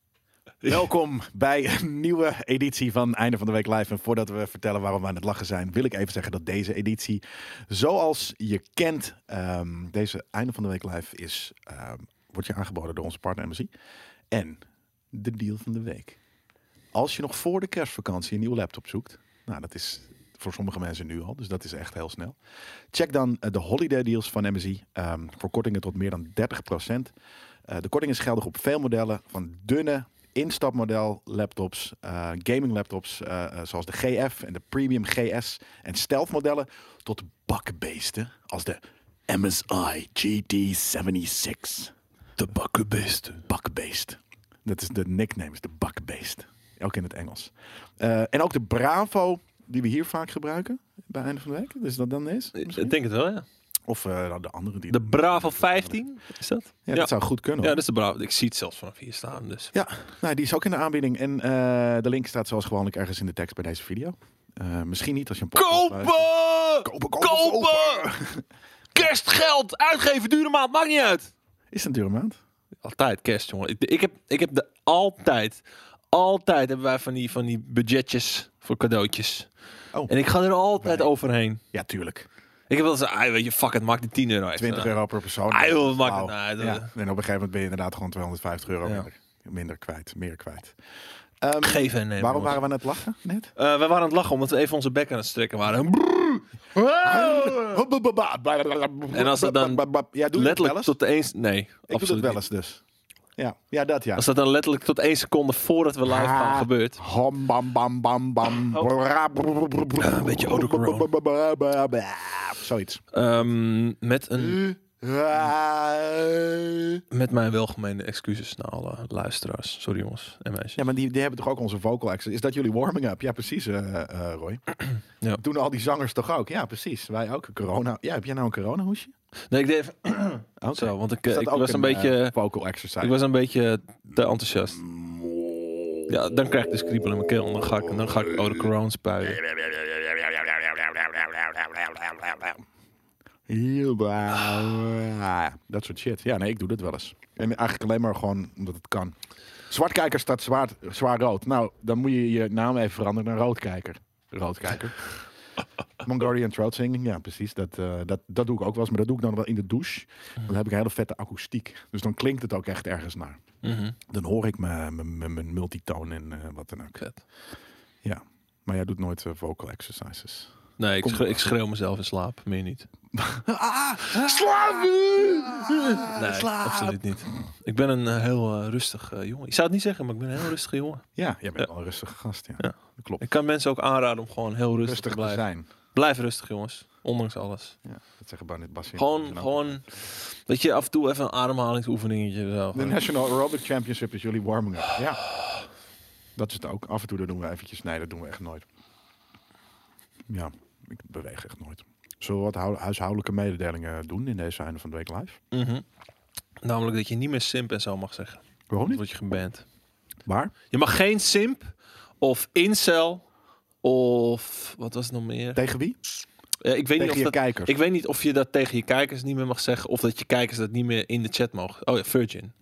Welkom bij een nieuwe editie van Einde van de Week Live. En voordat we vertellen waarom we aan het lachen zijn, wil ik even zeggen dat deze editie, zoals je kent, ehm, deze Einde van de Week Live is, ehm, wordt je aangeboden door onze partner MSI. En de deal van de week. Als je nog voor de kerstvakantie een nieuwe laptop zoekt, nou dat is voor sommige mensen nu al, dus dat is echt heel snel. Check dan eh, de holiday deals van MSI ehm, voor kortingen tot meer dan 30%. Eh, de korting is geldig op veel modellen, van dunne instapmodel laptops, eh, gaming laptops eh, eh, zoals de GF en de Premium GS en stealth modellen, tot bakkenbeesten als de MSI GT76. De bakkenbeest. Bakkenbeest. Dat is de nickname, is de bakkenbeest. Ook in het Engels. Eh, en ook de Bravo, die we hier vaak gebruiken bij einde van de week. Dus dat dan is. Ik denk het wel, ja. Of eh, de andere die. De Bravo 15, is dat? Ja, ja. dat zou goed kunnen. Ja, dat is de Bravo. Ik zie het zelfs vanaf hier staan, dus. Ja, nou, die is ook in de aanbieding. En eh, de link staat zoals gewoonlijk ergens in de tekst bij deze video. Eh, misschien niet als je een podcast luistert. Kopen! Kopen, kopen, Kopen! Kerstgeld! Uitgeven, dure maand, maakt niet uit! Is het een dure maand? Altijd kerst, jongen. Ik, ik, heb, ik heb de altijd, altijd hebben wij van die, van die budgetjes voor cadeautjes. Oh. En ik ga er altijd Wij. overheen. Ja, tuurlijk. Ik heb wel eens, ah, weet je, fuck het, maakt die 10 euro uit. 20 euro per persoon. Ah, joh, maakt Wauw. het nou uit, Ja. En hoor. op een gegeven moment ben je inderdaad gewoon 250 euro Ja. minder, minder kwijt. Meer kwijt. Ehm, Geven en nemen. waarom jongens. waren we aan het lachen net? Eh, wij waren aan het lachen omdat we even onze bek aan het strekken waren. Oh! En als dat dan Ja, doe je dat wel Letterlijk eens? tot de eens. Nee, Ik doe dat absoluut wel niet. eens dus. Ja, ja dat ja. Als dat dan letterlijk tot één seconde voordat we live gaan Ah. gebeurt. Hom, bam, bam, bam, bam. Een beetje Oudekroon. Zoiets. Ehm, met, een, met mijn welgemeende excuses naar alle luisteraars. Sorry jongens en meisjes. Ja, maar die, die hebben toch ook onze vocal access. Is dat jullie warming-up? Ja, precies, eh eh, Roy. Ja. Doen al die zangers toch ook? Ja, precies. Wij ook. Corona. Ja, heb jij nou een coronahoesje? Nee, ik deed even Oké. zo, want ik, Is eh, dat ik ook was een, beetje, eh, vocal exercise. ik was een beetje te enthousiast. Ja, dan krijg ik dus kriebel in mijn keel en dan ga ik, dan ga ik oude corona spuien. Heel- Ah, Dat soort shit. Ja, nee, ik doe dat wel eens. En eigenlijk alleen maar gewoon omdat het kan. Zwartkijker staat zwaar, zwaar rood. Nou, dan moet je je naam even veranderen naar roodkijker. Roodkijker. Mongolian throat singing, ja precies. Dat, eh, dat, dat doe ik ook wel eens, maar dat doe ik dan wel in de douche. Dan heb ik een hele vette akoestiek. Dus dan klinkt het ook echt ergens naar. Mhm, Dan hoor ik mijn- mijn mijn- mijn multitoon en eh, wat dan ook. vet. Ja, maar jij doet nooit eh, vocal exercises. Nee, ik, Kom. schreeuw- ik schreeuw mezelf in slaap, meer niet. Slaap Nee, absoluut niet. Ik ben een eh, heel eh, rustig eh, jongen. Ik zou het niet zeggen, maar ik ben een heel rustig jongen. Ja, jij bent wel een rustige gast, ja. Ja. Dat klopt. Ik kan mensen ook aanraden om gewoon heel rustig, Rustig te te blijven. zijn. Blijf rustig, jongens. Ondanks alles. Ja, dat zeggen Barnett Bassi. Gewoon, gewoon, dat je af en toe even een ademhalingsoefeningetje zo. De National Aerobic Championship is jullie warming-up. Ja. Dat is het ook. Af en toe dat doen we eventjes. Nee, dat doen we echt nooit. Ja, ik beweeg echt nooit. Zullen we wat hou- huishoudelijke mededelingen doen in deze einde van de week live? Mhm. Namelijk dat je niet meer simp en zo mag zeggen. Waarom Dan Oh, niet? word je geband. Waar? Je mag geen simp of incel of wat was het nog meer? Tegen wie? Ja, ik, weet niet Tegen of je dat, kijkers. ik weet niet of je dat tegen je kijkers niet meer mag zeggen of dat je kijkers dat niet meer in de chat mogen. Oh ja, virgin.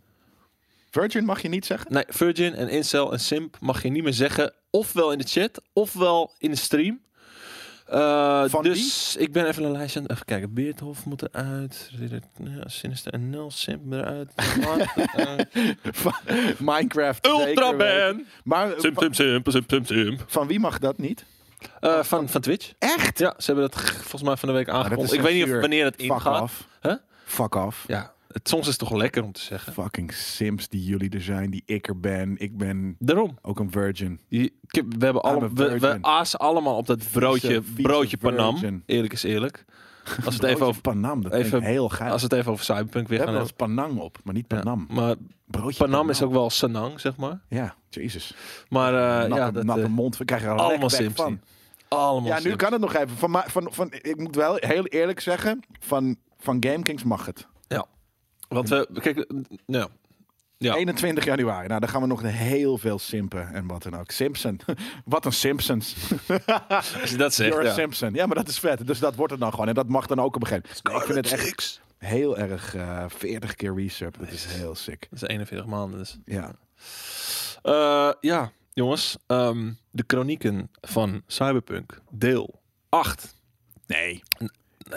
Virgin mag je niet zeggen? Nee, virgin en incel en simp mag je niet meer zeggen. Ofwel in de chat, ofwel in de stream. Eh, Van dus ik ben even een lijstje aan- Even kijken. Beerthof moet eruit. Ridder- Ja, Sinister NL, Simp eruit. Eh, Minecraft. Ultra zeker weten. ban! Maar eh, Simp, simp, simp, simp, simp, simp. van wie mag dat niet? Eh, van, van Twitch. Echt? Ja, ze hebben dat g- volgens mij van de week aangekondigd. Ah, is Ik weet niet of censuur. wanneer het Fuck ingaat. af. Huh? Fuck af. Ja, het, soms is het toch lekker om te zeggen. Fucking sims die jullie er zijn, die ik er ben. Ik ben Daarom. ook een virgin. Je- ik- we, hebben alle, a we, we virgin. azen allemaal op dat broodje, vieze broodje virgin. Panam. Eerlijk is eerlijk. Als we het even over, Panam, dat even- vind ik heel geil. als we het even over Cyberpunk we weer gaan hebben wel hebben. eens Panang op, maar niet Ja, Panam. Maar Broodje Panam is ook wel Sanang, zeg maar. Ja, jezus. Maar eh, natte, ja, dat, natte eh, mond, we krijgen er allemaal allemaal Sims van. die. allemaal Ja, nu Sims. kan het nog even. Van, ma- van, van, ik moet wel heel eerlijk zeggen, van, van GameKings mag het. Want we, kijk, eh, nou, Ja. 21 januari. Nou, daar gaan we nog heel veel simpen en wat dan ook. Simpson. wat een Simpsons. als je dat zegt, You're a ja. Simpson. Ja, maar dat is vet. Dus dat wordt het dan gewoon. En dat mag dan ook op een gegeven moment. Nee, ik vind het echt heel erg eh 40 keer resub. Dat is heel sick. Dat is 41 maanden. Dus. Ja. Eh, ja, jongens. ehm, de kronieken van Cyberpunk, deel 8. Nee. Nou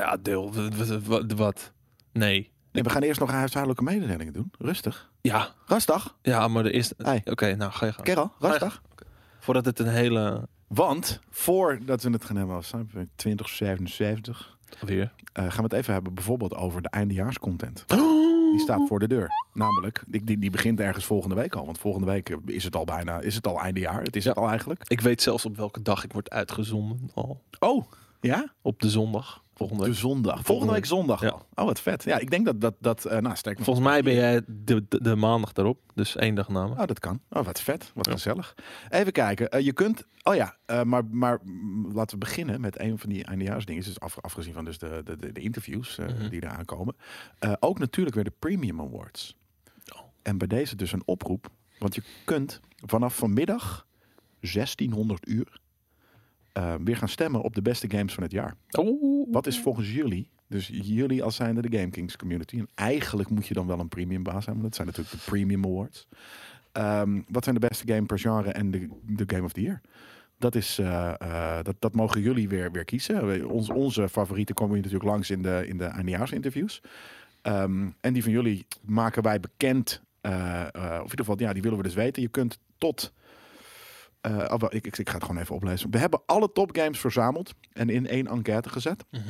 Ja, deel. w- w- w- Wat? Nee. nee. We gaan eerst nog huishoudelijke mededelingen doen. Rustig. Ja, Rastig. ja maar er is. Hey. Oké, nou ga je gaan. Kerel, rastig. Voordat het een hele. Want voordat we het gaan hebben over Cyberpunk 2077, Weer. eh, gaan we het even hebben bijvoorbeeld over de eindejaarscontent. Oh! Die staat voor de deur. Namelijk, die, die, die begint ergens volgende week al. Want volgende week eh, is het al bijna, is het al eindejaar. Het is Ja. het al eigenlijk. Ik weet zelfs op welke dag ik word uitgezonden. Al Oh, ja? op de zondag. Volgende De week. zondag. Volgende Volgende week zondag. Ja. al. Oh, wat vet. Ja, ik denk dat dat, dat eh nou, sterk nog- Volgens mij ben jij de, de, de maandag daarop. Dus één dag na me. Oh, dat kan. Oh, wat vet. Wat gezellig. Even kijken. Eh, je kunt... Oh ja, eh, maar, maar mm, laten we beginnen met een van die eindejaarsdingen. Dus af, afgezien van dus de, de, de, de interviews eh, Mhm. die eraan komen. Eh, ook natuurlijk weer de Premium Awards. Oh. En bij deze dus een oproep. Want je kunt vanaf vanmiddag 1600 uur eh, weer gaan stemmen op de beste games van het jaar. Oh. Wat is volgens jullie, dus jullie als zijnde de Game Kings community, en eigenlijk moet je dan wel een premium baas hebben, want dat zijn natuurlijk de Premium Awards. Ehm, wat zijn de beste game per genre en de, de Game of the Year? Dat, is, eh, eh, dat, dat mogen jullie weer, weer kiezen. We- Ons, onze favorieten komen hier natuurlijk langs in de, in de eindejaarsinterviews. Ehm, en die van jullie maken wij bekend. eh, eh, of in ieder geval, ja, die willen we dus weten. Je kunt tot. eh, oh, wel, ik, ik, ik ga het gewoon even oplezen. We hebben alle topgames verzameld en in één enquête gezet. Mhm.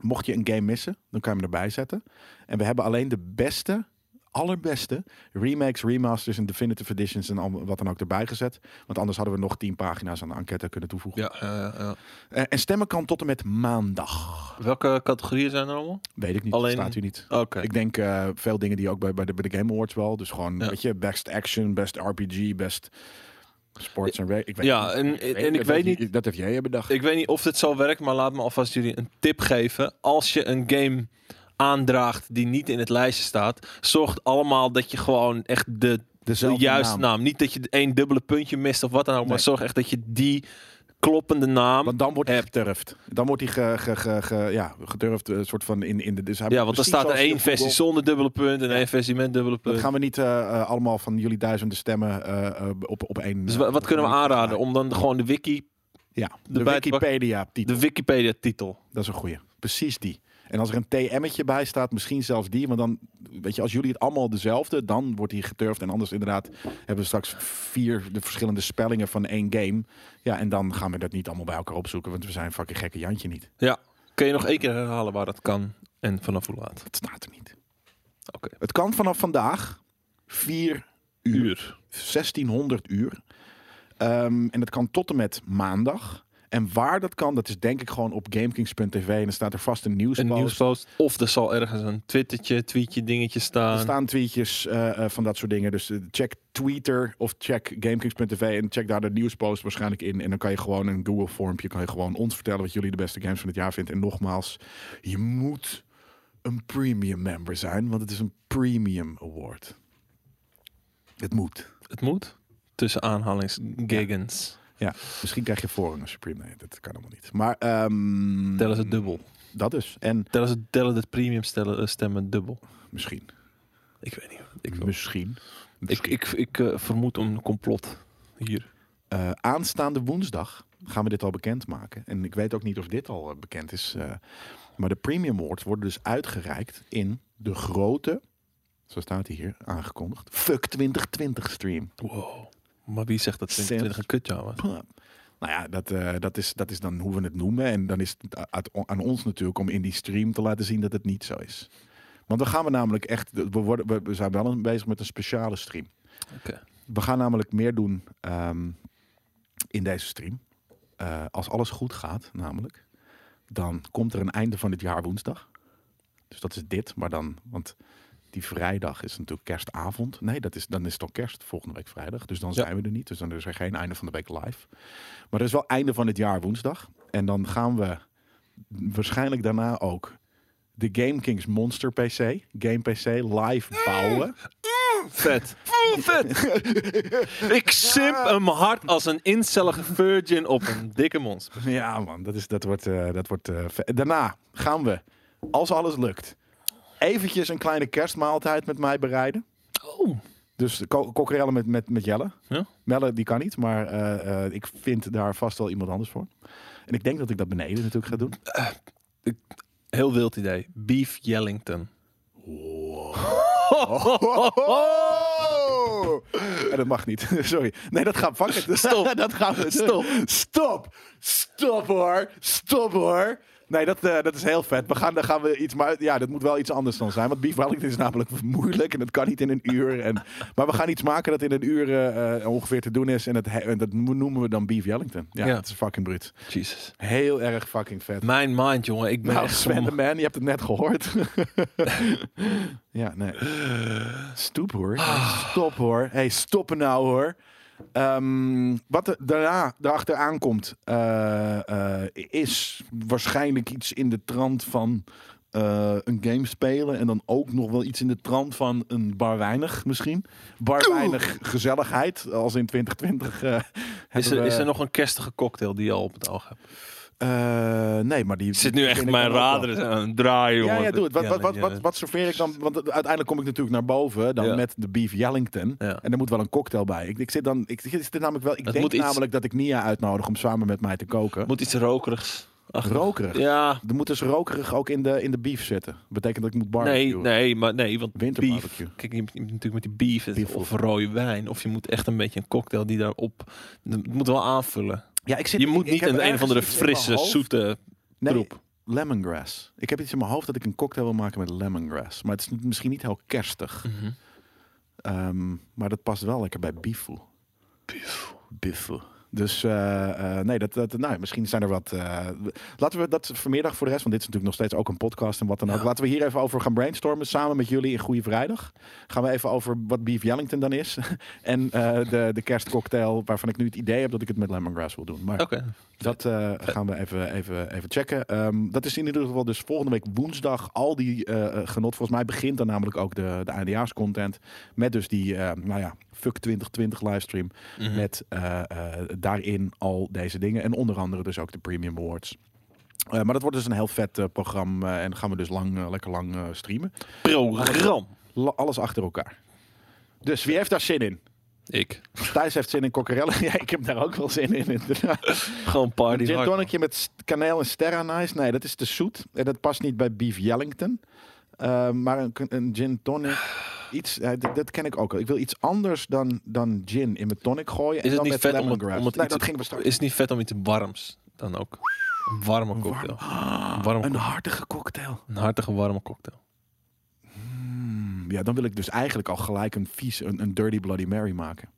Mocht je een game missen, dan kan je hem erbij zetten. En we hebben alleen de beste, allerbeste remakes, remasters en definitive editions en al wat dan ook erbij gezet. Want anders hadden we nog tien pagina's aan de enquête kunnen toevoegen. Ja, eh, ja. Eh, en stemmen kan tot en met maandag. Welke categorieën zijn er allemaal? Weet ik niet, Alleen- staat u niet. Oké. Ik denk eh, veel dingen die ook bij, bij, de, bij de Game Awards wel. Dus gewoon, Ja. weet je, best action, best RPG, best sports en... ra- Ik weet Ja, niet. en, en, en ik dat- weet niet, Dat heeft jij bedacht. ik weet niet of dit zo werkt, maar laat me alvast jullie een tip geven. Als je een game aandraagt die niet in het lijstje staat, zorg allemaal dat je gewoon echt de, de Dezelfde juiste naam. naam. Niet dat je één dubbele puntje mist of wat dan ook, Nee. maar zorg echt dat je die kloppende naam. Want dan wordt hij Heb. geturfd. Dan wordt hij ge, ge, ge, ge- ja, gedurfd, een soort van in, in de... Dus hij ja, moet want er precies staat er zoals één in voetbal- versie zonder dubbele punt en één versie met dubbele Dat punt. gaan we niet eh, eh, allemaal van jullie duizenden stemmen eh, eh, op, op één... Dus eh, wa- wat op kunnen we één- aanraden? Om dan gewoon de, wiki, Ja, de, erbij te pakken? Wikipedia-titel. de Wikipedia-titel. Dat is een goeie. Precies die. En als er een TM'tje bij staat, misschien zelfs die. Want dan, weet je, als jullie het allemaal dezelfde, dan wordt die geturfd. En anders inderdaad hebben we straks vier de verschillende spellingen van één game. Ja, en dan gaan we dat niet allemaal bij elkaar opzoeken. Want we zijn fucking gekke Jantje niet. Ja. Kun je nog één keer herhalen waar dat kan en vanaf hoe laat? Dat staat er niet. Oké. Het kan vanaf vandaag 4 uur. Uur. 1600 uur. Ehm, en dat kan tot en met maandag. En waar dat kan, dat is denk ik gewoon op gamekings.tv. En dan staat er vast een Een nieuwspost. nieuwspost. Of er zal ergens een twittertje, tweetje, dingetje Er staan. staan tweetjes eh, eh, van dat soort dingen. Dus eh, check Twitter of check GameKings.tv en check daar de nieuwspost waarschijnlijk in. En dan kan je gewoon een Google vormpje, kan je gewoon ons vertellen wat jullie de beste games van het jaar vindt. En nogmaals, je moet een premium member zijn, want het is een premium award. Het moet. Het moet. Tussen aanhalingsgiggins. Ja, misschien krijg je voorrang als je premium. Nee, dat kan allemaal niet. Maar ehm, Tellen ze dubbel. dat dus. En Tellen ze tellen de premium stellen, eh, stemmen dubbel. misschien. Ik weet niet. Ik, Ik misschien. ik, Misschien. ik, ik eh, vermoed een complot hier. Eh, aanstaande woensdag gaan we dit al bekendmaken. En ik weet ook niet of dit al eh, bekend is. eh, maar de Premium Awards worden dus uitgereikt in de grote, zo staat hij hier aangekondigd, Fuck 2020 stream. Wow. Maar wie zegt dat Sens. 2020 een kutjaar was? Huh. Nou ja, dat, eh, dat, is, dat is dan hoe we het noemen. En dan is het a- uit- aan ons natuurlijk om in die stream te laten zien dat het niet zo is. Want dan gaan we namelijk echt, we, worden, we- we zijn wel een- bezig met een speciale stream. Oké. We gaan namelijk meer doen ehm, in deze stream. Eh, als alles goed gaat, namelijk, dan komt er een einde van dit jaar woensdag. Dus dat is dit, maar dan, want die vrijdag is natuurlijk kerstavond. Nee, dat is, dan is het al kerst volgende week vrijdag. Dus dan Ja. zijn we er niet. Dus dan is er geen einde van de week live. Maar er is wel einde van het jaar woensdag. En dan gaan we waarschijnlijk daarna ook de Game Kings Monster PC, Game PC live bouwen. Vet. Vet. ik simp hem hard als een incellige virgin op een dikke mond. Ja, man, dat, is, dat wordt. eh, dat wordt eh, ve- Daarna gaan we, als alles lukt, eventjes een kleine kerstmaaltijd met mij bereiden. Oh. Dus ko- kokkerellen met, met, met Jelle. Ja. Melle, die kan niet, maar eh, eh, ik vind daar vast wel iemand anders voor. En ik denk dat ik dat beneden natuurlijk ga doen. Heel wild idee. Beef Jellington. Oh! En dat mag niet. Sorry. Nee, dat gaat pakken. Stop. dat gaan we. Stop. Stop. Stop hoor. Stop hoor. Nee, dat, eh, dat is heel vet. We gaan, dan gaan we iets, maar ja, dat moet wel iets anders dan zijn. Want beef Wellington is namelijk moeilijk en dat kan niet in een uur. En, maar we gaan iets maken dat in een uur eh, eh, ongeveer te doen is. En dat, he- en dat noemen we dan beef Wellington. Ja, Ja. dat is fucking bruut. Jesus. Heel erg fucking vet. Mijn mind, jongen. Ik ben Nou, echt Sven de zo'n- Man, je hebt het net gehoord. ja, nee. Stoep hoor. Nee, Stop hoor. hey, stoppen nou hoor. Ehm, wat er daarna erachter aankomt, eh, eh, is waarschijnlijk iets in de trant van eh, een game spelen. En dan ook nog wel iets in de trant van een bar weinig misschien. Bar weinig gezelligheid, als in 2020. eh, Is hebben er, we- is er nog een kerstige cocktail die je al op het oog hebt? Eh, nee, maar die... Ik zit nu echt vind ik mijn dan ook wel. raderen aan het draaien, jongen. Ja, ja, doe het. Wat, Ja, wat, wat, ja. wat, wat serveer ik dan? Want uiteindelijk kom ik natuurlijk naar boven dan Ja. met de beef Wellington. Ja. En er moet wel een cocktail bij. Ik, ik zit dan, ik, ik zit namelijk wel. Ik Het denk moet iets- namelijk dat ik Nia uitnodig om samen met mij te koken. Moet iets rokerigs. achter. Rokerig. Ja, Er moet dus rokerig ook in de, in de beef zitten. Betekent dat ik moet barbecuen. nee, nee, maar nee, want beef. Winterbarbecue. Kijk, je moet je moet natuurlijk met die beef, het- Beef of rode wijn, of je moet echt een beetje een cocktail die daarop, het moet wel aanvullen. Ja, ik zit, Je moet ik- ik niet heb een, een of ergens andere iets in mijn frisse, hoofd. zoete Nee, troep. lemongrass. Ik heb iets in mijn hoofd dat ik een cocktail wil maken met lemongrass. Maar het is misschien niet heel kerstig. Mhm. Ehm, maar dat past wel lekker bij bifu. Bifu. Dus eh, eh, nee, dat, dat, nou, misschien zijn er wat. eh, laten we dat vanmiddag voor de rest, want dit is natuurlijk nog steeds ook een podcast en wat dan ook. Laten we hier even over gaan brainstormen samen met jullie in Goede Vrijdag. Gaan we even over wat Beef Wellington dan is. en eh, de, de kerstcocktail, waarvan ik nu het idee heb dat ik het met lemongrass wil doen. Maar Oké. dat eh, gaan we even, even, even checken. Ehm, dat is in ieder geval dus volgende week woensdag al die eh, eh, genot. Volgens mij begint dan namelijk ook de, de eindejaarscontent. Met dus die, eh, nou ja, fuck 2020 livestream. Mhm. Met eh, eh, daarin al deze dingen. En onder andere dus ook de Premium Awards. Eh, maar dat wordt dus een heel vet eh, programma. eh, en gaan we dus lang, eh, lekker lang eh, streamen. Program. La- alles achter elkaar. Dus wie heeft daar zin in? Ik. Thijs heeft zin in kokkerellen. ja, ik heb daar ook wel zin in. inderdaad. Gewoon party Een gin hard, tonicje met st- kaneel en sterra nice. Nee, dat is te zoet. En dat past niet bij beef Wellington. Eh, maar een, een gin tonic, iets, eh, dat, dat ken ik ook al. Ik wil iets anders dan, dan gin in mijn tonic gooien. en Is het dan niet met vet om het- lemongrass. om het nee, iets- dat gingen we man. straks. Is het niet vet om iets warms dan ook? Een warme cocktail. Een, warme, Ah, Een hartige cocktail. een hartige warme cocktail. Hmm, ja, dan wil ik dus eigenlijk al gelijk een vies, een, een dirty Bloody Mary maken.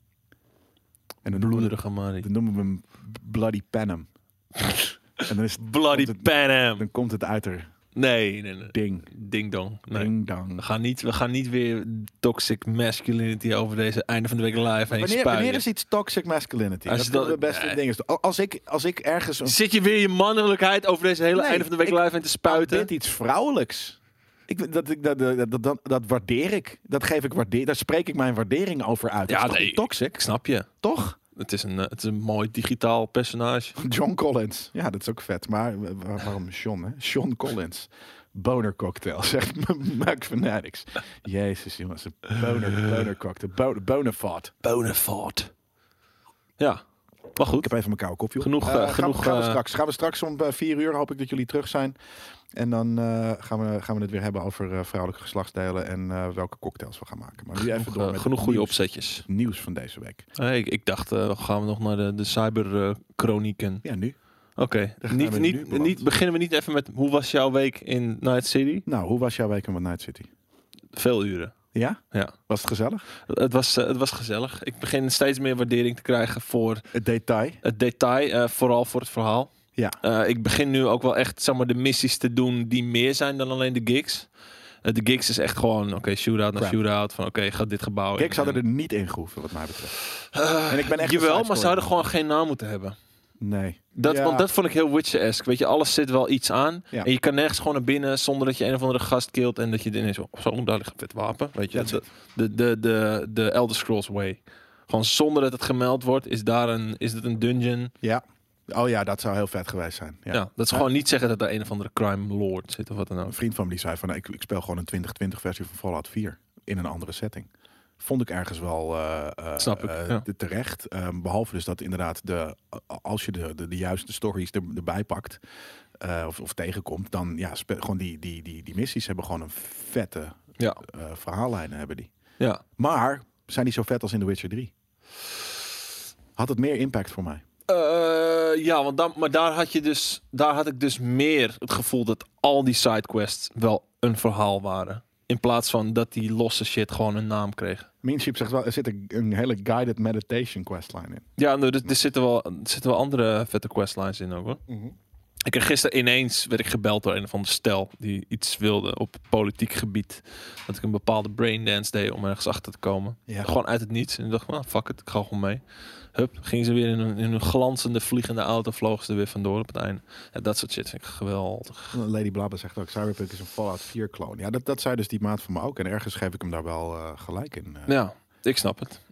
En dan noemen, we, Bloederige Marie. dan noemen we hem Bloody Panem. en dan, is, Bloody Komt Pan Am. dan komt het uit er. Nee, nee, nee. Ding, Ding dong. Nee. ding, We dang. gaan, niet, we gaan niet weer toxic masculinity over deze einde van de week live heen Wanneer, spuien. wanneer is iets toxic masculinity? Als dat vinden je dat- Eh. we best nee. ding is. Als ik, als ik ergens een Zit je weer je mannelijkheid over deze hele Oh. Nee, einde van de week ik- Ah, live heen te spuiten? dit iets vrouwelijks. Ik, dat, ik- dat, dat, dat, dat, dat waardeer ik. Dat geef ik waardeer, daar spreek ik mijn waardering over uit. Ja, dat is toch nee. niet toxic, Ik snap je. toch? Het is, een, eh, het is een mooi digitaal personage. John Collins. Ja, dat is ook vet. Maar wa- wa- waarom John, hè? John Collins. Bonercocktail, zegt M- Mac Fanatics. Jezus, jongens. een Boner, bonercocktail. Bo- Bonafide. Bonafide. Ja, maar goed. Ik heb even mijn koude koffie op. Genoeg, Eh, eh, gaan we- genoeg, Gaan, we eh, straks, gaan we straks om eh, vier uur, hoop ik dat jullie terug zijn. En dan eh, gaan, we, gaan we het weer hebben over eh, vrouwelijke geslachtsdelen en eh, welke cocktails we gaan maken. Maar nu even Genoeg, door eh, met genoeg het goede nieuws, opzetjes. nieuws van deze week. Hey, ik, ik dacht, eh, gaan we nog naar de, de cyberchronieken. Ja, nu. Oké, gaan niet, we nu niet, beland. niet, beginnen we niet even met hoe was jouw week in Night City? Nou, hoe was jouw week in One Night City? Veel uren. Ja? Ja, Was het gezellig? het was, eh, het was gezellig. Ik begin steeds meer waardering te krijgen voor Het detail. het detail, eh, vooral voor het verhaal. Ja. Eh, ik begin nu ook wel echt zeg maar, de missies te doen die meer zijn dan alleen de gigs. Eh, de gigs is echt gewoon, oké, shootout naar Crap. shootout. Van oké, gaat dit gebouw in. Kijk, ze hadden er niet in gehoeven, wat mij betreft. Eh, En ik ben echt een jawel, side maar ze hadden gewoon geen naam moeten hebben. Nee. Dat, Ja. Want dat vond ik heel Witcher-esque. Weet je, alles zit wel iets aan. Ja. En je kan nergens gewoon naar binnen zonder dat je een of andere gast kilt. En dat je ineens zo, zo daar ligt een vet wapen. Weet je, That's de, de, de, de, de Elder Scrolls way. Gewoon zonder dat het gemeld wordt, is, daar een, is het een dungeon. Ja. Oh ja, dat zou heel vet geweest zijn. Ja. Ja. dat ze gewoon niet zeggen dat daar een of andere crime lord zit of wat dan ook. Een vriend van me die zei van, nou, ik, ik speel gewoon een 2020 versie van Fallout 4 in een andere setting. Vond ik ergens wel eh, eh, Snap ik, eh, ja. te- terecht. Ehm, behalve dus dat inderdaad, de, als je de, de, de juiste stories er, erbij pakt eh, of, of tegenkomt, dan ja, spe- gewoon die, die, die, die missies hebben gewoon een vette Ja. eh, verhaallijnen hebben die. Ja. Maar zijn die zo vet als in The Witcher 3? Had het meer impact voor mij? Eh, ja, want dan, maar daar had, je dus, daar had ik dus meer het gevoel dat al die sidequests wel een verhaal waren. In plaats van dat die losse shit gewoon een naam kreeg. Minship zegt wel, er zit een, een hele guided meditation questline in. Ja, nou, er, er zitten wel, er zitten wel andere vette questlines in ook hoor. Ik kreeg gisteren ineens werd ik gebeld door een of ander stel die iets wilde op politiek gebied. Dat ik een bepaalde braindance deed om ergens achter te komen. Ja. Gewoon uit het niets. En ik dacht, well, fuck it, ik ga gewoon mee. Hup, gingen ze weer in een, in een glanzende vliegende auto, vlogen ze er weer vandoor op het einde. Ja, dat soort shit vind ik geweldig. Lady Blabba zegt ook, Cyberpunk is een Fallout 4 kloon. Ja, dat, dat zei dus die maat van me ook. En ergens geef ik hem daar wel eh, gelijk in. eh. Ja, ik snap het.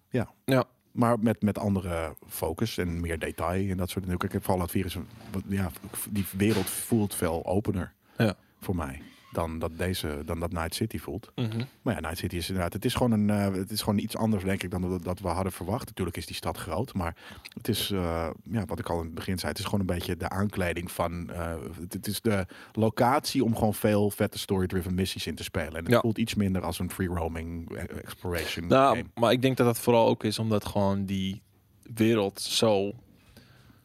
Maar met, met andere focus en meer detail en dat soort dingen. Kijk, Fallout 4 is een, wat- ja, die wereld voelt veel opener Ja. voor mij. Dan dat, deze, dan dat Night City voelt. Mhm. Maar ja, Night City is inderdaad. Het is gewoon, een, eh, het is gewoon iets anders, denk ik, dan dat, dat we hadden verwacht. Natuurlijk is die stad groot. Maar het is, eh, ja, wat ik al in het begin zei, het is gewoon een beetje de aankleding van. eh, het, het is de locatie om gewoon veel vette story-driven missies in te spelen. En het Ja. voelt iets minder als een free roaming eh, exploration. Nou, game. maar ik denk dat dat vooral ook is omdat gewoon die wereld zo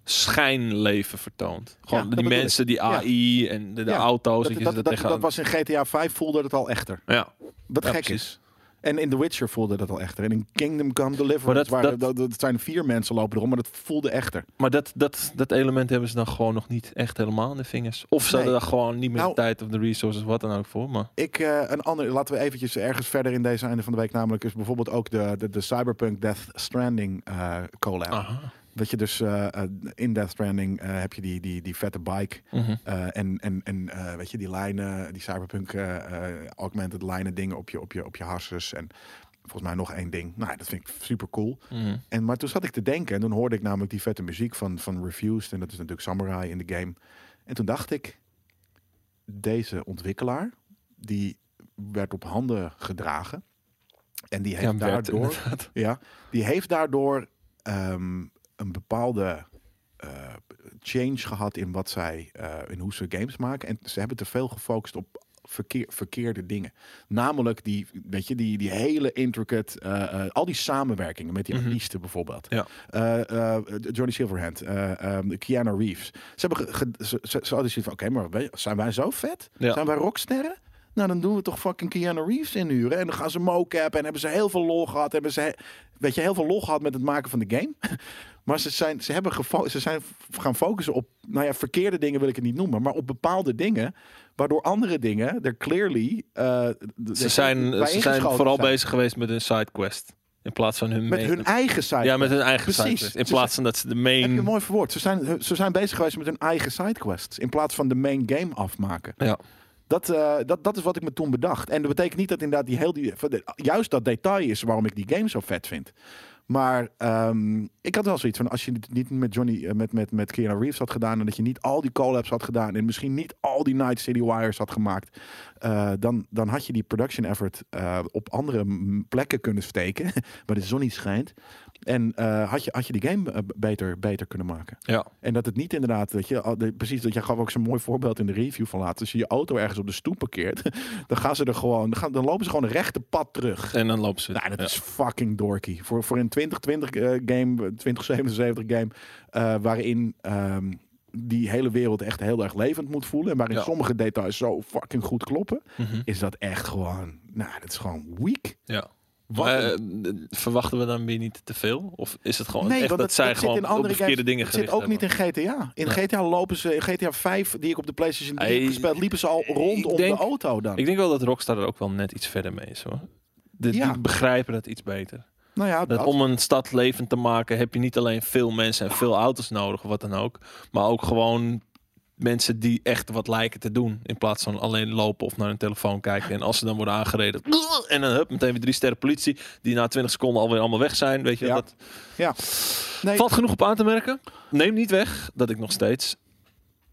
schijnleven vertoont. Gewoon Ja, dat die bedoel mensen, die Ja. AI en de, de Ja, auto's. Dat, je dat, zit er dat, dat, tegenaan. was in GTA 5 voelde het al echter. Ja. Wat Ja, gek precies. is. En in The Witcher voelde dat al echter. En in Kingdom Come Deliverance, Maar dat- waar dat- dat, dat zijn vier mensen lopen erom, maar dat voelde echter. Maar dat, dat, dat element hebben ze dan gewoon nog niet echt helemaal in de vingers. Of ze Nee. hadden daar gewoon niet meer Nou- de tijd of de resources, wat dan ook voor. Maar Ik, eh, een ander, laten we eventjes ergens verder in deze einde van de week, namelijk is bijvoorbeeld ook de, de, de Cyberpunk Death Stranding eh collab. Aha. Dat je dus eh, eh, in Death Stranding eh, heb je die, die, die vette bike Mhm. eh, en en, en eh, weet je, die lijnen, die Cyberpunk eh, eh, augmented lijnen dingen op je, op je, op je harses en volgens mij nog één ding. Nou, dat vind ik super cool. Mhm. En, maar toen zat ik te denken en toen hoorde ik namelijk die vette muziek van, van Refused. En dat is natuurlijk Samurai in de game. En toen dacht ik, deze ontwikkelaar, die werd op handen gedragen. En die heeft Ja, werd daardoor, inderdaad. ja, die heeft daardoor ehm, een bepaalde eh, change gehad in wat zij, eh, in hoe ze games maken. En ze hebben te veel gefocust op verkeer, verkeerde dingen. Namelijk die, weet je, die, die hele intricate, eh, eh, al die samenwerkingen met die Mhm. artiesten bijvoorbeeld. Ja. Eh, eh, Johnny Silverhand, eh, ehm, Keanu Reeves. Ze hebben ge- ge- ze, ze, ze hadden zoiets van, oké, maar wij- zijn wij zo vet? Ja. Zijn wij rocksterren? Nou, dan doen we toch fucking Keanu Reeves inhuren. En dan gaan ze mocap en hebben ze heel veel lol gehad. Hebben ze, he- weet je, heel veel lol gehad met het maken van de game. Maar ze zijn, ze hebben gefo- ze zijn f- gaan focussen op, nou ja, verkeerde dingen wil ik het niet noemen, maar op bepaalde dingen, waardoor andere dingen er clearly. eh, d- Ze d- zijn, bij ze zijn ingeschoten vooral zijn. bezig geweest met hun sidequest. In plaats van hun met main- hun eigen site. Ja, met hun eigen Precies. sidequest. In Ze plaats van dat ze de Heb je main... een mooi verwoord. Ze zijn, ze zijn bezig geweest met hun eigen sidequests. In plaats van de main game afmaken. Ja. Dat, eh, dat, dat is wat ik me toen bedacht. En dat betekent niet dat inderdaad die heel die, van de- juist dat detail is waarom ik die game zo vet vind. Maar ehm, ik had wel zoiets van als je het niet met Johnny, eh, met, met, met Keanu Reeves had gedaan. En dat je niet al die collabs had gedaan. En misschien niet al die Night City Wires had gemaakt. eh, dan, dan had je die production effort eh, op andere m- plekken kunnen steken. waar de zon niet schijnt. En eh, had, je, had je die game eh, b- beter, beter kunnen maken. Ja. En dat het niet inderdaad, dat je, al- de- precies, dat jij gaf ook zo'n mooi voorbeeld in de review van laatst. Als je je auto ergens op de stoep parkeert, dan gaan ze er gewoon, dan, gaan, dan lopen ze gewoon een rechte pad terug. En dan lopen ze. Nou, dat Ja. is fucking dorky. Voor, voor een 2020 eh, game, eh, 2077 game, eh, waarin ehm, die hele wereld echt heel erg levend moet voelen. En waarin Ja. sommige details zo fucking goed kloppen. Mhm. Is dat echt gewoon, nou, dat is gewoon weak. Ja. Wat Maar, een- eh, verwachten we dan weer niet te veel? Of is het gewoon Nee, echt want dat, dat- zij dat zit gewoon in andere op de verkeerde dingen Het zit gericht ook niet hebben? in GTA. In Ja. GTA lopen ze, in GTA 5, die ik op de PlayStation 3 heb Hey, gespeeld, liepen ze al ik rondom denk- de auto dan. Ik denk wel dat Rockstar er ook wel net iets verder mee is hoor. De, Ja. Die begrijpen dat iets beter. nou ja, Dat dat, om een stad levend te maken heb je niet alleen veel mensen en veel auto's nodig of wat dan ook. Maar ook gewoon mensen die echt wat lijken te doen. In plaats van alleen lopen of naar een telefoon kijken. En als ze dan worden aangereden. En dan hup, meteen weer drie sterren politie. Die na 20 seconden alweer allemaal weg zijn. Weet je, Ja. dat, ja. Nee, Valt genoeg op aan te merken. Neem niet weg dat ik nog steeds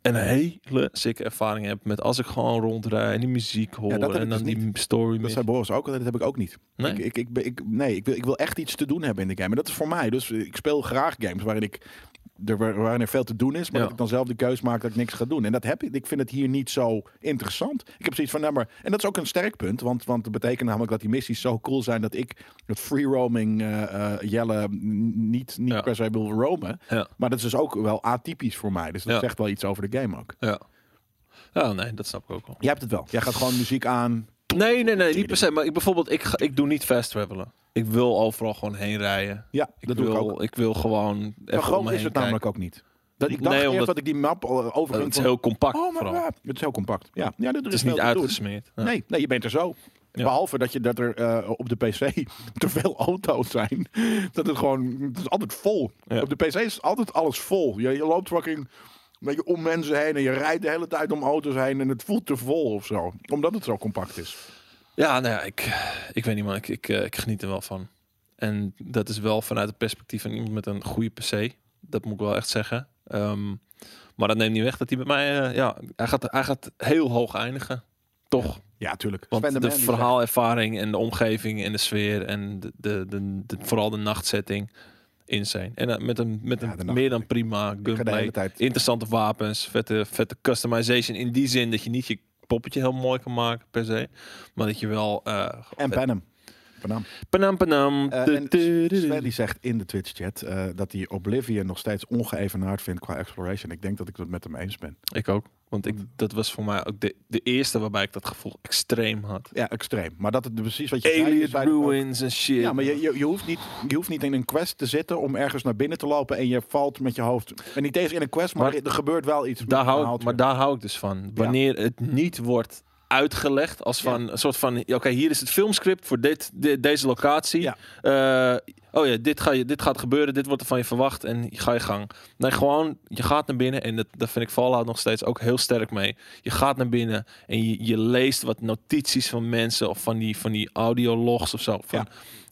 een hele sikke ervaring heb met als ik gewoon rondrij en die muziek hoor dat heb ik en dan dus die story. Dat mis- zei Boris ook, al, dat heb ik ook niet. Nee? Ik, ik, ik, ben- ik, nee, ik wil, ik wil echt iets te doen hebben in de game. En dat is voor mij. Dus ik speel graag games waarin, ik, er, waar- waarin er veel te doen is. Maar Ja. dat ik dan zelf de keus maak dat ik niks ga doen. En dat heb ik. Ik vind het hier niet zo interessant. Ik heb zoiets van, nou maar... En dat is ook een sterk punt. Want, want dat betekent namelijk dat die missies zo cool zijn... dat ik het free roaming eh, eh, jellen niet, niet Ja. per se wil roamen. Ja. Maar dat is dus ook wel atypisch voor mij. Dus dat Ja. zegt wel iets over de game ook. Ja. ja, nee, dat snap ik ook wel. Jij hebt het wel. Jij gaat gewoon muziek aan. Nee, nee, nee, niet per se. Maar ik, bijvoorbeeld, ik, ga, ik doe niet fast travelen. Ik wil overal gewoon heen rijden. Ja, Ik dat wil, doe ik ook. ik wil gewoon Zo even groot om me is het heen namelijk ook niet. Dat ik Nee, dacht eerst omdat- dat ik die map eh, kijken. over Het is heel compact Oh my vooral. god. Het is heel compact. Ja, ja dat Het is niet uit. uitgesmeerd. Ja. Nee, nee, je bent er zo. Ja. Behalve dat, je, dat er eh, op de PC te veel auto's zijn. Dat het gewoon... Het is altijd vol. Ja. Op de PC is altijd alles vol. Je, je loopt fucking een beetje om mensen heen. En je rijdt de hele tijd om auto's heen. En het voelt te vol of zo. Omdat het zo compact is. Ja, nou ja, ik, ik weet niet, maar ik, ik, eh, ik geniet er wel van. En dat is wel vanuit het perspectief van iemand met een goede PC. Dat moet ik wel echt zeggen. Ehm, maar dat neemt niet weg dat hij met mij... eh, ja, hij gaat, hij gaat heel hoog eindigen. Toch? Ja, tuurlijk. Sven Want de, Man die zegt- verhaalervaring en de omgeving en de sfeer en de, de, de, de- vooral de nachtzetting in zijn. En eh, met een, met Ja, een de meer dan prima ga de hele gunplay, tijd- interessante wapens, vette, vette customization. In die zin dat je niet je poppetje heel mooi kan maken per se, maar dat je wel... eh, En vet- Panem. Panam. panam, panam. Eh, Du- en du- du- du- Sven die zegt in de Twitch-chat eh, dat hij Oblivion nog steeds ongeëvenaard vindt qua exploration. Ik denk dat ik dat met hem eens ben. Ik ook. Want ik, dat was voor mij ook de, de eerste waarbij ik dat gevoel extreem had. Ja, extreem. Maar dat het dus precies wat je zei, Alien is bij de- ruins en shit. Ja, maar je, je, je, hoeft niet, je hoeft niet in een quest te zitten om ergens naar binnen te lopen en je valt met je hoofd. En niet eens in een quest, maar, Maar- er gebeurt wel iets. Daar hou ik, Haalt maar weer. daar hou ik dus van. Wanneer het niet wordt uitgelegd als van een soort van... Oké, hier is het filmscript voor dit, de- deze locatie. Ja. Eh, oh ja, dit, ga je, dit gaat gebeuren. Dit wordt er van je verwacht. En ga je gang. Nee, gewoon, je gaat naar binnen. En dat, dat vind ik Fallout nog steeds ook heel sterk mee. Je gaat naar binnen en je, je leest wat notities van mensen. Of van die, van die audiologs of zo. Van, Ja.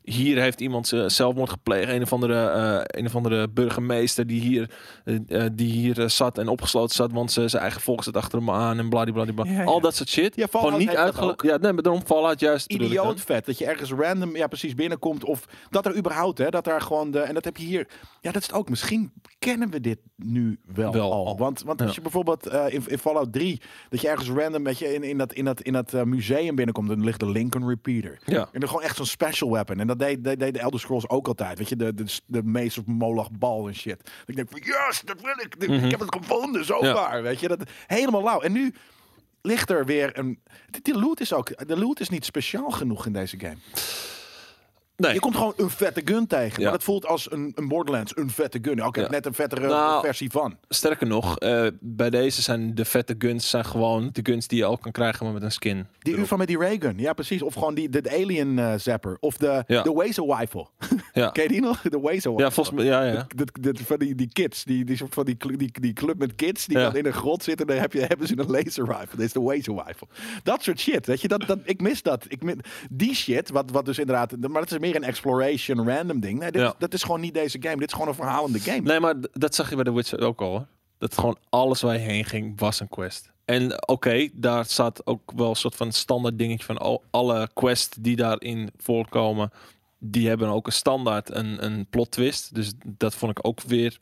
Hier heeft iemand eh, zelfmoord gepleegd. Een of andere, eh, een of andere burgemeester die hier eh, eh, die hier eh, zat en opgesloten zat, want ze, zijn eigen volk zat achter hem aan en bladibladibla. Ja, ja. Al dat soort shit. Ja, Fallout Gewoon niet heeft dat uitgelegd. ook. Ja, nee, maar daarom Fallout juist. bedoel ik Idioot dan. vet dat je ergens random ja, precies binnenkomt. Of dat er überhaupt, hè, dat daar gewoon de. En dat heb je hier. Ja, dat is het ook. Misschien kennen we dit nu wel, Wel al. al. Want, want Ja. als je bijvoorbeeld eh, in, in Fallout 3, dat je ergens random weet je, in, in dat, in dat, in dat eh, museum binnenkomt, dan ligt de Lincoln Repeater. Ja. En dan gewoon echt zo'n special weapon. En dat deed, deed, deed de Elder Scrolls ook altijd. Weet je, de, de, de Mace of Moloch bal en shit. Dat ik denk van, yes, dat wil ik. Ik heb het gevonden, zo Mhm. Ja. waar. Weet je, dat helemaal lauw. En nu ligt er weer een... Die, die loot is ook... De loot is niet speciaal genoeg in deze game. Nee. Je komt gewoon een vette gun tegen. Ja. Maar dat voelt als een, een Borderlands, een vette gun. Oké, Ja. net een vettere Nou, versie van. Sterker nog, eh, bij deze zijn de vette guns zijn gewoon de guns die je al kan krijgen, maar met een skin. Die erop. UFA met die raygun. Ja, precies. Of gewoon die, de de alien eh, zapper. Of de, Ja. de Wazer Rifle. Ja. Ken je die nog? De Wazer Rifle. ja, volgens mij. Ja, ja. Dat, dat, van die, die kids, die, die soort van die, cl- die, die club met kids, die Ja. dan in een grot zitten, dan heb je, hebben ze een laser rifle. Dit is de laser rifle. Dat soort shit. Weet je, dat, dat, ik mis dat. Ik mis, die shit, wat, wat dus inderdaad, maar dat is meer een exploration random ding. Nee, dit, Ja. dat is gewoon niet deze game. Dit is gewoon een verhalende game. Nee, maar d- dat zag je bij The Witcher ook al. Hoor. Dat gewoon alles waar je heen ging was een quest. En oké, daar staat ook wel een soort van standaard dingetje van al, alle quests die daarin voorkomen. Die hebben ook een standaard, een, een plot twist. Dus dat vond ik ook weer.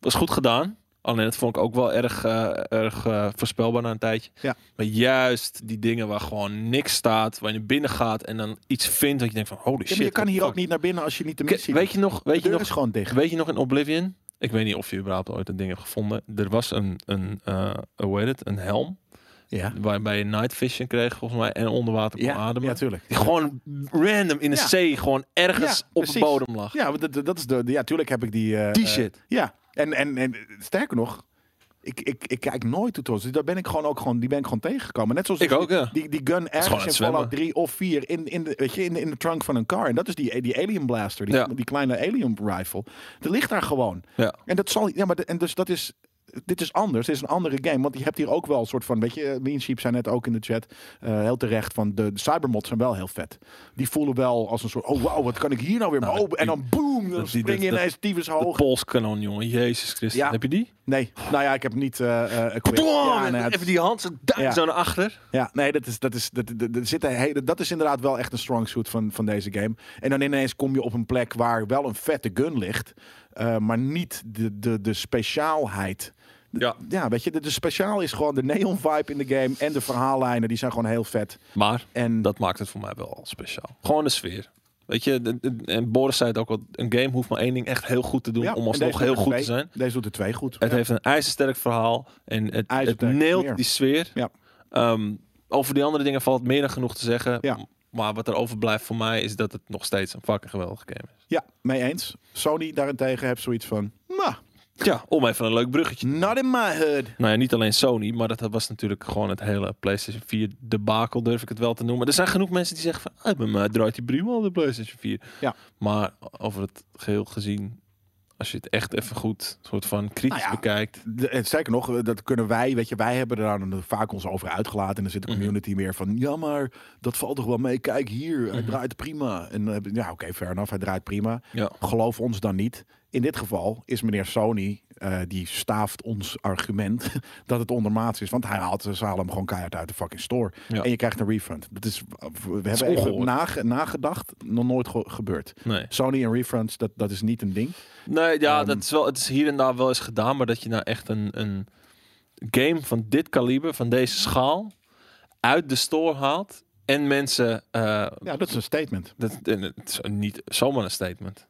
Was goed gedaan. Alleen dat vond ik ook wel erg, eh, erg eh, voorspelbaar na een tijdje. Ja. Maar juist die dingen waar gewoon niks staat, waar je binnen gaat en dan iets vindt dat je denkt van holy Ja, shit. maar je kan what hier the ook niet naar binnen als je niet de fuck. missie Weet je nog, weet de je deur nog is gewoon dicht. Weet je nog in Oblivion? Ik weet niet of je überhaupt ooit dat ding hebt gevonden. Er was een, een eh, hoe heet het, een helm. Ja, Waarbij je night vision kreeg, volgens mij. En onder water kon ja, ademen. ja tuurlijk. Die gewoon random in de Ja. zee, gewoon ergens Ja, op de precies. bodem lag. Ja, want dat, dat is de, de- ja, tuurlijk heb ik die... eh, Die eh, shit. Ja, en, en, en sterker nog, ik, ik, ik kijk nooit tutorials. Dus Daar ben ik gewoon ook gewoon, die ben ik gewoon tegengekomen. Net zoals Ik die, ook, ja. die, die gun gewoon ergens aan in het Fallout zwemmen. 3 of 4 in, in, de, weet je, in, de, in de trunk van een car. En dat is die, die alien blaster, die, Ja. die kleine alien rifle. Dat ligt daar gewoon. Ja. En dat zal, ja, maar de- en dus dat is, dit is anders. Dit is een andere game, want je hebt hier ook wel een soort van, weet je, eh, Mean Sheep zei net ook in de chat, eh, heel terecht van de, de cybermods zijn wel heel vet. Die voelen wel als een soort, oh wow, wat kan ik hier nou weer? Nou, oh, en die- dan boom, dan dat- die- spring je dat- ineens tyfus De hoog. polskanon, jongen. Jezus Christus. Ja. Heb je die? Nee, nou ja, ik heb niet eh, eh, equipped. Ja, nou ja, het- Even die hand zo, duim Ja. zo naar achter. Ja, nee, dat is, dat is, dat, dat, dat zit een hele- dat is inderdaad wel echt een strong suit van, van deze game. En dan ineens kom je op een plek waar wel een vette gun ligt, eh, maar niet de, de, de speciaalheid. Ja. Ja, weet je, de, de speciaal is gewoon de neon vibe in de game en de verhaallijnen, die zijn gewoon heel vet. Maar En dat maakt het voor mij wel speciaal. Gewoon de sfeer. Weet je, de- de- en Boris zei het ook al, een game hoeft maar één ding echt heel goed te doen ja, en om deze alsnog doet er heel goed twee. te zijn. Deze doet er twee goed. Het Ja. heeft een ijzersterk verhaal en het, het Ijzersterk, neelt meer. die sfeer. Ja. Ehm, over die andere dingen valt meer dan genoeg te zeggen. Ja. Maar wat er overblijft voor mij is dat het nog steeds een fucking geweldige game is. ja, mee eens. Sony daarentegen heeft zoiets van, nou, Ja, om even een leuk bruggetje. not in my hood. Nou ja, niet alleen Sony, maar dat was natuurlijk gewoon het hele PlayStation 4 debakel, durf ik het wel te noemen. Er zijn genoeg mensen die zeggen van, ah, bij mij draait die prima op de PlayStation 4. Ja. Maar over het geheel gezien, als je het echt even goed soort van kritisch Nou ja. bekijkt. De- en Sterker nog, eh, dat kunnen wij, weet je, wij hebben er dan vaak ons over uitgelaten. En dan zit Mhm. de community meer van, ja, maar dat valt toch wel mee. Kijk hier, hij Mhm. draait prima. En dan heb ik, ja, oké, fair enough, hij draait prima. Ja. Geloof ons dan niet. In dit geval is meneer Sony, eh, die staaft ons argument dat het ondermaats is. Want hij haalt ze halen hem gewoon keihard uit de fucking store. Ja. En je krijgt een refund. Dat is, we hebben even ongehoord. nage- nagedacht, nog nooit ge- gebeurd. Nee. Sony en refunds, dat, dat is niet een ding. Nee, ja, Ehm. dat is wel, het is hier en daar wel eens gedaan, maar dat je nou echt een, een game van dit kaliber, van deze schaal, uit de store haalt en mensen. eh, Ja, dat is een statement. dat, en het is niet zomaar een statement.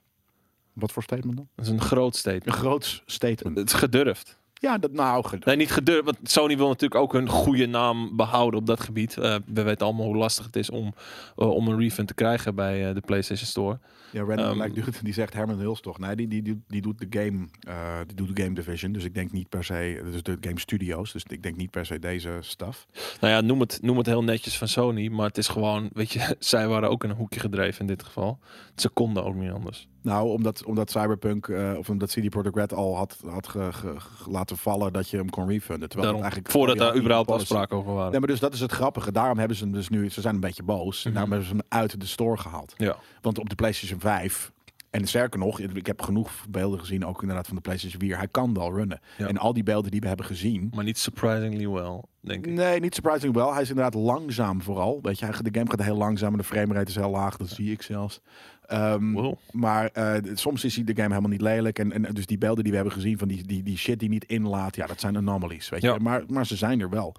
Wat voor statement dan? Dat is een groot Een statement. groots statement. Het is gedurfd. Ja, dat nou. ge- Nee, niet gedurfd, want Sony wil natuurlijk ook hun goede naam behouden op dat gebied. Eh, we weten allemaal hoe lastig het is om, eh, om een refund te krijgen bij eh, de PlayStation Store. Ja, Random Ehm, Black Dude, die zegt Herman Hills toch? Nee, die, die, die, die doet de game, eh, die doet de game division. Dus ik denk niet per se, dus de game studios. Dus ik denk niet per se deze staf. Nou ja, noem het, noem het heel netjes van Sony, maar het is gewoon, weet je, zij waren ook in een hoekje gedreven in dit geval. Ze konden ook niet anders. Nou, omdat, omdat Cyberpunk eh, of omdat CD Projekt Red al had, had ge- ge- ge- laten vallen dat je hem kon refunden. Terwijl dat Daarom, eigenlijk voordat die had daar niet überhaupt de policy. afspraken over waren. Nee, maar dus dat is het grappige. Daarom hebben ze hem dus nu, ze zijn een beetje boos. En Mhm. daarom hebben ze hem uit de store gehaald. Ja. Want op de PlayStation 5. En sterker nog, ik heb genoeg beelden gezien, ook inderdaad van de PlayStation 4. Hij kan wel runnen. Ja. En al die beelden die we hebben gezien, Maar niet surprisingly well, denk ik. Nee, niet surprising wel. Hij is inderdaad langzaam vooral. Weet je, hij- de game gaat heel langzaam en de framerate is heel laag. Dat zie ik zelfs. Ehm, Wow. Maar eh, d- soms is die- de game helemaal niet lelijk. En, en dus die beelden die we hebben gezien van die, die, die shit die niet inlaat. Ja, dat zijn anomalies. Weet je? Ja. Maar, maar ze zijn er wel.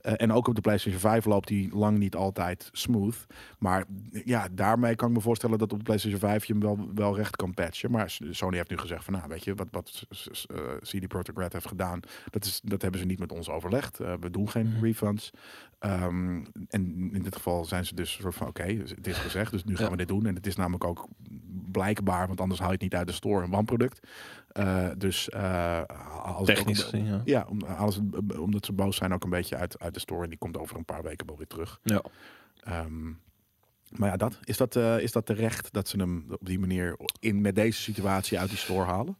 Eh, en ook op de PlayStation 5 loopt die lang niet altijd smooth. Maar ja, daarmee kan ik me voorstellen dat op de PlayStation 5 je hem wel, wel recht kan patchen. Maar Sony heeft nu gezegd van, nou weet je, wat, wat eh, CD Projekt Red heeft gedaan, dat, is, dat hebben ze niet met ons overlegd. Eh, we doen geen refunds. Ehm, en in dit geval zijn ze dus soort van, oké, het is gezegd, dus nu gaan Ja. we dit doen. En het is namelijk ook blijkbaar, want anders haal je het niet uit de store, een wanproduct. Eh, dus eh, als het ook Technisch een- gezien, ja. ja, om, alles, omdat ze boos zijn ook een beetje uit, uit de store. En die komt over een paar weken wel weer terug. ja. Ehm, maar ja, dat, is, dat, eh, is dat terecht dat ze hem op die manier in, met deze situatie uit die store halen?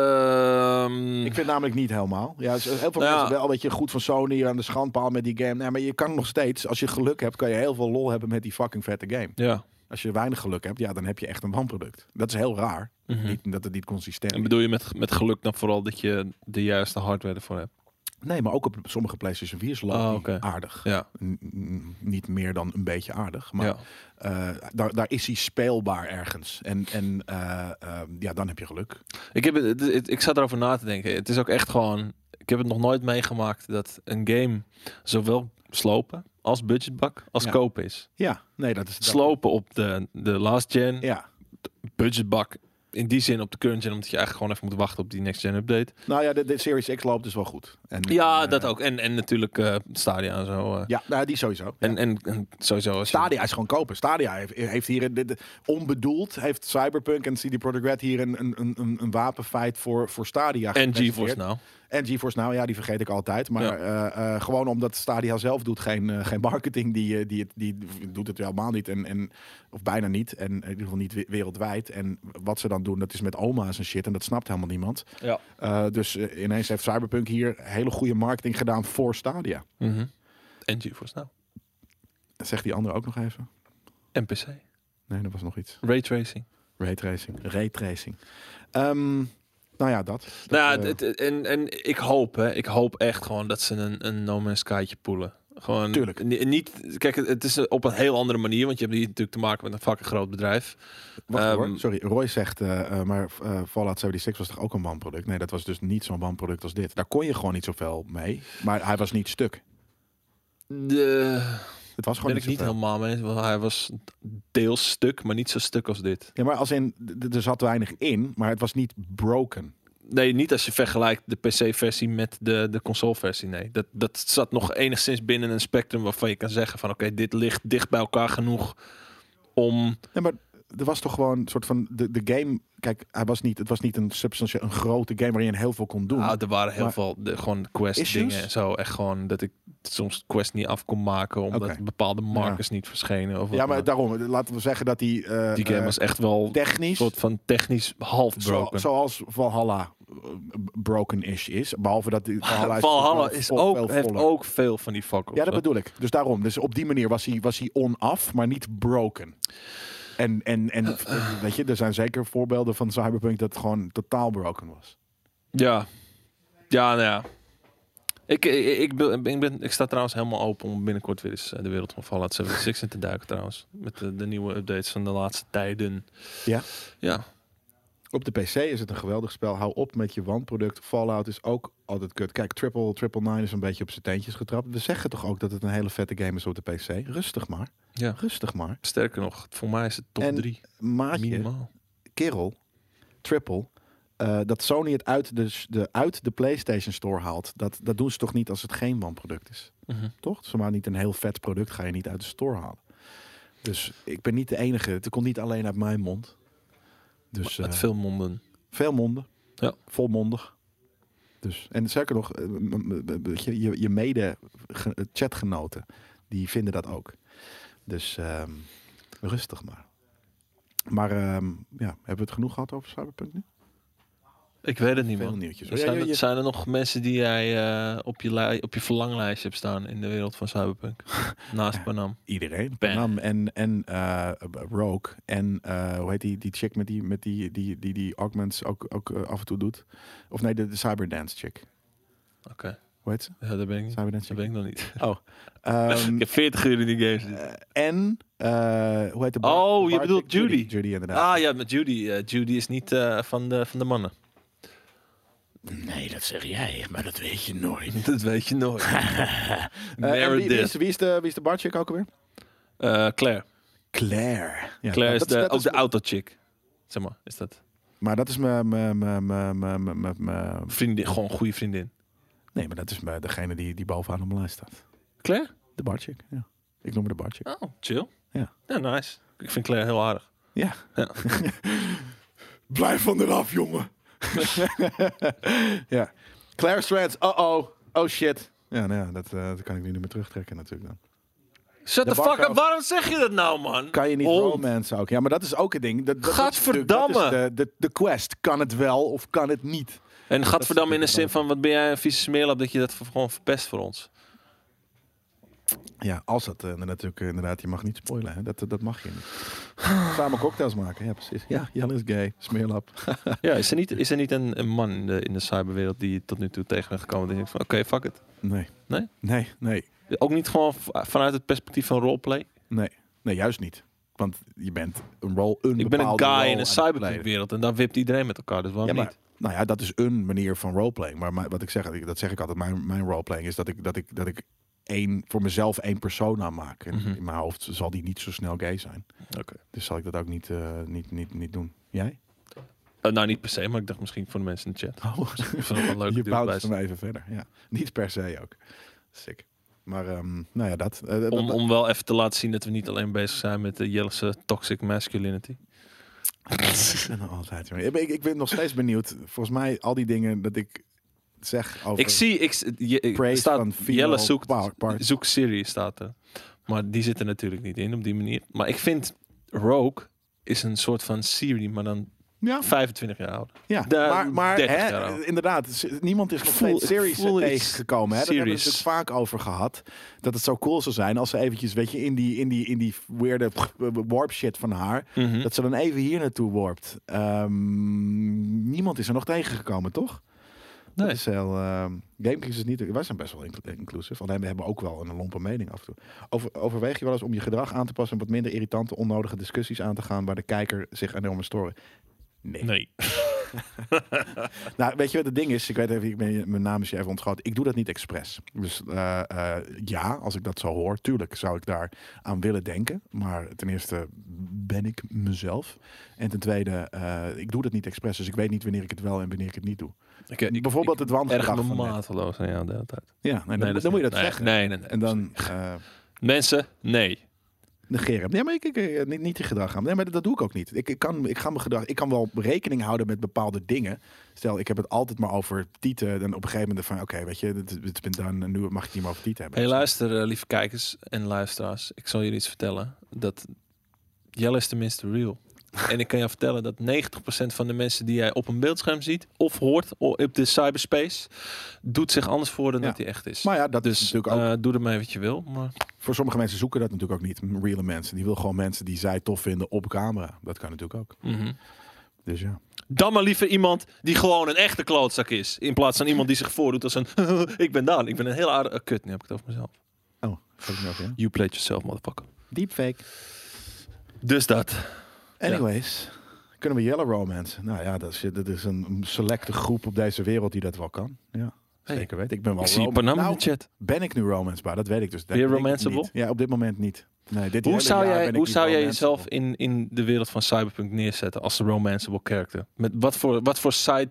Ehm, Ik vind het namelijk niet helemaal. Ja, dus heel veel Nou ja. mensen wel, weet je, goed van Sony aan de schandpaal met die game. Nee, maar je kan nog steeds, als je geluk hebt, kan je heel veel lol hebben met die fucking vette game. ja. Als je weinig geluk hebt, ja, dan heb je echt een wanproduct. Dat is heel raar. Mhm. Niet dat het niet consistent En is. bedoel je met, met geluk dan vooral dat je de juiste hardware ervoor hebt? Nee, maar ook op sommige PlayStation 4's loopt Oh, die oké. aardig. Ja. N- n- niet meer dan een beetje aardig. Maar ja. eh, daar, daar is hij speelbaar ergens. En, en eh, eh, ja, dan heb je geluk. Ik, heb, het- het- het- ik zat erover na te denken. Het is ook echt gewoon. Ik heb het nog nooit meegemaakt dat een game zowel slopen als budgetbak als Ja. kopen is. Ja, nee, dat is dat- Slopen op de, de last gen, Ja, budgetbak in die zin op de current gen, omdat je eigenlijk gewoon even moet wachten op die next gen update. nou ja, de, de Series X loopt dus wel goed. En, Ja, eh, dat ook. En, en natuurlijk eh, Stadia en zo. eh. Ja, nou, die sowieso. en, en, en sowieso. Als je- Stadia is gewoon kopen. Stadia heeft, heeft hier een- dit- dit- onbedoeld heeft Cyberpunk en CD Projekt Red hier een, een, een- een, een wapenfeit voor, voor Stadia. en GeForce gepresenteerd. nou. En GeForce Now, ja, die vergeet ik altijd. Maar Ja. eh, eh, gewoon omdat Stadia zelf doet geen, eh, geen marketing. Die, eh, die, het- die doet het helemaal niet. En, en, of bijna niet. En in ieder geval niet we- wereldwijd. En wat ze dan doen, dat is met oma's en shit. En dat snapt helemaal niemand. Ja. Eh, dus eh, ineens heeft Cyberpunk hier hele goede marketing gedaan voor Stadia. Mhm. En GeForce nou. Dat zegt die andere ook nog even. En PC. Nee, dat was nog iets. Raytracing. Raytracing. Raytracing. Ehm, Nou ja, dat. dat nou, eh, ja, dit- en, en ik hoop, hè, ik hoop echt gewoon dat ze een, een No Man's Sky'tje poelen. Gewoon Tuurlijk. ni- niet, kijk, het- het is op een heel andere manier, want je hebt hier natuurlijk te maken met een fucking groot bedrijf. wacht ehm, hoor. Sorry, Roy zegt, eh, eh, maar eh, Fallout 76 was toch ook een wanproduct? Nee, dat was dus niet zo'n wanproduct als dit. Daar kon je gewoon niet zoveel mee. Maar hij was niet stuk. De, Het was gewoon ben ik niet zoveel. helemaal mee, eens, want hij was deels stuk, maar niet zo stuk als dit. Ja, maar als in, d- d- er zat weinig in, maar het was niet broken. Nee, niet als je vergelijkt de PC-versie met de, de console-versie, nee. Dat, dat zat nog enigszins binnen een spectrum waarvan je kan zeggen van oké, dit ligt dicht bij elkaar genoeg om... Nee, maar er was toch gewoon een soort van, de, de game, kijk, hij was niet, het was niet een substantie, een grote game waarin je heel veel kon doen. Nou, er waren heel Maar- veel de, gewoon quest Issues? dingen en zo. Echt gewoon dat ik soms quest niet af kon maken omdat Oké. bepaalde markers niet verschenen. Of wat ja, maar dan daarom, laten we zeggen dat die, eh, ook. die game eh, was echt wel een technisch, soort van technisch half zo- broken. zoals Valhalla eh, b- broken-ish is. Behalve dat die Valhalla is, Valhalla veel- is veel- ook, veel heeft voller. ook veel van die fuck Ja, dat bedoel ik. Dus daarom. Dus op die manier was hij, was hij on-off, maar niet broken. En, en, en eh, weet je, er zijn zeker voorbeelden van Cyberpunk dat gewoon totaal broken was. Ja. Ja, nou ja. Ik, ik, ik, ben, ik, ben, ik sta trouwens helemaal open om binnenkort weer eens eh, de wereld van Fallout 76 in te duiken trouwens. Met de, de nieuwe updates van de laatste tijden. Ja? Ja. Op de PC is het een geweldig spel. Hou op met je wanproduct. Fallout is ook altijd kut. Kijk, Triple, Triple Nine is een beetje op zijn teentjes getrapt. We zeggen toch ook dat het een hele vette game is op de PC. Rustig maar. ja. Rustig maar. Sterker nog, voor mij is het top En 3. Maatje, Minimaal. kerel, Triple... eh, dat Sony het uit de, de, uit de PlayStation Store haalt. Dat, dat doen ze toch niet als het geen wanproduct is? Mhm. Toch? Zomaar niet een heel vet product ga je niet uit de store halen. Dus ik ben niet de enige. Het komt niet alleen uit mijn mond. Dus Uit eh, veel monden. veel monden. Ja. Volmondig. Dus, en sterker nog, eh, m- m- m- weet je, je, je mede ge- eh, chatgenoten, die vinden dat ook. Dus ehm, rustig maar. Maar ehm, ja, hebben we het genoeg gehad over Cyberpunk nu? Ik weet het niet Veel meer. nieuwtjes. hoor. Ja, Zijn, ja, er- ja. zijn er nog mensen die jij eh, op, je lij- op je verlanglijstje hebt staan in de wereld van Cyberpunk? Naast Panam. Iedereen. Ben. Panam en, en eh, Rogue. En eh, hoe heet die, die chick met die, met die, die, die, die augments ook, ook eh, af en toe doet. Of nee, de, de Cyberdance chick. Oké. Hoe heet ze? Ja, daar ben ik niet. Cyberdance Daar chick. ben ik nog niet. Ehm, ik heb 40 uur in die games. zitten. eh, en, eh, hoe heet de bar- Oh, de je bar bedoelt chick? Judy. Judy, inderdaad. Ah ja, met Judy. Eh, Judy is niet eh, van, de, van de mannen. Nee, dat zeg jij, maar dat weet je nooit. Dat weet je nooit. Eh, Eh, wie, wie is, Meredith. wie, is de, wie is de bar chick ook alweer? Eh, Claire. Claire. Ja, Claire is dat- de, dat ook de auto-chick. Zeg maar, is dat. Maar dat is mijn- mijn... mijn- mijn- mijn- mijn- mijn- mijn- Vriendin, gewoon een goede vriendin. Nee, maar dat is mijn- degene die, die bovenaan op mijn lijst staat. Claire? De bar chick, ja. Ik noem haar de bar chick. Oh, chill. Ja. Ja, nice. Ik vind Claire heel aardig. Ja. Ja. Blijf van eraf, jongen. ja. Claire Strands, uh-oh, oh shit. Ja, nou ja, dat, eh, dat kan ik nu niet meer terugtrekken natuurlijk dan. Shut De the fuck bakker- up. Waarom zeg je dat nou, man? Kan je niet Oh. romance ook? Ja, maar dat is ook een ding. Dat, dat, dat is natuurlijk- Gadverdamme. Dat is de, de, de quest. Kan het wel of kan het niet? En gadverdamme in de zin natuurlijk van, wat ben jij een vieze smeerlap dat je dat ver- gewoon verpest voor ons. Ja, als dat eh, natuurlijk eh, inderdaad, je mag niet spoilen. Hè? Dat, eh, dat mag je niet. Samen cocktails maken, ja precies. Ja, Jelle is gay, smeerlap. Ja, is er niet, is er niet een, een man in de, in de cyberwereld die je tot nu toe tegen bent gekomen die denkt van, oké, fuck it. Nee. Nee? Nee, nee, Ook niet gewoon v- vanuit het perspectief van roleplay? nee. Nee, juist niet. Want je bent een rol, een Ik ben een bepaalde guy rol in aan een het cyberpunk kleden. wereld en daar wipt iedereen met elkaar, dus waarom Ja, maar, niet? nou ja, dat is een manier van roleplaying. Maar mijn- wat ik zeg, ik- dat zeg ik altijd, mijn, mijn roleplaying is dat ik, dat ik, dat ik één, voor mezelf één persona maak. En Mhm. in mijn hoofd zal die niet zo snel gay zijn. Oké. Dus zal ik dat ook niet, eh, niet, niet, niet doen. Jij? Eh, nou, niet per se, maar ik dacht misschien voor de mensen in de chat. Oh, Ik vind het wel leuk je dat die erbij bouwt is. hem even verder. Ja. Niet per se ook. Sick. Maar ehm, nou ja, dat. Eh, dat- Om, om wel even te laten zien dat we niet alleen bezig zijn met de Jellese toxic masculinity. Ik ben er altijd, jongen. ik, ben- ik, ik ben nog steeds benieuwd. Volgens mij al die dingen dat ik zeg over... Ik zie, ik, s- je, ik- eh, Praise van staat, female Jelle zoekt, power- part. zoekt Siri, staat er. Maar die zit er natuurlijk niet in op die manier. Maar ik vind Rogue is een soort van Siri, maar dan Ja, 25 jaar oud. ja. de- maar, maar 30 hè, jaar oud. inderdaad, s- niemand is nog Voel- steeds ik series voel iets tegengekomen. Hè? Daar hebben we het serious. vaak over gehad. Dat het zo cool zou zijn als ze eventjes, weet je, in die, in die, in die weirde warp shit van haar, Mhm. dat ze dan even hier naartoe warpt. Ehm, niemand is er nog tegengekomen, toch? Dat Nee. is heel, ehm Gamekings is niet. Wij zijn best wel inclu- inclusief. Alleen we hebben ook wel een lompe mening af en toe. Over, overweeg je wel eens om je gedrag aan te passen en wat minder irritante, onnodige discussies aan te gaan waar de kijker zich enorm aan storen? Nee. Nee. Nou, weet je wat het ding is? Ik weet even, ik ben, mijn naam is je even ontgroot. Ik doe dat niet expres. Dus eh, eh, ja, als ik dat zo hoor, tuurlijk zou ik daar aan willen denken. Maar ten eerste ben ik mezelf. En ten tweede, eh, ik doe dat niet expres. Dus ik weet niet wanneer ik het wel en wanneer ik het niet doe. Ik, ik, Bijvoorbeeld het ik erg wangedrag me van net. mateloos aan jou de hele tijd. Ja, nee, dan, Nee, dan is moet je niet- dat nee, zeggen. Nee, nee, nee. En dan eh Mensen, nee. negeren. Nee, maar ik, ik, eh, niet, niet die gedrag aan. Nee, maar dat, dat doe ik ook niet. Ik, ik, kan, ik, ga mijn gedrag, ik kan wel rekening houden met bepaalde dingen. Stel, ik heb het altijd maar over tieten. En op een gegeven moment van, oké, weet je, het het bent dan, nu mag ik niet meer over tieten hebben. Hey, luister, eh, lieve kijkers en luisteraars. Ik zal jullie iets vertellen. Dat Jelle is tenminste real. en ik kan je vertellen dat 90% van de mensen die jij op een beeldscherm ziet of hoort o- op de cyberspace, doet zich anders voor dan Ja. dat hij echt is. Maar ja, dat is dus natuurlijk ook. eh, doe ermee wat je wil. Maar voor sommige mensen zoeken dat natuurlijk ook niet. Reale mensen. Die wil gewoon mensen die zij tof vinden op camera. Dat kan natuurlijk ook. mhm. Dus ja. dan maar liever iemand die gewoon een echte klootzak is. In plaats van iemand die zich voordoet als een ik ben Daan. Ik ben een heel aardige... eh, kut, nu heb ik het over mezelf. Oh, heb ik niet over, ja. You played yourself, motherfucker. Deepfake. Dus dat. Anyways. Kunnen we Yellow Romance? Nou ja, dat is, dat is een selecte groep op deze wereld die dat wel kan. Ja, Hey, zeker weten. Ik ben wel Ik zie rom- Panam Nou, in de chat. Ben ik nu romancebaar? Dat weet ik dus. Ben je Dat denk ik romanceable? niet. Ja, op dit moment niet. Nee, dit Hoe hele zou jaar jij, ben ik hoe niet zou jij romanceable. jezelf in, in de wereld van Cyberpunk neerzetten als een romanceable character? Met wat voor, wat voor side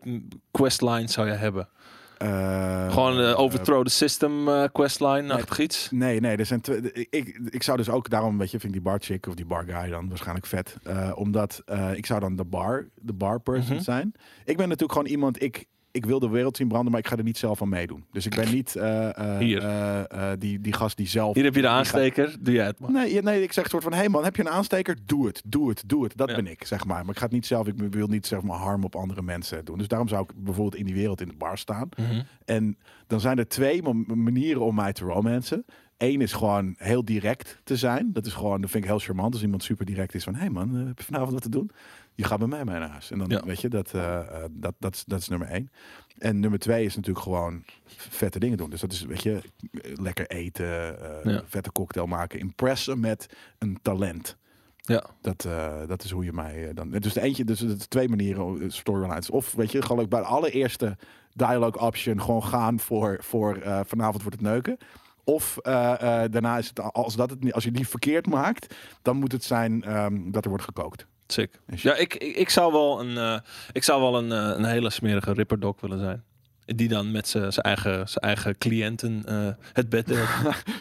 questline zou jij hebben? Eh, Gewoon eh, eh, overthrow the system eh, questline, achtig iets? Nee, nee, er zijn twee. de- Ik, ik zou dus ook daarom, weet je, vind ik die bar chick of die bar guy dan waarschijnlijk vet. Eh, omdat eh, ik zou dan de bar, de bar person Mhm. zijn. Ik ben natuurlijk gewoon iemand, ik, ik wil de wereld zien branden, maar ik ga er niet zelf aan meedoen. Dus ik ben niet eh, eh, Hier. eh, eh, die, die gast die zelf. Hier heb je de aansteker, doe jij het maar. Nee, ja, nee, ik zeg soort van, hé hey man, heb je een aansteker? Doe het, doe het, doe het. Dat Ja. ben ik, zeg maar. Maar ik ga het niet zelf, ik wil niet zeg maar harm op andere mensen doen. Dus daarom zou ik bijvoorbeeld in die wereld in de bar staan. Mhm. En dan zijn er twee mo- manieren om mij te romancen. Eén is gewoon heel direct te zijn. Dat is gewoon, dat vind ik heel charmant. Als iemand super direct is van, hé hey man, eh, heb je vanavond wat te doen? Je gaat bij mij mee naar huis. En dan Ja. weet je, dat, eh, eh, dat, dat, is, dat is nummer één. En nummer twee is natuurlijk gewoon vette dingen doen. Dus dat is, weet je, eh, lekker eten, eh, Ja. vette cocktail maken. Impressen met een talent. Ja. Dat, eh, dat is hoe je mij eh, dan. Dus de eentje, dus de twee manieren eh, storylines. Of weet je, gewoon ook bij de allereerste dialogue option gewoon gaan voor, voor eh, vanavond wordt het neuken. Of eh, eh, daarna is het als dat het niet- als je die verkeerd maakt, dan moet het zijn ehm, dat er wordt gekookt. Sick. En shit. Ja, ik, ik, ik zou wel een, eh, ik zou wel een, eh, een hele smerige ripperdog willen zijn. Die dan met zijn eigen, z'n eigen cliënten eh, het bed deelt.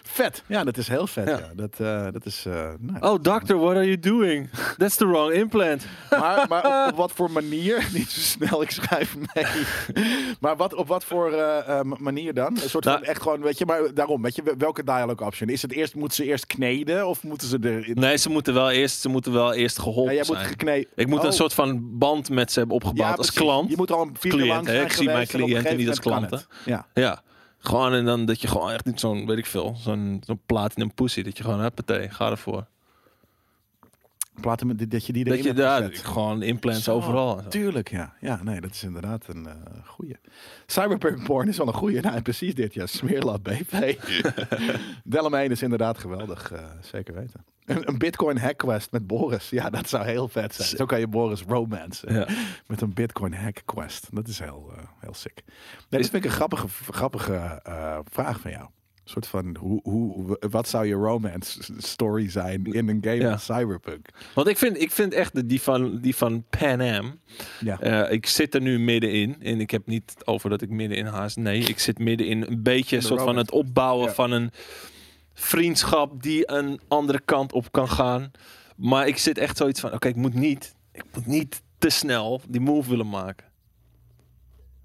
Vet. Ja, dat is heel vet. Ja. Ja. Dat, eh, dat is. eh, nou, oh, doctor, what are you doing? That's the wrong implant. Maar, maar op, op wat voor manier? Niet zo snel, ik schrijf mee. Maar wat, op wat voor eh, eh, manier dan? Een soort van Nou- echt gewoon, weet je, maar daarom, weet je, wel- welke dialogue option? Is het eerst, moeten ze eerst kneden of moeten ze er... Nee, ze moeten wel eerst, ze moeten wel eerst Ja, geholpen jij moet zijn. gekneed. Ik moet Oh. een soort van band met ze hebben opgebouwd Ja, als precies. klant. Je moet al een vier Cliënt, lang hè? zijn Ik zie mijn geweest en op een cliënten niet gegeven als moment kan het. Ja. Gewoon en dan dat je gewoon echt niet zo'n, weet ik veel, zo'n zo'n platinum pussy. Dat je gewoon, huppatee, ga ervoor. Ja, platen met- dat je die erin Dat je hebt daar gezet. gewoon implants Zo, overal. en zo. Tuurlijk, ja. Ja, nee, dat is inderdaad een eh goeie. Cyberpunk porn is wel een goeie. Nou, en precies dit, ja. Smeerlab BP. Delamain is inderdaad geweldig, eh, zeker weten. Een, een bitcoin hackquest met Boris. Ja, dat zou heel vet zijn. Zo kan je Boris romance. eh, Ja. Met een bitcoin hackquest. Dat is heel, eh, heel sick. Nee, dat vind ik een grappige, grappige eh, vraag van jou. Een soort van, hoe, hoe, wat zou je romance story zijn in een game Ja. als Cyberpunk? Want ik vind, ik vind echt de- die van, die van Pan Am. Ja. Eh, ik zit er nu middenin. En ik heb niet over dat ik middenin haast. Nee, ik zit middenin een beetje de soort van romance. het opbouwen Ja. van een vriendschap die een andere kant op kan gaan. Maar ik zit echt zoiets van: oké, ik moet niet, ik moet niet te snel die move willen maken.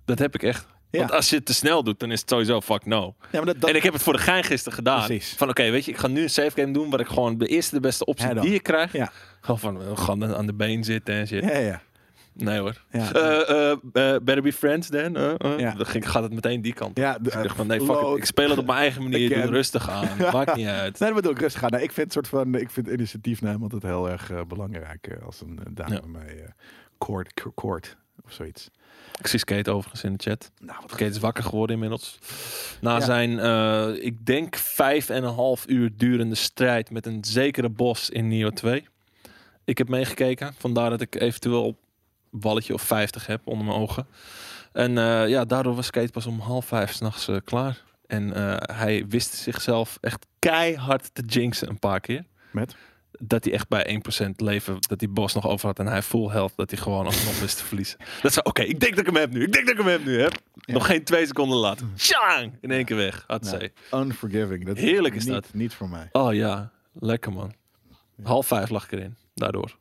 Dat heb ik echt. Ja. Want als je het te snel doet, dan is het sowieso fuck no. Ja, maar dat, dat- En ik heb het voor de gein gisteren gedaan. Precies. Van oké, weet je, ik ga nu een save game doen waar ik gewoon de eerste de beste optie Head on. die ik krijg. Ja. Gewoon van, we gaan aan de been zitten en shit. Ja, ja. Nee hoor. Ja. Eh, eh, eh, better be friends dan. eh, eh. Ja. Dan ging, gaat het meteen die kant. op. Ja, de- Dus ik dacht van nee, fuck it. Load. Ik speel het op mijn eigen manier. Ik doe het Again. rustig aan. Maakt niet uit. Nee, dat bedoel ik rustig aan. Nee, ik vind het soort van, ik vind initiatiefnaam altijd heel erg eh, belangrijk eh, als een eh, dame Ja. mij eh koord, k- koord of zoiets. Ik zie Skate overigens in de chat. Nou, wat Kate is wakker geworden inmiddels. Na Ja. zijn, eh, ik denk, vijf en een half uur durende strijd met een zekere bos in Nio 2. Ik heb meegekeken. Vandaar dat ik eventueel een balletje of 50 heb onder mijn ogen. En eh, ja, daardoor was Kate pas om half vijf s'nachts eh klaar. En eh, hij wist zichzelf echt keihard te jinxen een paar keer. Met? Dat hij echt bij 1% leven, dat die bos nog over had en hij full health, dat hij gewoon alsnog wist te verliezen. Dat zou, oké, ik denk dat ik hem heb nu, ik denk dat ik hem heb nu, hè. Nog geen twee seconden later. Tjang! In één keer weg. Had Nou, ze. unforgiving. Dat Heerlijk is niet, dat. Niet voor mij. Oh ja, lekker man. Half vijf lag ik erin, daardoor.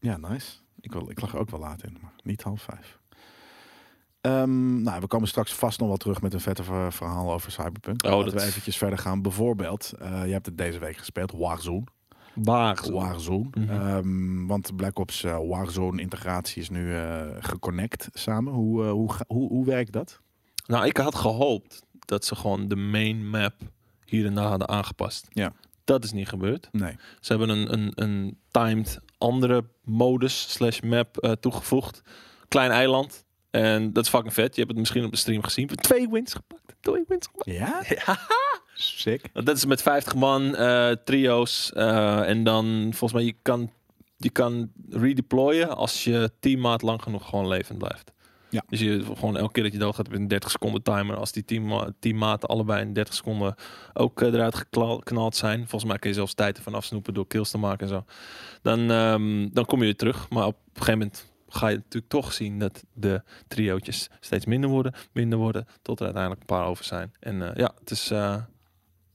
Ja, nice. Ik, wil, ik lag er ook wel laat in, maar niet half vijf. Ehm, nou, we komen straks vast nog wel terug met een vette ver- verhaal over Cyberpunk. Oh, Laten dat- we eventjes verder gaan. Bijvoorbeeld, eh, je hebt het deze week gespeeld, Warzone. Waar? Warzone. Mhm. Ehm, want Black Ops eh, Warzone integratie is nu eh, geconnect samen. Hoe, eh, hoe, ga- hoe, hoe werkt dat? Nou, ik had gehoopt dat ze gewoon de main map hier en daar hadden aangepast. Ja. Dat is niet gebeurd. Nee. Ze hebben een, een, een timed andere modus slash map eh, toegevoegd. Klein eiland. En dat is fucking vet. Je hebt het misschien op de stream gezien. We hebben Twee wins gepakt. Twee wins gepakt. Ja? Sick. Want Dat is met 50 man, eh, trio's. eh, en dan volgens mij, je kan, je kan redeployen als je teammaat lang genoeg gewoon levend blijft. Ja. Dus je gewoon elke keer dat je doodgaat heb je een 30 seconden timer. Als die teamma teammaten allebei in 30 seconden ook eh, eruit gekla- geknald zijn. Volgens mij kun je zelfs tijd ervan afsnoepen door kills te maken en zo. Dan, ehm, dan kom je weer terug. Maar op een gegeven moment ga je natuurlijk toch zien dat de triootjes steeds minder worden, minder worden. Tot er uiteindelijk een paar over zijn. En eh, ja, het is... eh,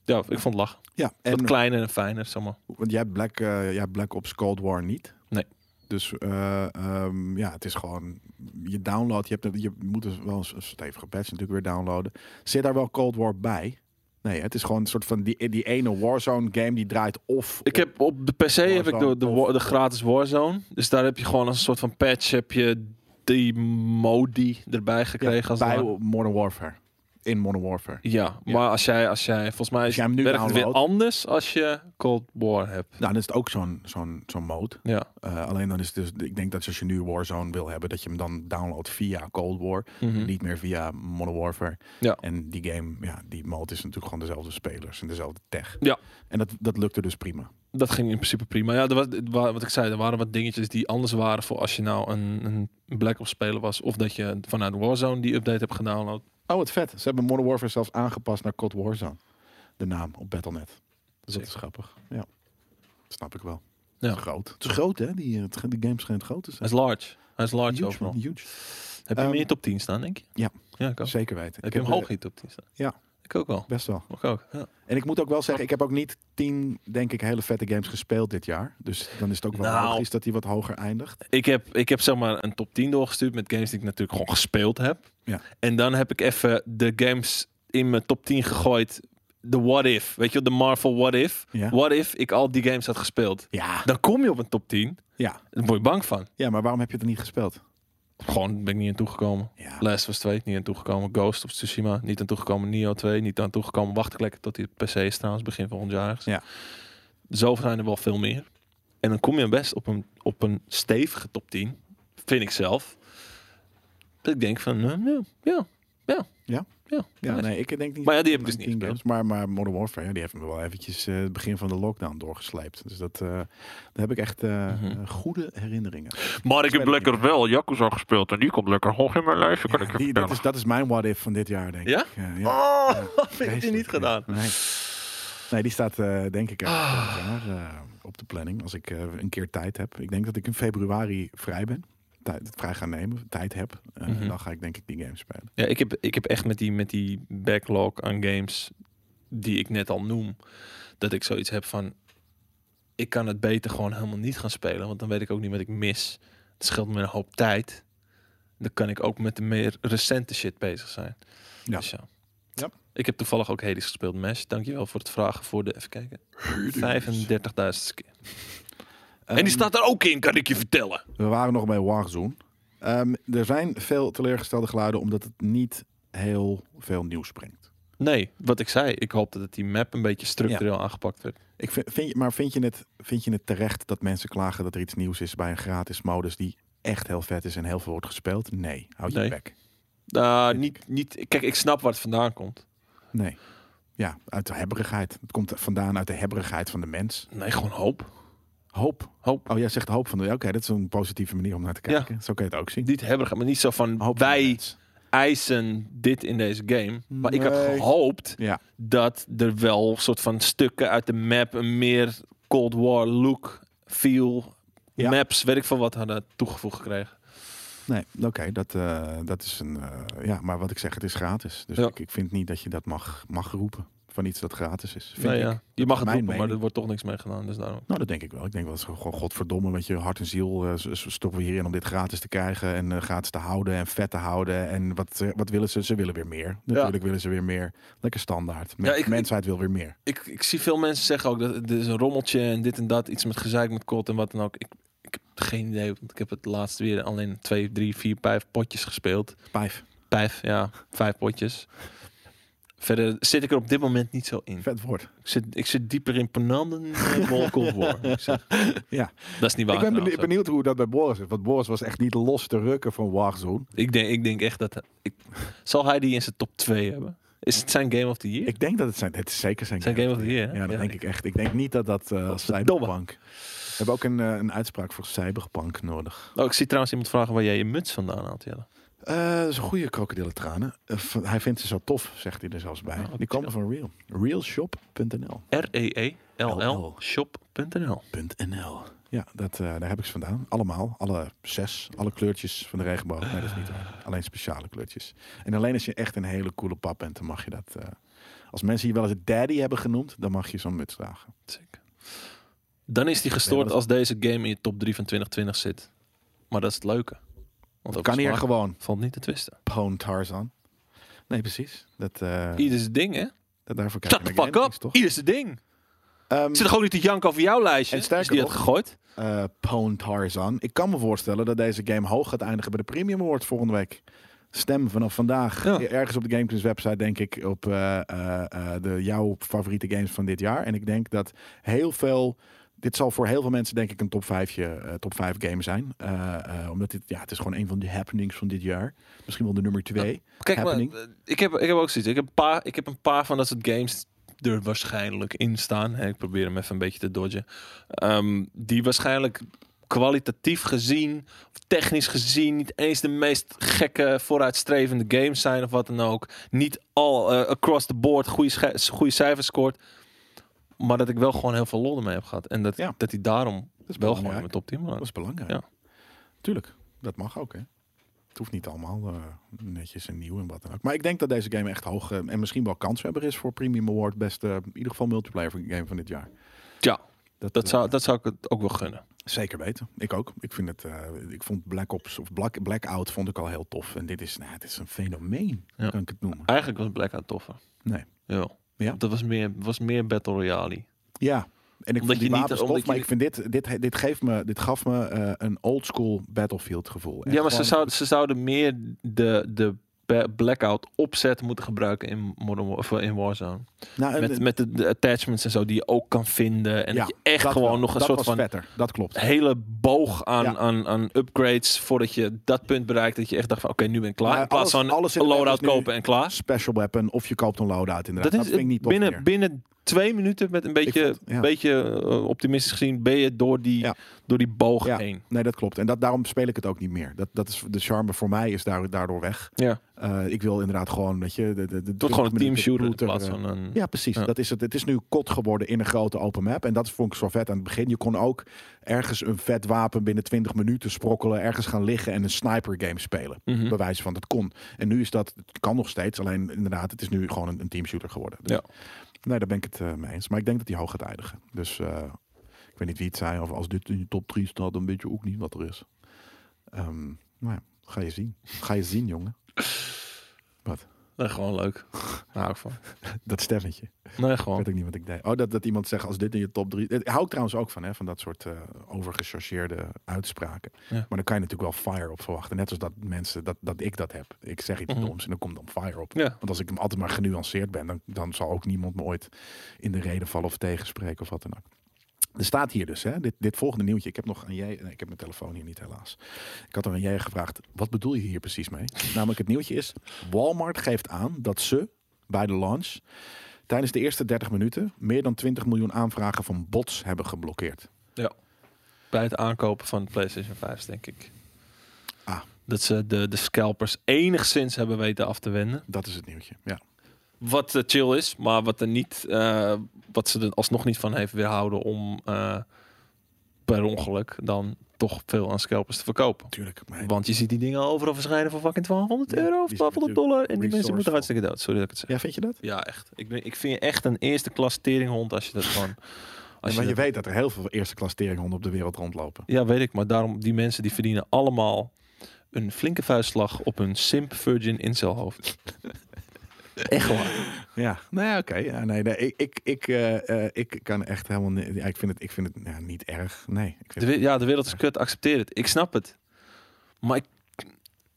ja, ik vond het lachen. Ja, Wat en kleiner en fijner, zeg maar. want jij hebt Black, eh, jij hebt Black Ops Cold War niet. Nee. Dus eh, ehm, ja, het is gewoon, je download, je, hebt, je moet dus wel eens eens het even gepatcht natuurlijk weer downloaden. Zit daar wel Cold War bij? Nee, het is gewoon een soort van die, die ene Warzone game die draait of. Ik heb op de PC heb ik de, de, Warzone. wa- de gratis Warzone. Dus daar heb je gewoon als een soort van patch heb je die modi erbij gekregen. als het bij ware. Modern Warfare. In Modern Warfare. ja, Ja. maar als jij, als jij volgens mij Als is, jij hem nu werkt het weer downloadt. anders als je Cold War hebt. Nou, dan is het ook zo'n zo'n zo'n mode. Ja. Eh, alleen dan is het dus, ik denk dat als je nu Warzone wil hebben, dat je hem dan downloadt via Cold War, Mhm. niet meer via Modern Warfare. Ja. En die game, ja, die mode is natuurlijk gewoon dezelfde spelers en dezelfde tech. Ja. En dat, dat lukte dus prima. Dat ging in principe prima. Ja, er was, er wa- wat ik zei, er waren wat dingetjes die anders waren voor als je nou een, een Black Ops speler was. Of dat je vanuit Warzone die update hebt gedownload. Oh, wat vet. Ze hebben Modern Warfare zelfs aangepast naar Cold Warzone. De naam op Battle.net. Dus dat Zeker. is grappig. Ja. Snap ik wel. Ja. Het is groot. Het is groot, hè? Die, eh, het, die game schijnt groot te Hij zijn. is large. Hij is large Huge, overal. man. Huge. Heb je Ehm, meer top 10 staan, denk je? ja. Ja, ik ook. Zeker weten. Heb Ik je hem heb, eh, hoog in je top 10 staan? ja. Ik ook wel. Best wel. Ik ook, ja. En ik moet ook wel zeggen, ik heb ook niet tien, denk ik, hele vette games gespeeld dit jaar. Dus dan is het ook wel Nou. logisch dat die wat hoger eindigt. Ik heb, ik heb zeg maar een top 10 doorgestuurd met games die ik natuurlijk gewoon gespeeld heb. Ja. En dan heb ik even de games in mijn top 10 gegooid. De what if, weet je wel, de Marvel what if. Ja. What if ik al die games had gespeeld. Ja. Dan kom je op een top 10. Ja. Daar word je bang van. ja, maar waarom heb je het niet gespeeld? Gewoon ben ik niet aan toegekomen. Ja. Last was 2, niet aan toegekomen. Ghost of Tsushima, niet aan toegekomen. Nio 2, niet aan toegekomen. Wacht ik lekker tot die op PC is trouwens, begin volgend jaar. ergens. Ja. Zo zijn er wel veel meer. En dan kom je best op een, op een stevige top 10, vind ik zelf. Dat ik denk van, eh, ja, ja, ja. Ja? Ja, Ja, nice. nee, ik denk niet. Maar ja, die heb ik dus tien niet gespeeld. games. Maar, maar Modern Warfare, ja, die heeft me wel eventjes eh, het begin van de lockdown doorgesleept. Dus dat, eh, daar heb ik echt eh, Mhm. goede herinneringen. Maar ik heb lekker wel Yakuza gespeeld en die komt lekker hoog in mijn lijstje, Ja, die, dat, is, dat is mijn what if van dit jaar, denk Ja? ik. Ja, ja. Oh, Ja, heb je niet vreselijk, gedaan. ja. Nee. Nee, die staat eh, denk ik ergens Ah. volgend jaar eh, op de planning. Als ik eh, een keer tijd heb. Ik denk dat ik in februari vrij ben. Tijd, vrij gaan nemen. Tijd heb. Eh, Mhm. Dan ga ik denk ik die game spelen. Ja, ik heb, ik heb echt met die, met die backlog aan games die ik net al noem, dat ik zoiets heb van, ik kan het beter gewoon helemaal niet gaan spelen, want dan weet ik ook niet wat ik mis. Het scheelt me een hoop tijd. Dan kan ik ook met de meer recente shit bezig zijn. Ja. Dus ja. Ja. Ik heb toevallig ook Hades gespeeld, Mesh. Dankjewel voor het vragen voor de, even kijken, 35.000 keer. en Ehm, die staat er ook in, kan ik je vertellen. We waren nog bij Warzone. Ehm, er zijn veel teleurgestelde geluiden omdat het niet heel veel nieuws brengt. Nee, wat ik zei, ik hoopte dat die map een beetje structureel aangepakt werd. Ik vind, vind je, maar vind je, het, vind je het terecht dat mensen klagen dat er iets nieuws is bij een gratis modus die echt heel vet is en heel veel wordt gespeeld? Nee, houd je Nee. bek. Nou, niet, niet, kijk, ik snap waar het vandaan komt. Nee. Ja, uit de hebberigheid. Het komt vandaan uit de hebberigheid van de mens. Nee, gewoon hoop. Hoop. Hoop. Oh, jij zegt hoop van de... Oké, dat is een positieve manier om naar te Ja. kijken. Zo kun je het ook zien. Niet hebben, maar niet zo van Hoop van de wij mens. eisen dit in deze game. Maar ik had Nee. gehoopt Ja. dat er wel soort van stukken uit de map een meer Cold War look, feel, Ja. maps, weet ik van wat hadden toegevoegd gekregen. Nee, oké, dat, eh, dat is een. eh, ja, maar wat ik zeg, het is gratis. Dus Ja. ik, ik vind niet dat je dat mag, mag roepen van iets dat gratis is. Vind Nou ik. ja, je mag het mijn roepen, maar er mening. wordt toch niks mee gedaan. Dus daarom. Nou, dat denk ik wel. Ik denk wel dat ze gewoon godverdomme met je hart en ziel eh, s- s- stoppen we hierin om dit gratis te krijgen en eh, gratis te houden en vet te houden. En wat, eh, wat willen ze? Ze willen weer meer. Natuurlijk willen ze weer meer. Lekker standaard. Men- Ja, ik- mensheid wil weer meer. Ik, ik zie veel mensen zeggen ook dat het is een rommeltje en dit en dat, iets met gezeik met kot en wat dan ook. Ik, ik heb geen idee, want ik heb het laatst weer alleen twee, drie, vier, vijf potjes gespeeld. Pijf. Vijf, ja, vijf potjes. Verder zit ik er op dit moment niet zo in. Vet woord. Ik zit, ik zit dieper in Penang dan in Mol Cold War. Ik zeg, Ja. Dat is niet waar. ik ben trouwens, benieu- hoor. benieuwd hoe dat bij Boris is. Want Boris was echt niet los te rukken van Warzone. Ik denk, ik denk echt dat... Ik, zal hij die in zijn top 2 hebben? Is het zijn Game of the Year? Ik denk dat het zijn. Het is zeker zijn, Zijn Game of the Year, hè? Ja, dat Ja, denk ik echt. Ik denk niet dat dat eh, als cyberpunk. We hebben ook een, eh, een uitspraak voor cyberpunk nodig. Oh, ik zie trouwens iemand vragen waar jij je muts vandaan haalt, Jelle. Eh, dat is een goede krokodillentranen. Eh, v- hij vindt ze zo tof, zegt hij er zelfs bij. Oh, Die komen van Real. Realshop.nl. E R-E-E-L-L shop.nl .nl. Ja, dat, eh, daar heb ik ze vandaan. Allemaal. Alle zes. Alle kleurtjes van de regenboog. Nee, dat is niet waar. Alleen speciale kleurtjes. En alleen als je echt een hele coole pap bent, dan mag je dat... eh, als mensen je wel eens daddy hebben genoemd, dan mag je zo'n muts dragen. Sick. Dan is die Nee, gestoord maar dat- als deze game in je top 3 van 2020 zit. Maar dat is het leuke. Want Dat ook kan hier smaak gewoon. Valt niet te twisten. Pwn Tarzan. Nee, precies. Dat, eh, Ieder zijn ding, hè? dat daarvoor krijg Shut the fuck up. toch? Ieder zijn ding. Ehm, Ik zit gewoon niet te janken over jouw lijstje. En Dus sterker die had nog- gegooid. eh, Pwn Tarzan. Ik kan me voorstellen dat deze game hoog gaat eindigen bij de Premium Award volgende week. Stem vanaf vandaag. E, Ja. Ergens op de GameKings website denk ik op eh, eh, eh, de, jouw favoriete games van dit jaar. En ik denk dat heel veel... Dit zal voor heel veel mensen denk ik een top 5, top 5 game zijn. Eh, eh, omdat dit, ja, het is gewoon een van de happenings van dit jaar. Misschien wel de nummer 2. Kijk, maar, happening. eh, ik, heb, ik heb ook zoiets. Ik heb, een paar, ik heb een paar van dat soort games er waarschijnlijk in staan. Hè, ik probeer hem even een beetje te dodgen. Ehm, die waarschijnlijk kwalitatief gezien, of technisch gezien, niet eens de meest gekke vooruitstrevende games zijn of wat dan ook. Niet al eh, across the board goede, sche- goede cijfers scoort. Maar dat ik wel gewoon heel veel lol ermee heb gehad. En dat, Ja. dat hij daarom is wel gewoon belangrijk. in mijn top 10 belandt. Dat is belangrijk. Ja. Tuurlijk, dat mag ook, hè. Het hoeft niet allemaal eh, netjes en nieuw en wat dan ook. Maar ik denk dat deze game echt hoog eh, en misschien wel kanshebber is voor Premium Award. Best eh, in ieder geval multiplayer game van dit jaar. Ja, eh, dat zou, dat zou ik het ook wel gunnen. Zeker weten. Ik ook. Ik vind het. eh, ik vond Black Ops of Black, Blackout vond ik al heel tof. En dit is, nou, dit is een fenomeen, Ja. kan ik het noemen. Eigenlijk was Blackout toffer. Nee. Ja. Ja? Dat was meer, was meer Battle Royale. Ja. En ik Omdat vond die je niet- wapens tof, omdat je maar ik niet- vind dit, dit, dit, geeft me, dit gaf me eh, een old school battlefield gevoel. ja, maar ze, zou, ze zouden meer de, de ba- Blackout opzet moeten gebruiken in, Modern War, of in Warzone. nou, Met, met de, de attachments en zo die je ook kan vinden. En ja, dat je echt dat gewoon wel. nog een dat soort was van vetter. Dat klopt. hele boog aan, Ja. aan, aan upgrades voordat je dat punt bereikt. Dat je echt dacht van oké, nu ben ik klaar. Maar in plaats alles- van alles in een de loadout wereld is nu- kopen en klaar. special weapon of je koopt een loadout inderdaad. Dat Dat, is vind ik niet tof binnen, meer. binnen twee minuten met een beetje, vond- ja. beetje eh, optimistisch gezien ben je door die, Ja. door die boog Ja. heen. Nee, dat klopt. En dat, daarom speel ik het ook niet meer. Dat, dat is, de charme voor mij is daar, daardoor weg. Ja. Eh, ik wil inderdaad gewoon, weet je... De, de, de Het wordt gewoon een 20 minuten teamshooter in looter, plaats eh, van een... Ja, precies. Ja. Dat is het. het is nu kot geworden in een grote open map. En dat vond ik zo vet aan het begin. Je kon ook ergens een vet wapen binnen 20 minuten sprokkelen. Ergens gaan liggen en een sniper game spelen. Mhm. Bij wijze van dat kon. En nu is dat, het kan nog steeds. Alleen inderdaad, het is nu gewoon een, een teamshooter geworden. Dus, Ja. Nee, daar ben ik het eh, mee eens. Maar ik denk dat die hoog gaat eindigen. Dus eh, ik weet niet wie het zei. Of als dit in je top 3 staat, dan weet je ook niet wat er is. Ehm nou ja, ga je zien. Ga je zien, jongen. Nee, gewoon leuk. Daar hou ik van. Dat stemmetje. Nee, Ik weet gewoon. ook niet wat ik deed. Oh, dat, dat iemand zegt als dit in je top 3. Hou ik trouwens ook van, hè, van dat soort eh overgechargeerde uitspraken. Ja. Maar dan kan je natuurlijk wel fire op verwachten. Net als dat mensen, dat, dat ik dat heb. Ik zeg iets Mhm. doms en dan komt dan fire op. Ja. Want als ik hem altijd maar genuanceerd ben, dan, dan zal ook niemand me ooit in de reden vallen of tegenspreken of wat dan ook. Er staat hier dus, hè, dit, dit volgende nieuwtje. Ik heb nog aan jij, nee, ik heb mijn telefoon hier niet helaas. Ik had er aan jij gevraagd, wat bedoel je hier precies mee? Namelijk het nieuwtje is, Walmart geeft aan dat ze bij de launch tijdens de eerste 30 minuten meer dan 20 miljoen aanvragen van bots hebben geblokkeerd. Bij het aankopen van de PlayStation 5, denk ik. Ah. Dat ze de, de scalpers enigszins hebben weten af te wenden. Dat is het nieuwtje. Ja. Wat eh, chill is, maar wat, er niet, eh, wat ze er alsnog niet van heeft weerhouden om eh, per ongeluk dan toch veel aan scalpers te verkopen. Tuurlijk. Maar Want je ziet die dingen overal verschijnen voor fucking 1200 Ja, euro of die zijn 1200 dollar. En die mensen resourceful. moeten hartstikke dood. Sorry dat ik het zeg. ja, vind je dat? Ja, echt. Ik, ben, ik vind je echt een eerste klas teringhond als je dat gewoon... Als Ja, maar je dat- weet dat er heel veel eerste klas teringhonden op de wereld rondlopen. Ja, weet ik. Maar daarom, die mensen die verdienen allemaal een flinke vuistslag op hun simp virgin incelhoofd. echt waar. Ja, nee, oké. Ja, nee, nee, ik, ik, ik, eh, eh, ik kan echt helemaal niet. Ja, ik vind het, ik vind het nou, niet erg. Nee. Ik De, vind we- ja, de wereld is kut. Accepteer het. Ik snap het. Maar ik,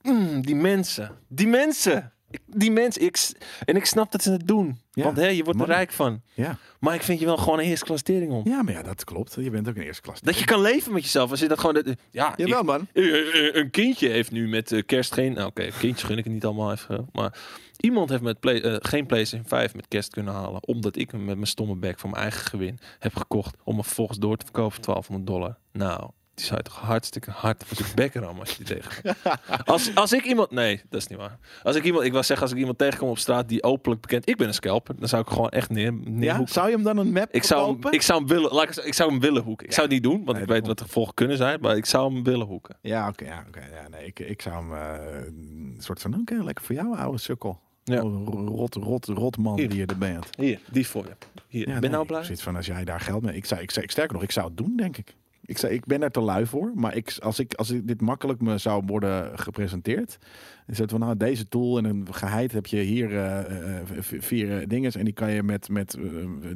Mm, die mensen. Die mensen. Ik- Die mensen. Ik, s- en ik snap dat ze het doen. Ja, Want hè, je wordt er money. rijk van. ja. Maar ik vind je wel gewoon een eerste klas teringhond. ja, maar ja, dat klopt. Je bent ook een eerste klas. Dat je kan leven met jezelf. Als je dat gewoon. Ja, ik- Jawel, man. Eh, eh, eh, Een kindje heeft nu met eh, kerst geen. Nou, oké, kindjes gun ik het niet allemaal even. Maar iemand heeft met play, eh, geen PlayStation 5 met kerst kunnen halen. Omdat ik hem met mijn stomme bek voor mijn eigen gewin heb gekocht. Om hem volgens door te verkopen voor 1200 dollar. Nou, die zou je toch hartstikke hard voor zijn bek rammen als je die tegenkomt. Als, als ik iemand. Nee, dat is niet waar. Als ik iemand. Ik was zeggen, als ik iemand tegenkom op straat die openlijk bekend. Ik ben een scalper. Dan zou ik gewoon echt neer. Ja? neerhoeken. Zou je hem dan een map Ik zou, hem, verkopen? ik zou hem willen, laat ik, zeggen, ik zou hem willen hoeken. Ik zou het niet doen, want Nee, ik dat weet wat de gevolgen kunnen zijn, maar ik zou hem willen hoeken. Ja, oké. ja, oké ja, nee, ik, ik zou hem eh, een soort van, oké, lekker voor jou, oude sukkel. Ja. Oh, Rot, rot, rot man Hier. die je er bent. Hier, die voor je. Hier, Ja, ben nee, nou ik blij? zit van als jij daar geld mee. Ik zou, ik, zou- ik- sterker nog, ik zou het doen, denk ik. Ik, zou, ik ben daar te lui voor. Maar ik, als, ik, als ik dit makkelijk me zou worden gepresenteerd. Is het van nou deze tool en een geheid heb je hier eh, eh, v- vier eh, dinges. En die kan je met, met eh,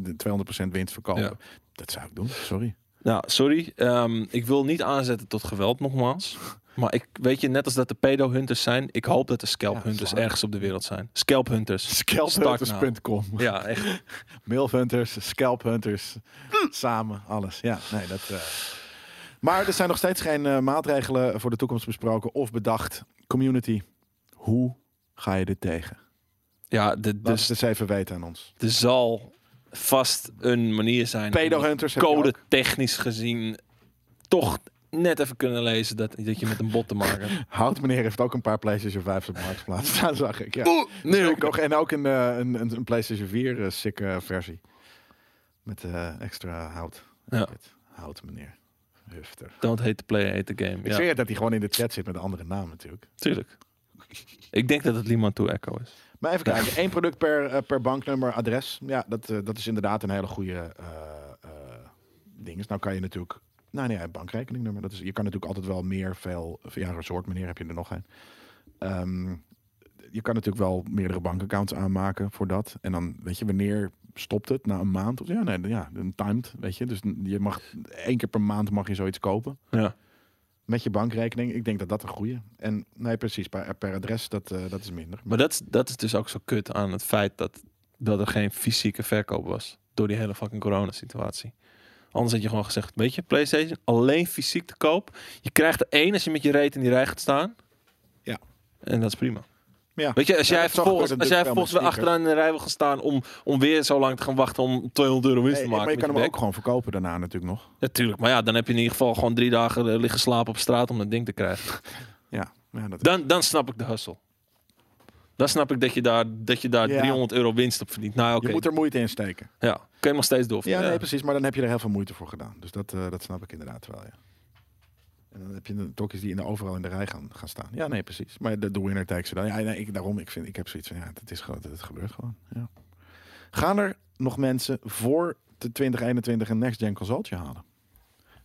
de 200% winst verkopen. Ja. Dat zou ik doen, sorry. Nou, sorry. ehm, ik wil niet aanzetten tot geweld, nogmaals. Maar ik weet je, net als dat de pedo-hunters zijn, ik hoop dat de scalp-hunters Ja, zwaar. ergens op de wereld zijn. Scalp-hunters. nou. Scalphunters.com. Ja, echt. Mailhunters, scalphunters, samen, alles. Ja, nee, dat. eh. Maar er zijn nog steeds geen eh, maatregelen voor de toekomst besproken of bedacht. Community, hoe ga je dit tegen? Ja, de, Laat dus, dus het eens even weten aan ons. er zal vast een manier zijn. om Pedohunters, heb je Code ook. technisch gezien toch net even kunnen lezen dat, dat je met een bot te maken hebt. Hout meneer heeft ook een paar PlayStation 5's op de markt geplaatst. Dat zag ik. Ja. Nee, Ook nog- en ook een, eh, een, een, een PlayStation 4 eh, sikke versie. Met eh, extra hout. Ja. Hout meneer. Hufter. Don't hate the player, hate the game. Ik Ja, zweer dat hij gewoon in de chat zit met een andere naam natuurlijk. tuurlijk. Ik denk dat het Liman 2 Echo is. Maar even kijken, één product per, eh, per banknummer, adres. Ja, dat, eh, dat is inderdaad een hele goede eh eh, ding. Dus Nou kan je natuurlijk... Nou nee, een bankrekeningnummer. Dat is, je kan natuurlijk altijd wel meer, veel... Ja, resort meneer heb je er nog een. Ehm, je kan natuurlijk wel meerdere bankaccounts aanmaken voor dat. En dan, weet je, wanneer stopt het? Na een maand? Of, ja, nee, ja, een timed, weet je. Dus je mag één keer per maand mag je zoiets kopen. Ja. Met je bankrekening. Ik denk dat dat een goede. En nee, precies, per, per adres, dat, eh, dat is minder. Maar dat, is- dat is dus ook zo kut aan het feit dat, dat er geen fysieke verkoop was. Door die hele fucking coronasituatie. Anders had je gewoon gezegd, weet je, Playstation, alleen fysiek te koop. Je krijgt er één als je met je reet in die rij gaat staan. Ja. En dat is prima. Ja. Weet je, als Ja, jij dat zag ik volgens, met als het jij spel volgens met weer sneakers. achteraan in de rij wil gaan staan om, om weer zo lang te gaan wachten om 200 euro winst Nee, te maken. maar je met kan hem bek. ook gewoon verkopen daarna natuurlijk nog. Natuurlijk, maar ja, dan heb je in ieder geval gewoon drie dagen eh, liggen slapen op straat om dat ding te krijgen. Ja, ja dat Dan, dan snap ik de hustle. Dan snap ik dat je daar, dat je daar Ja. 300 euro winst op verdient. Nou, oké. Je moet er moeite in steken. Ja, kun je hem nog steeds door. Ja, nee, precies. Maar dan heb je er heel veel moeite voor gedaan. Dus dat, eh, dat snap ik inderdaad wel, ja. En dan heb je de tokkies die in de, overal in de rij gaan, gaan staan. Ja, nee, precies. Maar de, de winner takes it all. Ja, nee, ik, daarom, ik, vind, ik heb zoiets van, ja, het, is gewoon, het gebeurt gewoon. Ja. Gaan er nog mensen voor de 2021 een next-gen consoleetje halen?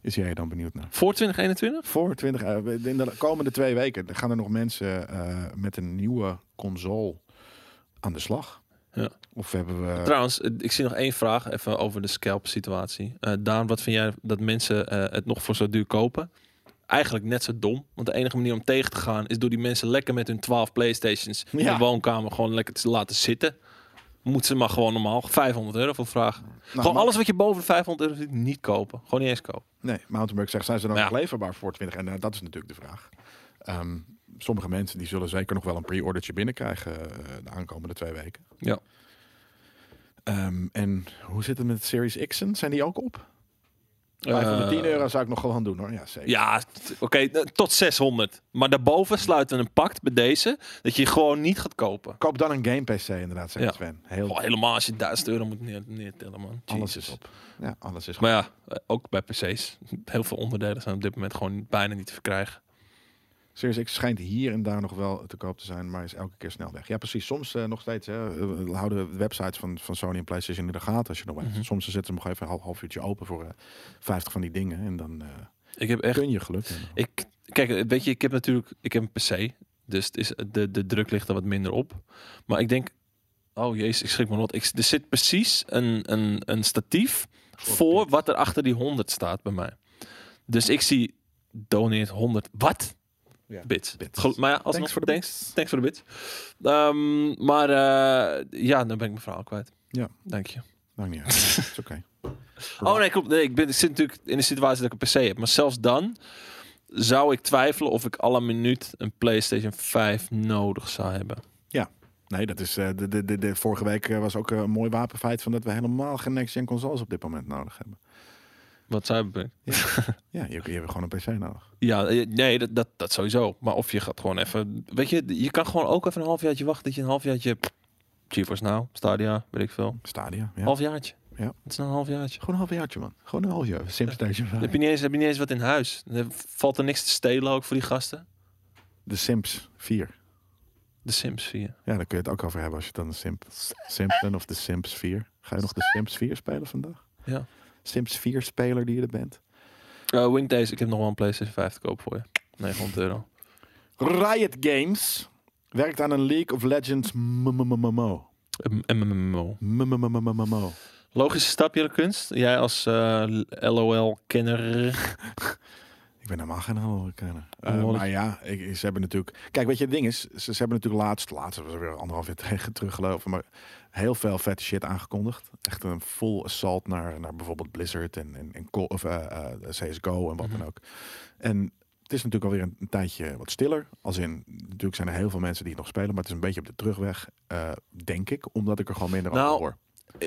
Is jij dan benieuwd naar? Voor 2021? Voor 20, eh, in de komende twee weken gaan er nog mensen eh, met een nieuwe console aan de slag. Ja. Of hebben we... Nou, Trouwens, eh, ik zie nog één vraag even over de scalp situatie. Eh Daan, wat vind jij dat mensen eh, het nog voor zo duur kopen? Eigenlijk net zo dom. Want de enige manier om tegen te gaan is door die mensen lekker met hun 12 Playstations in Ja. de woonkamer gewoon lekker te laten zitten. Moet ze maar gewoon normaal 500 euro voor vragen. gewoon Nou, maar- alles wat je boven de 500 euro ziet, niet kopen. Gewoon niet eens kopen. Nee, Mountainbike zegt, zijn ze dan Ja. nog leverbaar voor 20? En nou, dat is natuurlijk de vraag. Ehm, sommige mensen die zullen zeker nog wel een pre-ordertje binnenkrijgen eh, de aankomende twee weken. Ja. Ehm, en hoe zit het met Series X'en? Zijn die ook op? 510 Eh, euro zou ik nog gewoon doen hoor. Ja, zeker. Ja, t- oké, eh, tot 600. Maar daarboven sluiten we een pact bij deze dat je gewoon niet gaat kopen. Koop dan een game PC inderdaad, zegt Ja. Sven. Heel, Oh, helemaal als je 1000 euro moet neer, neertellen, man. alles Jezus. is op. Ja, alles is goed. Maar ja, eh, ook bij PC's. Heel veel onderdelen zijn op dit moment gewoon bijna niet te verkrijgen. Series X schijnt hier en daar nog wel te koop te zijn, maar is elke keer snel weg. Ja, precies. Soms eh, nog steeds. Hè, we houden de websites van, van Sony en PlayStation in de gaten als je nog weet. Mhm. Soms zetten ze hem nog even een half, half uurtje open voor eh 50 van die dingen. En dan eh, Ik heb echt. kun je geluk hebben. Ik, kijk, eh, weet je, ik heb natuurlijk. Ik heb een PC. Dus het is, de, de druk ligt er wat minder op. Maar ik denk. Oh jezus, ik schrik me rot. Ik, er zit precies een, een, een statief voor wat er achter die 100 staat bij mij. Dus ik zie. Doneert 100. Wat? Ja. Bits. Bits. Gelu- Maar ja, alsnog, Thanks voor de thanks, thanks voor de bits. Ehm, maar eh, ja, dan ben ik mijn verhaal kwijt. Ja. Dank je. Maakt niet uit. is oké. Oh nee, klopt. Nee, ik, ben, ik zit natuurlijk in de situatie dat ik een PC heb. Maar zelfs dan zou ik twijfelen of ik alle minuut een PlayStation 5 nodig zou hebben. Nee, dat is. eh, de, de, de, de- vorige week eh, was ook eh, een mooi wapenfeit van dat we helemaal geen next-gen consoles op dit moment nodig hebben. Wat zou hebben? Ja, je, je hebt gewoon een PC nodig. Ja, eh, nee, dat, dat, dat sowieso. Maar of je gaat gewoon even... Weet je, je kan gewoon ook even een halfjaartje wachten dat je een halfjaartje... pff, GeForce Now, Stadia, weet ik veel. Stadia. Ja. Halfjaartje. Ja. Het is nou een halfjaartje. Gewoon een halfjaartje, man. Gewoon een halfjaar. Simstation Dan 5. heb je, niet eens, heb je niet eens wat in huis. Dan heb- valt er niks te stelen ook voor die gasten. De Sims 4. De Sims 4. Ja, daar kun je het ook over hebben als je dan de Simp, Simp bent of de Sims 4. Ga je nog de Sims 4 spelen vandaag? Ja. Sims 4 speler die je er bent. Eh Wingdays, ik heb nog wel een PlayStation 5 te koop voor je. 900 euro. Riot Games werkt aan een League of Legends MMMO. Een MMO. MMMO. Logische stapje de kunst. Jij als eh, LOL-kenner. Ik ben helemaal geen Amerikaner. Oh, Eh wat- maar ja, ik, ze hebben natuurlijk... Kijk, weet je, het ding is, ze, ze hebben natuurlijk laatst, laatst was er weer anderhalf jaar tegen teruggelopen, maar heel veel vette shit aangekondigd. Echt een full assault naar, naar bijvoorbeeld Blizzard en, en, en Call- of, eh, eh, CSGO en wat Mhm. dan ook. En het is natuurlijk alweer een, een tijdje wat stiller. Als in, natuurlijk zijn er heel veel mensen die het nog spelen, maar het is een beetje op de terugweg, eh, denk ik, omdat ik er gewoon minder Nou, over hoor.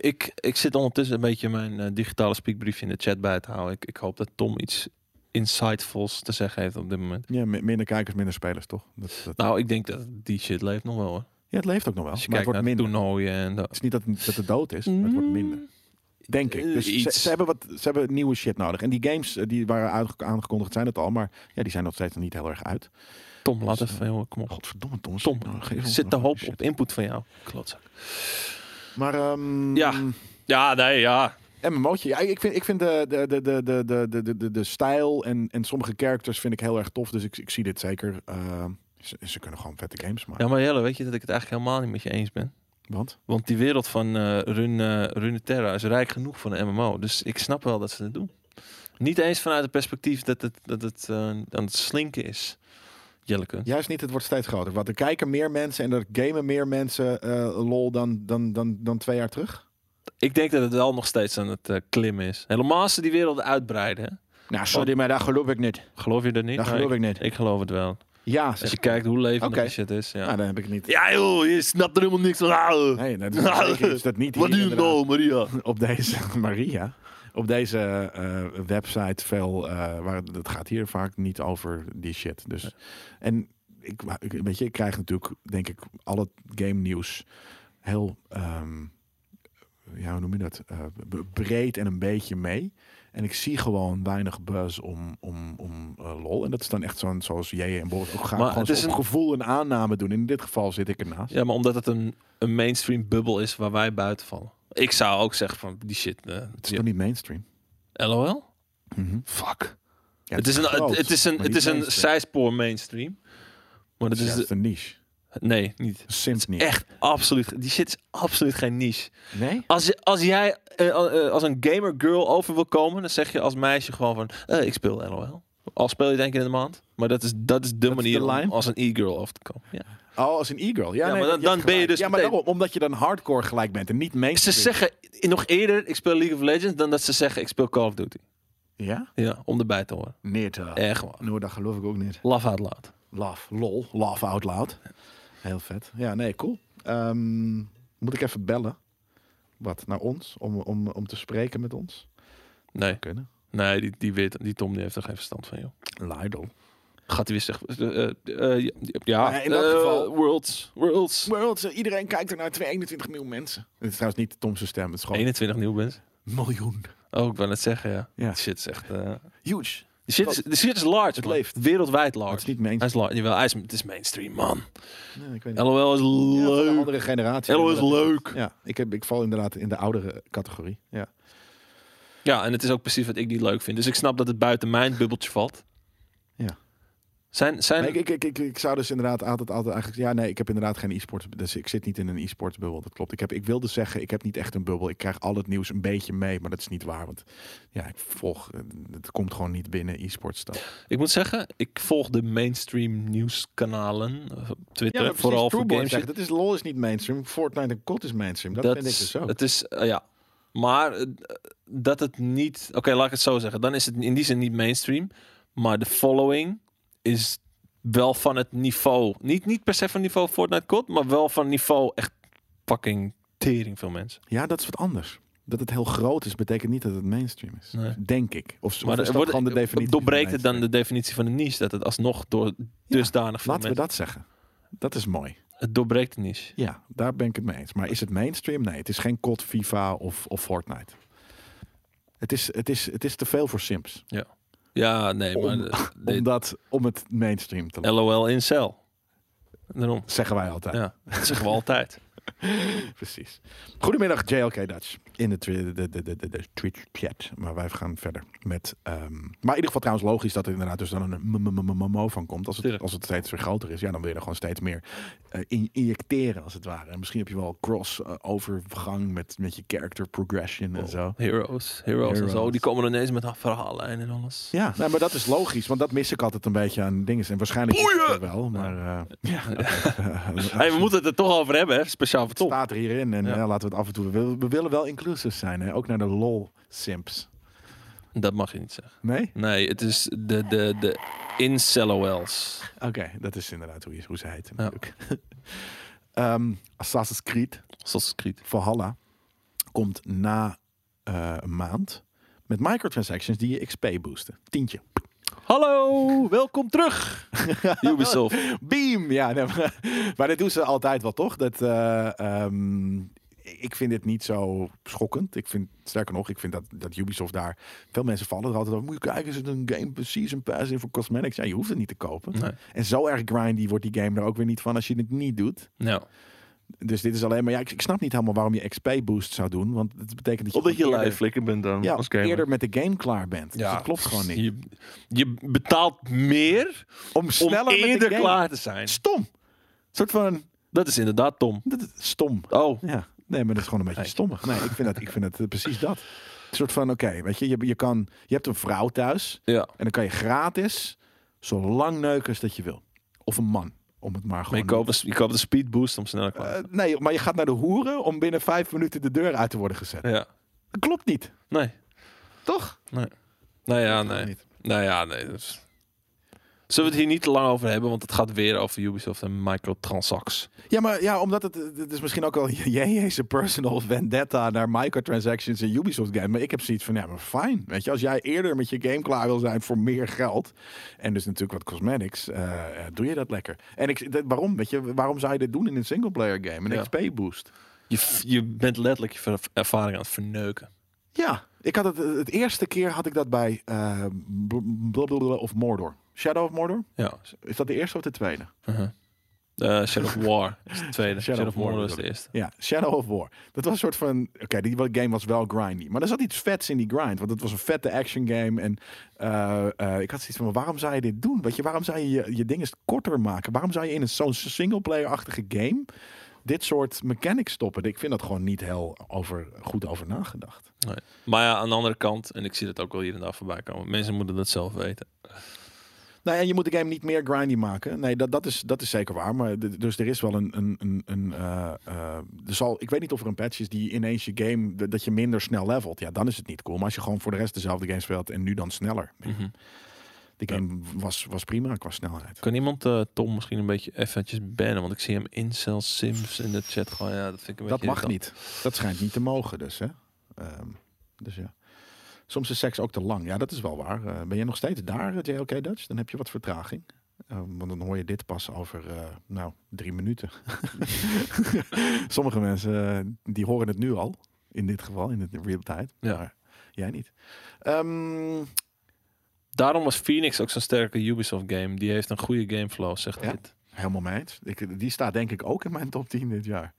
Ik, ik zit ondertussen een beetje mijn eh, digitale speakbriefje in de chat bij te houden. Ik, ik hoop dat Tom iets insightfuls te zeggen heeft op dit moment. Ja, mi- minder kijkers, minder spelers, toch? Dat, dat- Nou, ik denk dat die shit leeft nog wel hoor. ja, het leeft ook nog wel, Als je Oh, maar het kijkt wordt naar Mm. de minder. toernooien en dat. Het is niet dat, dat het dood is, maar het wordt minder. Denk ik. Eh, Dus ze, iets. ze hebben wat, ze hebben nieuwe shit nodig. En die games eh, die waren uitge- aangekondigd zijn het al, maar ja, die zijn nog steeds nog niet heel erg uit. Tom, laat Dus, even horen. Kom op. Godverdomme, Tom. Tom, nou, geef ik ons zit nog de een hoop shit. op input van jou. Klootzak. Maar ehm Ja. Ja, nee, ja. MMO'tje. Ja, ik vind, ik vind de, de, de, de, de, de- de, de, de, de stijl en, en sommige characters vind ik heel erg tof. Dus ik, ik zie dit zeker. Ehm, ze, ze kunnen gewoon vette games maken. Ja, maar Jelle, weet je dat ik het eigenlijk helemaal niet met je eens ben? Want Want die wereld van eh Run, eh, Runeterra is rijk genoeg van de MMO. Dus ik snap wel dat ze het doen. Niet eens vanuit het perspectief dat het, dat het eh, aan het slinken is. Jelleke. juist niet, het wordt steeds groter. Want er kijken meer mensen en er gamen meer mensen eh, lol dan, dan, dan, dan twee jaar terug. Ik denk dat het wel nog steeds aan het eh, klimmen is. Helemaal als ze die wereld uitbreiden. hè. Nou, sorry, maar daar geloof ik niet. Geloof je dat niet? Daar Nou, geloof ik niet. ik, ik geloof het wel. Ja, Als zeg je kijkt hoe levendig Oké. die shit is. Ja. Nou, dan heb ik het niet. ja joh, je snapt er helemaal niks van. Ah, eh. Nee, dat is, zeker is dat niet Wat hier, doe je inderdaad. nou, Maria? op deze Maria. Op deze eh, website veel, eh, waar het gaat hier vaak niet over die shit. Dus en ik, ik- weet je, ik krijg natuurlijk, denk ik, al het game nieuws heel, ehm, ja, hoe noem je dat, Eh, b- breed en een beetje mee. En ik zie gewoon weinig buzz om, om, om eh, lol. En dat is dan echt zo'n, zoals jij en Boris ook gaan. Maar gewoon het is zo'n een- gevoel en aanname doen. In dit geval zit ik ernaast. Ja, maar omdat het een, een mainstream bubbel is waar wij buiten vallen. Ik zou ook zeggen van die shit. eh, Het is ja. toch niet mainstream? LOL? Mhm. Fuck. Ja, het is een, groot, het, het is een, maar het niet is een mainstream. zijspoor mainstream. Maar dat Het is is, juist een niche. Nee, niet. Sims niet. Echt absoluut. Die shit is absoluut geen niche. Nee? Als, je- als jij eh, eh, als een gamer girl over wil komen, dan zeg je als meisje gewoon van eh, ik speel LOL. Al speel je denk ik in de maand. Maar dat is, dat is de is manier de om line? als een e-girl over te komen. Ja. Oh, als een e-girl. Ja, Ja, nee, maar dan- je hebt dan ben je gelijk. dus Ja, maar meteen- daarom, omdat je dan hardcore gelijk bent en niet Ze mainstream. zeggen i- nog eerder ik speel League of Legends dan dat ze zeggen ik speel Call of Duty. Ja? Ja, om erbij te horen. Neer te... Echt gewoon. Nou, dat geloof ik ook niet. Love out loud. Love, lol, love out loud. Heel vet. Ja, nee, cool. Ehm, moet ik even bellen? Wat, naar ons? Om, om, om te spreken met ons? Nee, Kunnen. nee die, die, weet, die Tom die heeft er geen verstand van, joh. Lidl. Gaat hij weer zeggen... eh, eh, eh, ja, Maar in dat eh, geval- Worlds, Worlds. Worlds, eh, iedereen kijkt er naar 21 miljoen mensen. Het is trouwens niet Tom's stem, het is gewoon 21 nieuw bent. miljoen. Oh, ik wou net zeggen, ja. Ja. Die shit is echt... eh, Huge. die, shit is, die shit is large, man. leeft. Wereldwijd Maar het is large. niet Hij mainstream. is large. Jawel, hij is, het is mainstream, man. Nee, ik weet niet. LOL is Ja, van een leuk. andere generatie. LOL is leuk. Ja, ik, heb, ik val inderdaad in de oudere categorie. Ja. Ja, en het is ook precies wat ik niet leuk vind. Dus ik snap dat het buiten mijn bubbeltje valt. Ja. Zijn, zijn, Nee, ik, ik, ik, ik zou dus inderdaad altijd, altijd eigenlijk... Ja, nee, ik heb inderdaad geen e-sport. Dus ik zit niet in een e-sports bubbel, dat klopt. Ik, heb, ik wilde zeggen, ik heb niet echt een bubbel. Ik krijg al het nieuws een beetje mee, maar dat is niet waar. Want ja, ik volg... eh, Het komt gewoon niet binnen e-sports. dan. Ik moet zeggen, ik volg de mainstream nieuwskanalen eh, op Twitter, maar precies, vooral voor Trueboy games. zegt, Dat is LOL is niet mainstream. Fortnite en COD is mainstream. Dat, vind ik dus ook. Het is, eh, ja. Maar eh, dat het niet... Oké, laat ik het zo zeggen. Dan is het in die zin niet mainstream. Maar de following is wel van het niveau... Niet, niet per se van niveau Fortnite COD, maar wel van niveau echt fucking tering veel mensen. Ja, dat is wat anders. Dat het heel groot is, betekent niet dat het mainstream is. Nee. Denk ik. Of, Maar maar is er dat wordt- gewoon de definitie? doorbreekt van het dan de mainstream? definitie van de niche? Dat het alsnog door dusdanig veel Laten we mensen... dat zeggen. Dat is mooi. Het doorbreekt de niche. Ja, daar ben ik het mee eens. Maar is het mainstream? Nee, het is geen COD, FIFA of, of Fortnite. Het is, het, is, het is te veel voor Sims. Ja, nee, Om- maar... de- de- Om, dat, om het mainstream te laten. LOL in cel. Daarom. Zeggen wij altijd. Ja, dat zeggen we altijd. Precies. Goedemiddag, JLK Dutch. In de, twi- de, de, de, de, de Twitch chat. Maar wij gaan verder met. ehm, maar in ieder geval trouwens logisch dat er inderdaad dus dan een m- m- m- m- mo van komt. Als het, Tuurlijk. als het steeds weer groter is, ja, dan wil je er gewoon steeds meer eh, in- injecteren als het ware. En misschien heb je wel cross-overgang met, met je character progression en zo. Heroes, heroes, en zo. Heroes. Die komen ineens met haar verhaallijn en alles. Ja, nee, maar dat is logisch, want dat mis ik altijd een beetje aan dingen. En waarschijnlijk is het er wel, maar eh, ja. Hey, we moeten het er toch over hebben, hè? speciaal voor Tom. staat er hierin en Ja. eh, laten we het af en toe. We, wil- we willen wel inclusief zijn, hè? ook naar de lol simps. Dat mag je niet zeggen. Nee? Nee, het is de, de, de incelowels. Oké, dat is inderdaad hoe, je- hoe ze heet. Ja. natuurlijk. Ehm, Assassin's Creed Zoals Creed. Valhalla komt na eh, een maand met microtransactions die je XP boosten. Tientje. Hallo, welkom terug. Ubisoft. Beam! Ja, nee, maar, maar dat doen ze altijd wel, toch? Dat, eh, ehm, ik vind dit niet zo schokkend. Ik vind, sterker nog, ik vind dat, dat Ubisoft daar... Veel mensen vallen er altijd over. Moet je kijken, is het een game season pass in voor cosmetics? Ja, je hoeft het niet te kopen. Nee. En zo erg grindy wordt die game er ook weer niet van als je het niet doet. Nou, Dus dit is alleen maar... Ja, ik, ik snap niet helemaal waarom je XP boost zou doen. Want het betekent dat je... omdat je eerder- live flikker bent dan Ja, als gamer. eerder met de game klaar bent. Dus Ja. dat klopt gewoon niet. Je, je betaalt meer Om sneller om met de eerder game... klaar te zijn. Stom! Een soort van... Dat is inderdaad Tom. Dat is stom. Oh, Ja, nee, maar dat is gewoon een beetje stommig. Nee, ik vind dat, ik vind dat eh, precies dat. Een soort van, oké, weet je, je, je, kan, je hebt een vrouw thuis ja. en dan kan je gratis zo lang neuken als dat je wil. Of een man, om het maar Maar gewoon... je koopt een, je koopt een speedboost om sneller klaar te Eh, nee, maar je gaat naar de hoeren om binnen vijf minuten de deur uit te worden gezet. zijn. Ja. Dat klopt niet, Nee. toch? Nou ja, Klopt nee. niet. Nou ja, nee. Dus... Zullen we het hier niet te lang over hebben, want het gaat weer over Ubisoft en microtransacts. Ja, maar ja, omdat het, het is misschien ook wel JJ's personal vendetta naar microtransactions in Ubisoft game. Maar ik heb zoiets van, ja, maar fijn. Weet je, als jij eerder met je game klaar wil zijn voor meer geld. En dus natuurlijk wat cosmetics, eh, eh, doe je dat lekker. En ik, dat- waarom, weet je, waarom zou je dit doen in een singleplayer game? Een Ja. XP boost. Je, f- je bent letterlijk je ver- ervaring aan het verneuken. Ja, ik had het, het eerste keer had ik dat bij eh, bl- bl- bl- bl- of Mordor. Shadow of Mordor? Ja. Is dat de eerste of de tweede? Uh-huh. Eh, Shadow of War is de tweede. Shadow Shadow, of of War Mordor is bedoel de eerste. Ja, Shadow of War. Dat was een soort van... Oké, die game was wel grindy. Maar er zat iets vets in die grind. Want het was een vette action game. En eh, eh, ik had zoiets van... Waarom zou je dit doen? Weet je, waarom zou je je, je ding eens korter maken? Waarom zou je in een zo'n singleplayer-achtige game... dit soort mechanics stoppen? Ik vind dat gewoon niet heel over, goed over nagedacht. Nee. Maar ja, aan de andere kant, en ik zie dat ook wel hier en daar voorbij komen. Mensen moeten dat zelf weten. Nou ja, je moet de game niet meer grindy maken. Nee, dat, dat, is, dat is zeker waar. Maar d- dus er is wel een. een, een, een eh, eh, er zal, ik weet niet of er een patch is die ineens je game. d- dat je minder snel levelt. Ja, dan is het niet cool. Maar als je gewoon voor de rest dezelfde game speelt en nu dan sneller. Mhm. Die game was, was prima qua snelheid. Kan iemand eh, Tom misschien een beetje eventjes bannen? Want ik zie hem incel sims in de chat gewoon. Ja, dat vind ik een Dat beetje mag niet. Dat schijnt niet te mogen, dus hè. Ehm, dus ja. Soms is seks ook te lang. Ja, dat is wel waar. Eh, ben je nog steeds daar, eh, JLK Dutch? Dan heb je wat vertraging. Eh, want dan hoor je dit pas over, eh, nou, drie minuten. Sommige mensen, eh, die horen het nu al. In dit geval, in het real tijd. Ja. Maar jij niet. Ehm, Daarom was Phoenix ook zo'n sterke Ubisoft game. Die heeft een goede gameflow, zegt Ja. dit. helemaal mee eens. Ik, die staat denk ik ook in mijn top 10 dit jaar.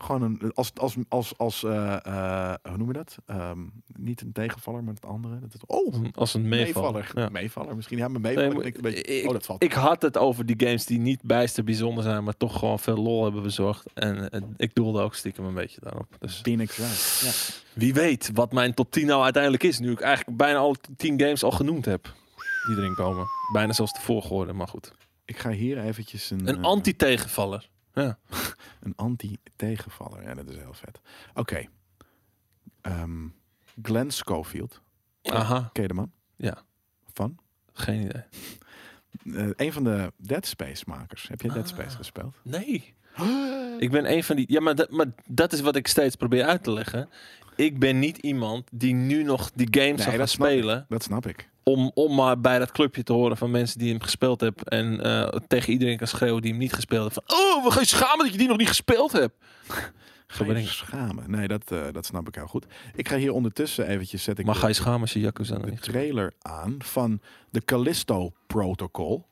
Gewoon een, als, als, als, als eh, eh, hoe noem je dat? Ehm, niet een tegenvaller, maar het andere. Dat het, oh, Als een meevaller. meevaller. Ja. Meevaller misschien. Ja, maar meevaller Nee, maar klinkt een beetje... ik- oh, dat valt. Ik had het over die games die niet bijster bijzonder zijn, maar toch gewoon veel lol hebben bezorgd. En eh, ik doelde ook stiekem een beetje daarop. Dus Phoenix Wright. Ja. wie weet wat mijn top 10 nou uiteindelijk is, nu ik eigenlijk bijna alle 10 games al genoemd heb. Die erin komen. Bijna zelfs de volgorde, maar goed. Ik ga hier eventjes een... Een eh, anti-tegenvaller. Een anti-tegenvaller. Ja, dat is heel vet. Oké. Ehm, Glenn Schofield. Aha, Ken je de man? Ja. Van? geen idee. Eh, een van de Dead Space makers. Heb je Dead Space Ah. gespeeld? Nee. Ik ben een van die. Ja, maar dat, maar dat is wat ik steeds probeer uit te leggen. Ik ben niet iemand die nu nog die games Nee, zou gaan dat snap ik. spelen. Dat snap ik. Om, om maar bij dat clubje te horen van mensen die hem gespeeld hebben. En eh, tegen iedereen kan schreeuwen die hem niet gespeeld heeft. Van, oh, we gaan je schamen dat je die nog niet gespeeld hebt. Ga ben je ik. schamen? Nee, dat, eh, dat snap ik heel goed. Ik ga hier ondertussen eventjes... Zet ik Maar de- ga je schamen als je Yakuza nog de niet gespeeld trailer aan van de Callisto Protocol.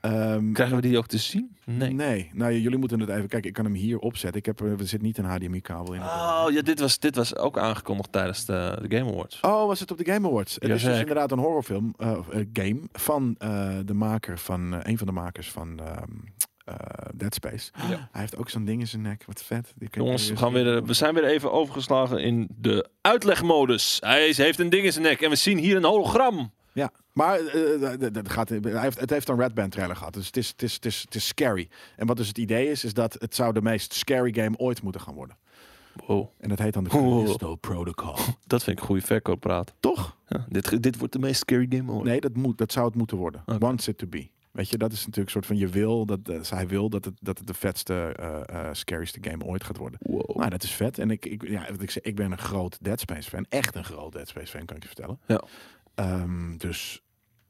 Ehm, hebt? Krijgen we die ook te zien? Nee. Nee, nou jullie moeten het even kijken. Ik kan hem hier opzetten. Ik heb eh, er er zit niet een HDMI-kabel in. Oh, ja, dit was, dit was ook aangekondigd tijdens de, de Game Awards. Oh, was het op de Game Awards? Het is dus Jazeker. inderdaad een horrorfilm, eh, of, eh, game van eh, de maker van eh, een van de makers van ehm, eh, Dead Space. Ja. Hij heeft ook zo'n ding in zijn nek. Wat vet. Die kun je Jongens, weer we, gaan zien. weer, eh, we zijn weer even overgeslagen in de uitlegmodus. Hij is- heeft een ding in zijn nek en we zien hier een hologram. Ja, maar eh, eh, dat- dat gaat, hij heeft, het heeft een Red Band trailer gehad. Dus het is, het, is, het, is, het is scary. En wat dus het idee is, is dat het zou de meest scary game ooit moeten gaan worden. Oh, En dat heet dan de Oeh. Callisto Protocol. dat vind ik goede verkooppraat. Toch? Ja, dit, ge- dit wordt de meest scary game ooit. Nee, dat, moet, dat zou het moeten worden. Oké. Wants it to be. Weet je, dat is natuurlijk een soort van je wil, dat, eh, zij wil dat het, dat het de vetste, eh, eh, scarieste game ooit gaat worden. Wow. Nou, dat is vet. En ik, ik, ja, wat ik, zei, ik ben een groot Dead Space fan. Echt een groot Dead Space fan, kan ik je vertellen. Ja. Ehm, dus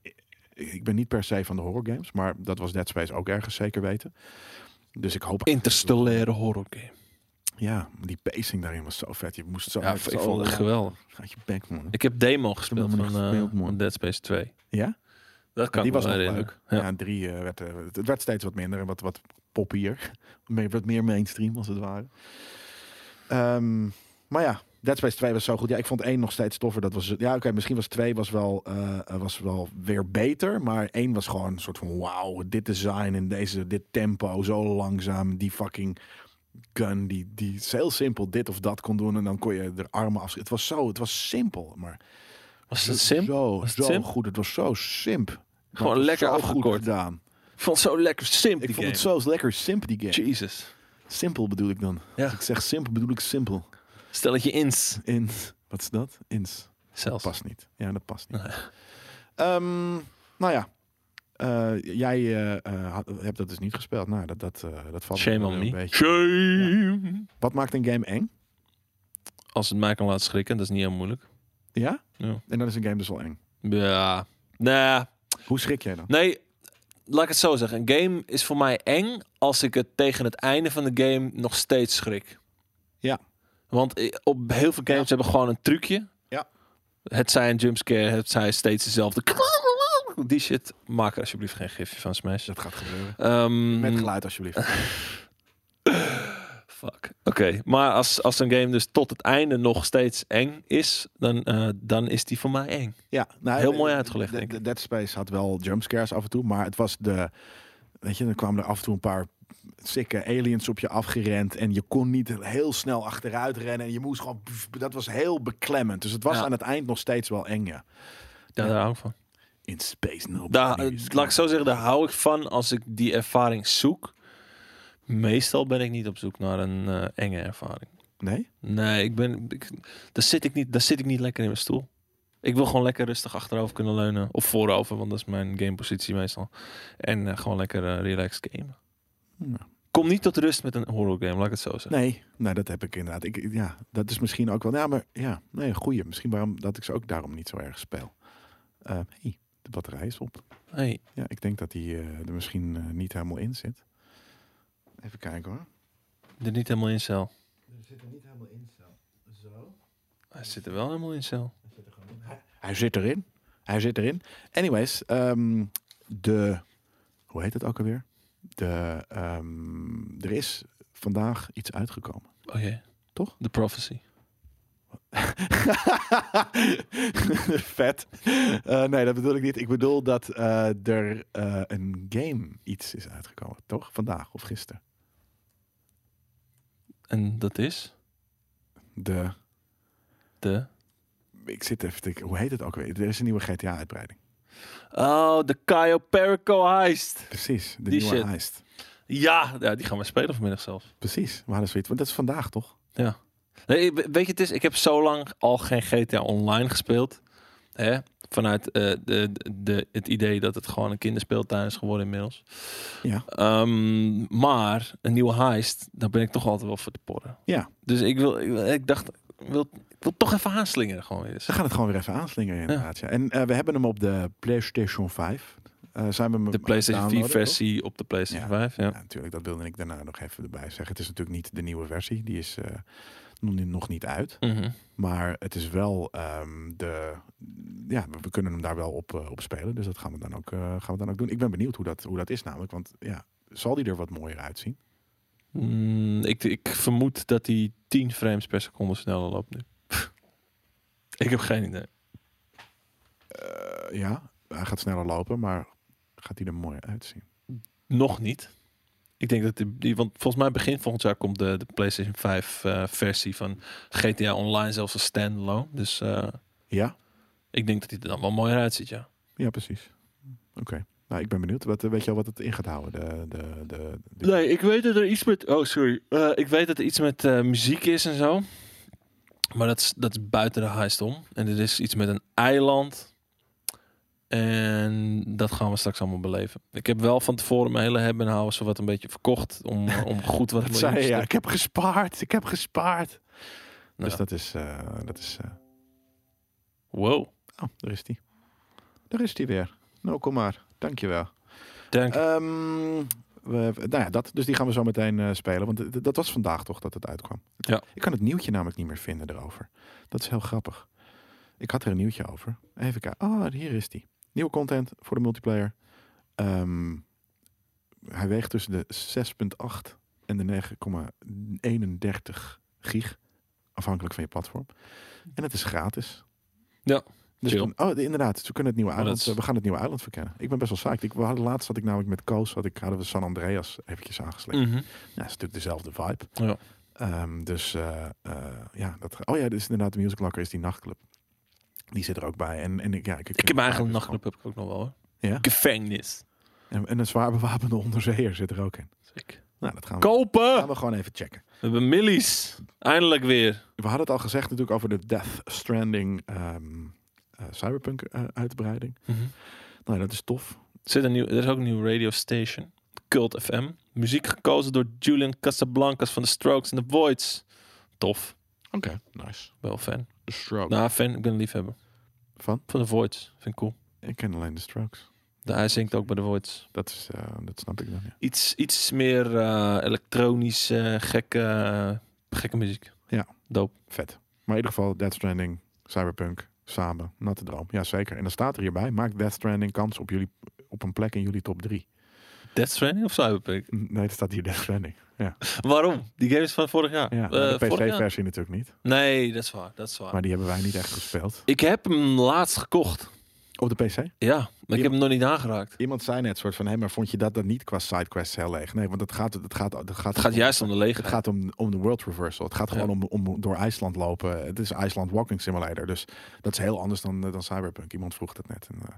ik, ik ben niet per se van de horror games, maar dat was Dead Space ook ergens zeker weten. Dus ik hoop... Interstellaire horror game. Ja, die pacing daarin was zo vet. Je moest zo... Ja, ik zo vond het echt geweldig. Uit je bek, man. Ik heb demo gespeeld hem van, nog eh, gespeeld, man. van Dead Space 2. Ja? Dat kan die ik me was nog wel herinneren. leuk. Ja, en drie eh, werd, eh, het werd steeds wat minder en wat, wat poppier. Meer- Wat meer mainstream als het ware. Ehm, maar ja, Dead Space 2 was zo goed. Ja, ik vond één nog steeds toffer. Dat was, ja, oké, misschien was 2 was wel, eh, eh, was wel weer beter. Maar één was gewoon een soort van wauw, dit design en deze, dit tempo, zo langzaam, die fucking gun die, die heel simpel dit of dat kon doen en dan kon je er armen af. Het was zo, het was simpel, maar Was het sim? zo, Was het zo simp? goed. Het was zo simp. Maar Gewoon het was lekker zo goed afgekort. gedaan. Ik vond het zo lekker simp Ik die vond het game. zo lekker simp die game. Jesus. Simpel bedoel ik dan. Ja. Als ik zeg simpel bedoel ik simpel. Stelletje ins. Ins. Wat is dat? Ins. Zelfs. Past niet. Ja, dat past niet. Nee. Ehm, nou ja. Eh, jij eh, eh, had- hebt dat dus niet gespeeld. Nou, dat, dat, eh, dat valt Shame wel on een me. beetje. Shame. Wat maakt een game eng? Als het mij kan laten schrikken, dat is niet heel moeilijk. Ja? Ja. En dan is een game dus wel eng. Ja. Nou, Hoe schrik jij dan? Nee, laat ik het zo zeggen. Een game is voor mij eng als ik het tegen het einde van de game nog steeds schrik. Ja. Want i- op heel veel games hebben gewoon een trucje. Ja. Het zij een jumpscare, het zij steeds dezelfde ook die shit. Maak er alsjeblieft geen gifje van Smash. Dat gaat gebeuren. Ehm, Met geluid alsjeblieft. Fuck. Oké, maar als, als een game dus tot het einde nog steeds eng is, dan, eh, dan is die voor mij eng. Ja, nou, Heel eh, mooi uitgelegd, de- denk de Dead Space had wel jumpscares af en toe, maar het was de... Weet je, dan kwamen er af en toe een paar sikke aliens op je afgerend en je kon niet heel snel achteruit rennen. En je moest gewoon... Dat was heel beklemmend. Dus het was Ja. aan het eind nog steeds wel eng, ja. Ja, daar hou ik van. In space, no. Daar, eh, laat ik zo zeggen, daar hou ik van als ik die ervaring zoek. Meestal ben ik niet op zoek naar een eh, enge ervaring. Nee? Nee, ik ben, ik, daar, zit ik niet, daar zit ik niet lekker in mijn stoel. Ik wil gewoon lekker rustig achterover kunnen leunen. Of voorover, want dat is mijn gamepositie meestal. En eh, gewoon lekker eh, relaxed gamen. Ja. Kom niet tot rust met een horror game, laat ik het zo zeggen. Nee, nou dat heb ik inderdaad. Ik, ik- ja, dat is misschien ook wel. Ja, maar ja, nee, een goeie. Misschien waarom dat ik ze ook daarom niet zo erg speel. Eh, hey, de batterij is op. Hey, Ja, ik denk dat die eh, er misschien eh, niet helemaal in zit. Even kijken hoor. er niet helemaal in cel. Er zit er niet helemaal in, zo. Zo. Hij zit er wel helemaal in cel. Er zit er gewoon in. Hij zit erin. Hij zit erin. Anyways, ehm, de. Hoe heet het ook alweer? De, ehm, er is vandaag iets uitgekomen. Oh jee. Toch? The Prophecy. Vet. Eh, nee, dat bedoel ik niet. Ik bedoel dat eh, er eh, een game iets is uitgekomen, toch? Vandaag of gisteren. En dat is De, de... ik zit even te, hoe heet het ook weer? Er is een nieuwe GTA-uitbreiding. Oh, de Caio Perico Heist. Precies, de Die nieuwe shit. heist. Ja, ja, die gaan we spelen vanmiddag zelf. Precies, we hadden zoiets. Want dat is vandaag, toch? Nee, we- weet je, het is, ik heb zo lang al geen GTA Online gespeeld. Hè? Vanuit eh, de, de, het idee dat het gewoon een kinderspeeltuin is geworden inmiddels. Ja. Ehm, maar een nieuwe heist, daar ben ik toch altijd wel voor te porren. Ja. Dus ik, wil, ik, wil- ik dacht, ik wil, ik wil toch even aanslingeren gewoon weer eens. We gaan het gewoon weer even aanslingeren inderdaad. Ja. En eh, we hebben hem op de PlayStation 5. Eh, zijn we hem De aan het PlayStation 4 downloaden, toch? versie op de PlayStation Ja. 5, ja. Ja, natuurlijk. Dat wilde ik daarna nog even erbij zeggen. Het is natuurlijk niet de nieuwe versie. Die is eh, nog niet- nog niet uit. Mhm. Maar het is wel ehm, de. Ja, we we kunnen hem daar wel op, eh, op spelen. Dus dat gaan we dan ook, eh, gaan we dan ook doen. Ik ben benieuwd hoe dat, hoe dat is namelijk. Want ja, zal die er wat mooier uitzien? Mm, ik, ik vermoed dat die 10 frames per seconde sneller loopt nu. ik heb geen idee. Eh, ja, hij gaat sneller lopen, maar gaat die er mooier uitzien? Nog niet. Ik denk dat die, die- want volgens mij begin volgend jaar komt de, de PlayStation 5 eh, versie van GTA Online zelfs als standalone. Dus eh, Ja, ik denk dat die er dan wel mooier uitziet, ja. ja, precies. Oké. Nou, ik ben benieuwd. Wat, eh, weet je al wat het in gaat houden? De, de, de, de- Nee, ik weet dat er iets met. Oh, sorry. Eh, ik weet dat er iets met eh, muziek is en zo. Maar dat is, dat is buiten de heist om. En er is iets met een eiland. En dat gaan we straks allemaal beleven. Ik heb wel van tevoren mijn hele hebben en houden zo wat een beetje verkocht. Om, eh, om goed wat Dat miljoen zei te je, ja. stuk- Ik heb gespaard. Ik heb gespaard. Nou. Dus dat is. eh, dat is eh, Wow. oh, daar is die. Daar is die weer. Nou, kom maar. Dankjewel. Dank. Ehm, we, nou ja, dat. Dus die gaan we zo meteen eh, spelen. Want d- d- dat was vandaag toch dat het uitkwam. Ja. Ik kan het nieuwtje namelijk niet meer vinden erover. Dat is heel grappig. Ik had er een nieuwtje over. Even kijken. Ah, hier is die. Nieuwe content voor de multiplayer. Ehm, hij weegt tussen de 6,8 en de 9,31 gig. Afhankelijk van je platform. En het is gratis. Ja, Dus chill. dan- oh, inderdaad. Ze kunnen het nieuwe Maar dat eiland. is- eh, We gaan het nieuwe eiland verkennen. Ik ben best wel psyched. Ik, we hadden, laatst had ik namelijk met Koos. Had ik, hadden we San Andreas eventjes aangesleept. Mhm. Ja, dat is natuurlijk dezelfde vibe. Ja. Ehm, dus eh, eh, ja, dat, oh ja, dus inderdaad, de Music Locker is die nachtclub. Die zit er ook bij. En, en ik- ja, ik, Ik heb mijn eigen nachtclub heb ik ook nog wel hoor. Ja. Gevangenis. En, en een zwaar bewapende onderzeeër zit er ook in. Nou, dat gaan we, Kopen! gaan we gewoon even checken. We hebben millies. Eindelijk weer. We hadden het al gezegd natuurlijk over de Death Stranding ehm, eh, Cyberpunk eh, uitbreiding. Nou, dat is tof. Zit een nieuw, er is ook een nieuw radio station. Cult FM. Muziek gekozen door Julian Casablancas van The Strokes en The Voids. Tof. Oké, nice. Wel fan. The Strokes. Nou, fan. Ik ben een liefhebber. Van? Van The Voids. Vind ik cool. Ik ken alleen de Strokes. De, hij zingt ook bij The Voids. Dat, is, eh, dat snap ik dan, ja. Iets, iets meer eh, elektronisch, eh, gekke, eh, gekke muziek. Ja. Dope. Vet. Maar in ieder geval, Death Stranding, Cyberpunk. Samen, natte droom. Ja, zeker. En dan staat er hierbij, maakt Death Stranding kans op, jullie, op een plek in jullie top 3. Death Stranding of Cyberpunk? Nee, er staat hier Death Stranding. Waarom? Die game is van vorig jaar. Ja, Eh, maar de vorig jaar? PC-versie natuurlijk niet. Nee, dat is waar. Dat is waar. Maar die hebben wij niet echt gespeeld. Ik heb hem laatst gekocht. Op de PC? Ja, maar Ja. ik heb hem nog niet aangeraakt. Iemand zei net soort van, hé, maar vond je dat dan niet qua sidequests heel leeg? Nee, want het gaat, het gaat, het gaat, Het gaat juist om de het leegheid. gaat om, om de world reversal. Het gaat Ja. gewoon om, om door IJsland lopen. Het is IJsland Walking Simulator. Dus dat is heel anders dan, eh, dan Cyberpunk. Iemand vroeg dat net. En, eh,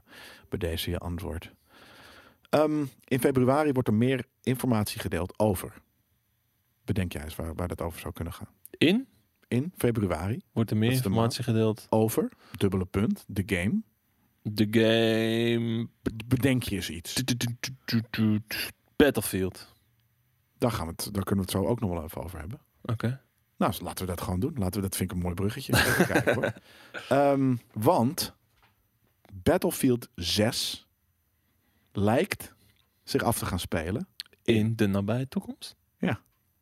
bij deze je antwoord. Ehm, in februari wordt er meer informatie gedeeld over. Bedenk jij eens waar, waar dat over zou kunnen gaan. In In februari wordt er meer Dat is de maat. informatie gedeeld. over, dubbele punt, de game. De game B- Bedenk je eens iets. Battlefield. Daar, gaan we het, daar kunnen we het zo ook nog wel even over hebben. Oké. Nou, dus laten we dat gewoon doen. Laten we dat vind ik een mooi bruggetje. Even kijken, hoor. Ehm, want Battlefield 6 lijkt zich af te gaan spelen. In de nabije toekomst?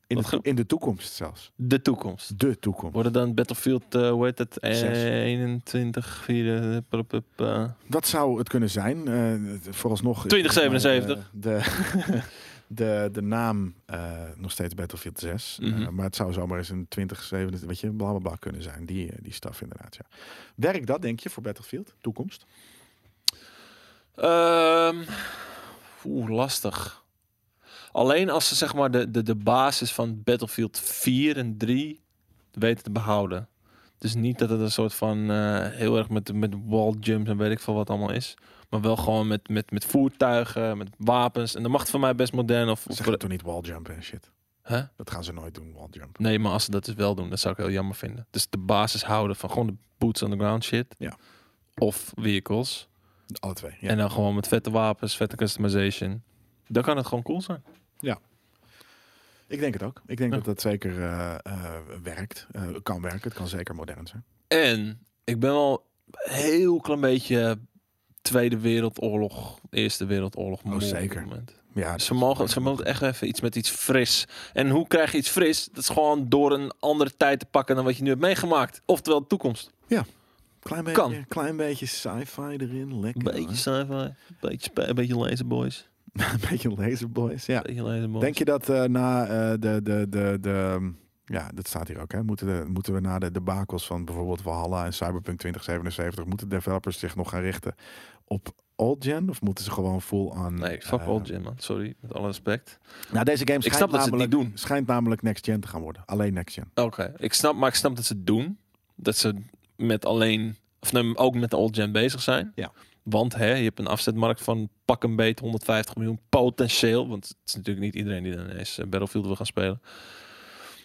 In de, Wat to- in de toekomst zelfs. De toekomst. De toekomst. Worden dan Battlefield, eh hoe heet het? Eh, Zes. 21, 4, eh, pup, pup, eh. Dat zou het kunnen zijn. Eh, het- vooralsnog. is 2077. De, de, de naam eh, nog steeds Battlefield 6. Eh, Mhm. maar het zou zomaar eens een 2077, weet je, blablabla kunnen zijn. Die, eh, die staf inderdaad, ja. Werkt dat, denk je, voor Battlefield? Toekomst? Ehm, Oeh, lastig. Alleen als ze zeg maar de, de, de basis van Battlefield 4 en 3 weten te behouden. Dus niet dat het een soort van eh, heel erg met, met wall jumps en weet ik veel wat allemaal is. Maar wel gewoon met, met, met voertuigen, met wapens. En dan mag het voor mij best modern of... of Zeg dat toch niet walljumpen en shit? Hè? Dat gaan ze nooit doen, walljump. Nee, maar als ze dat dus wel doen, dat zou ik heel jammer vinden. Dus de basis houden van gewoon de boots on the ground shit. Ja. Of vehicles. Alle twee, ja. En dan gewoon met vette wapens, vette customization. Dan kan het gewoon cool zijn. Ik denk het ook. Ik denk Ja. dat dat zeker eh, eh, werkt. Eh, kan werken. Het kan zeker modern zijn. En ik ben wel een heel klein beetje Tweede Wereldoorlog, Eerste Wereldoorlog. moe op dit Oh, zeker. moment. Ja, Ze mogen, ze mogen echt even iets met iets fris. En hoe krijg je iets fris? Dat is gewoon door een andere tijd te pakken dan wat je nu hebt meegemaakt. Oftewel de toekomst. klein beetje, kan. Klein beetje sci-fi erin. Een Lekker. beetje sci-fi, een beetje, sp- een beetje laser boys. Een beetje laser boys. Ja. Een beetje laser boys. Denk je dat eh, na eh, de, de, de, de... ehm, Ja, dat staat hier ook. Hè? Moeten, de- moeten we na de debakels van bijvoorbeeld Valhalla en Cyberpunk 2077... moeten developers zich nog gaan richten op old-gen? Of moeten ze gewoon full aan... Nee, fuck eh, all Jim, man. Sorry, met alle respect. Nou, deze game Ik schijnt, snap dat ze het namelijk, niet doen. schijnt namelijk next-gen te gaan worden. Alleen next-gen. Oké, ik snap, maar ik snap dat ze het doen. Dat ze met alleen, of nee, ook met de old gen bezig zijn. Ja. Want hè, je hebt een afzetmarkt van pak een beet 150 miljoen potentieel. Want het is natuurlijk niet iedereen die dan eens eh, Battlefield wil gaan spelen.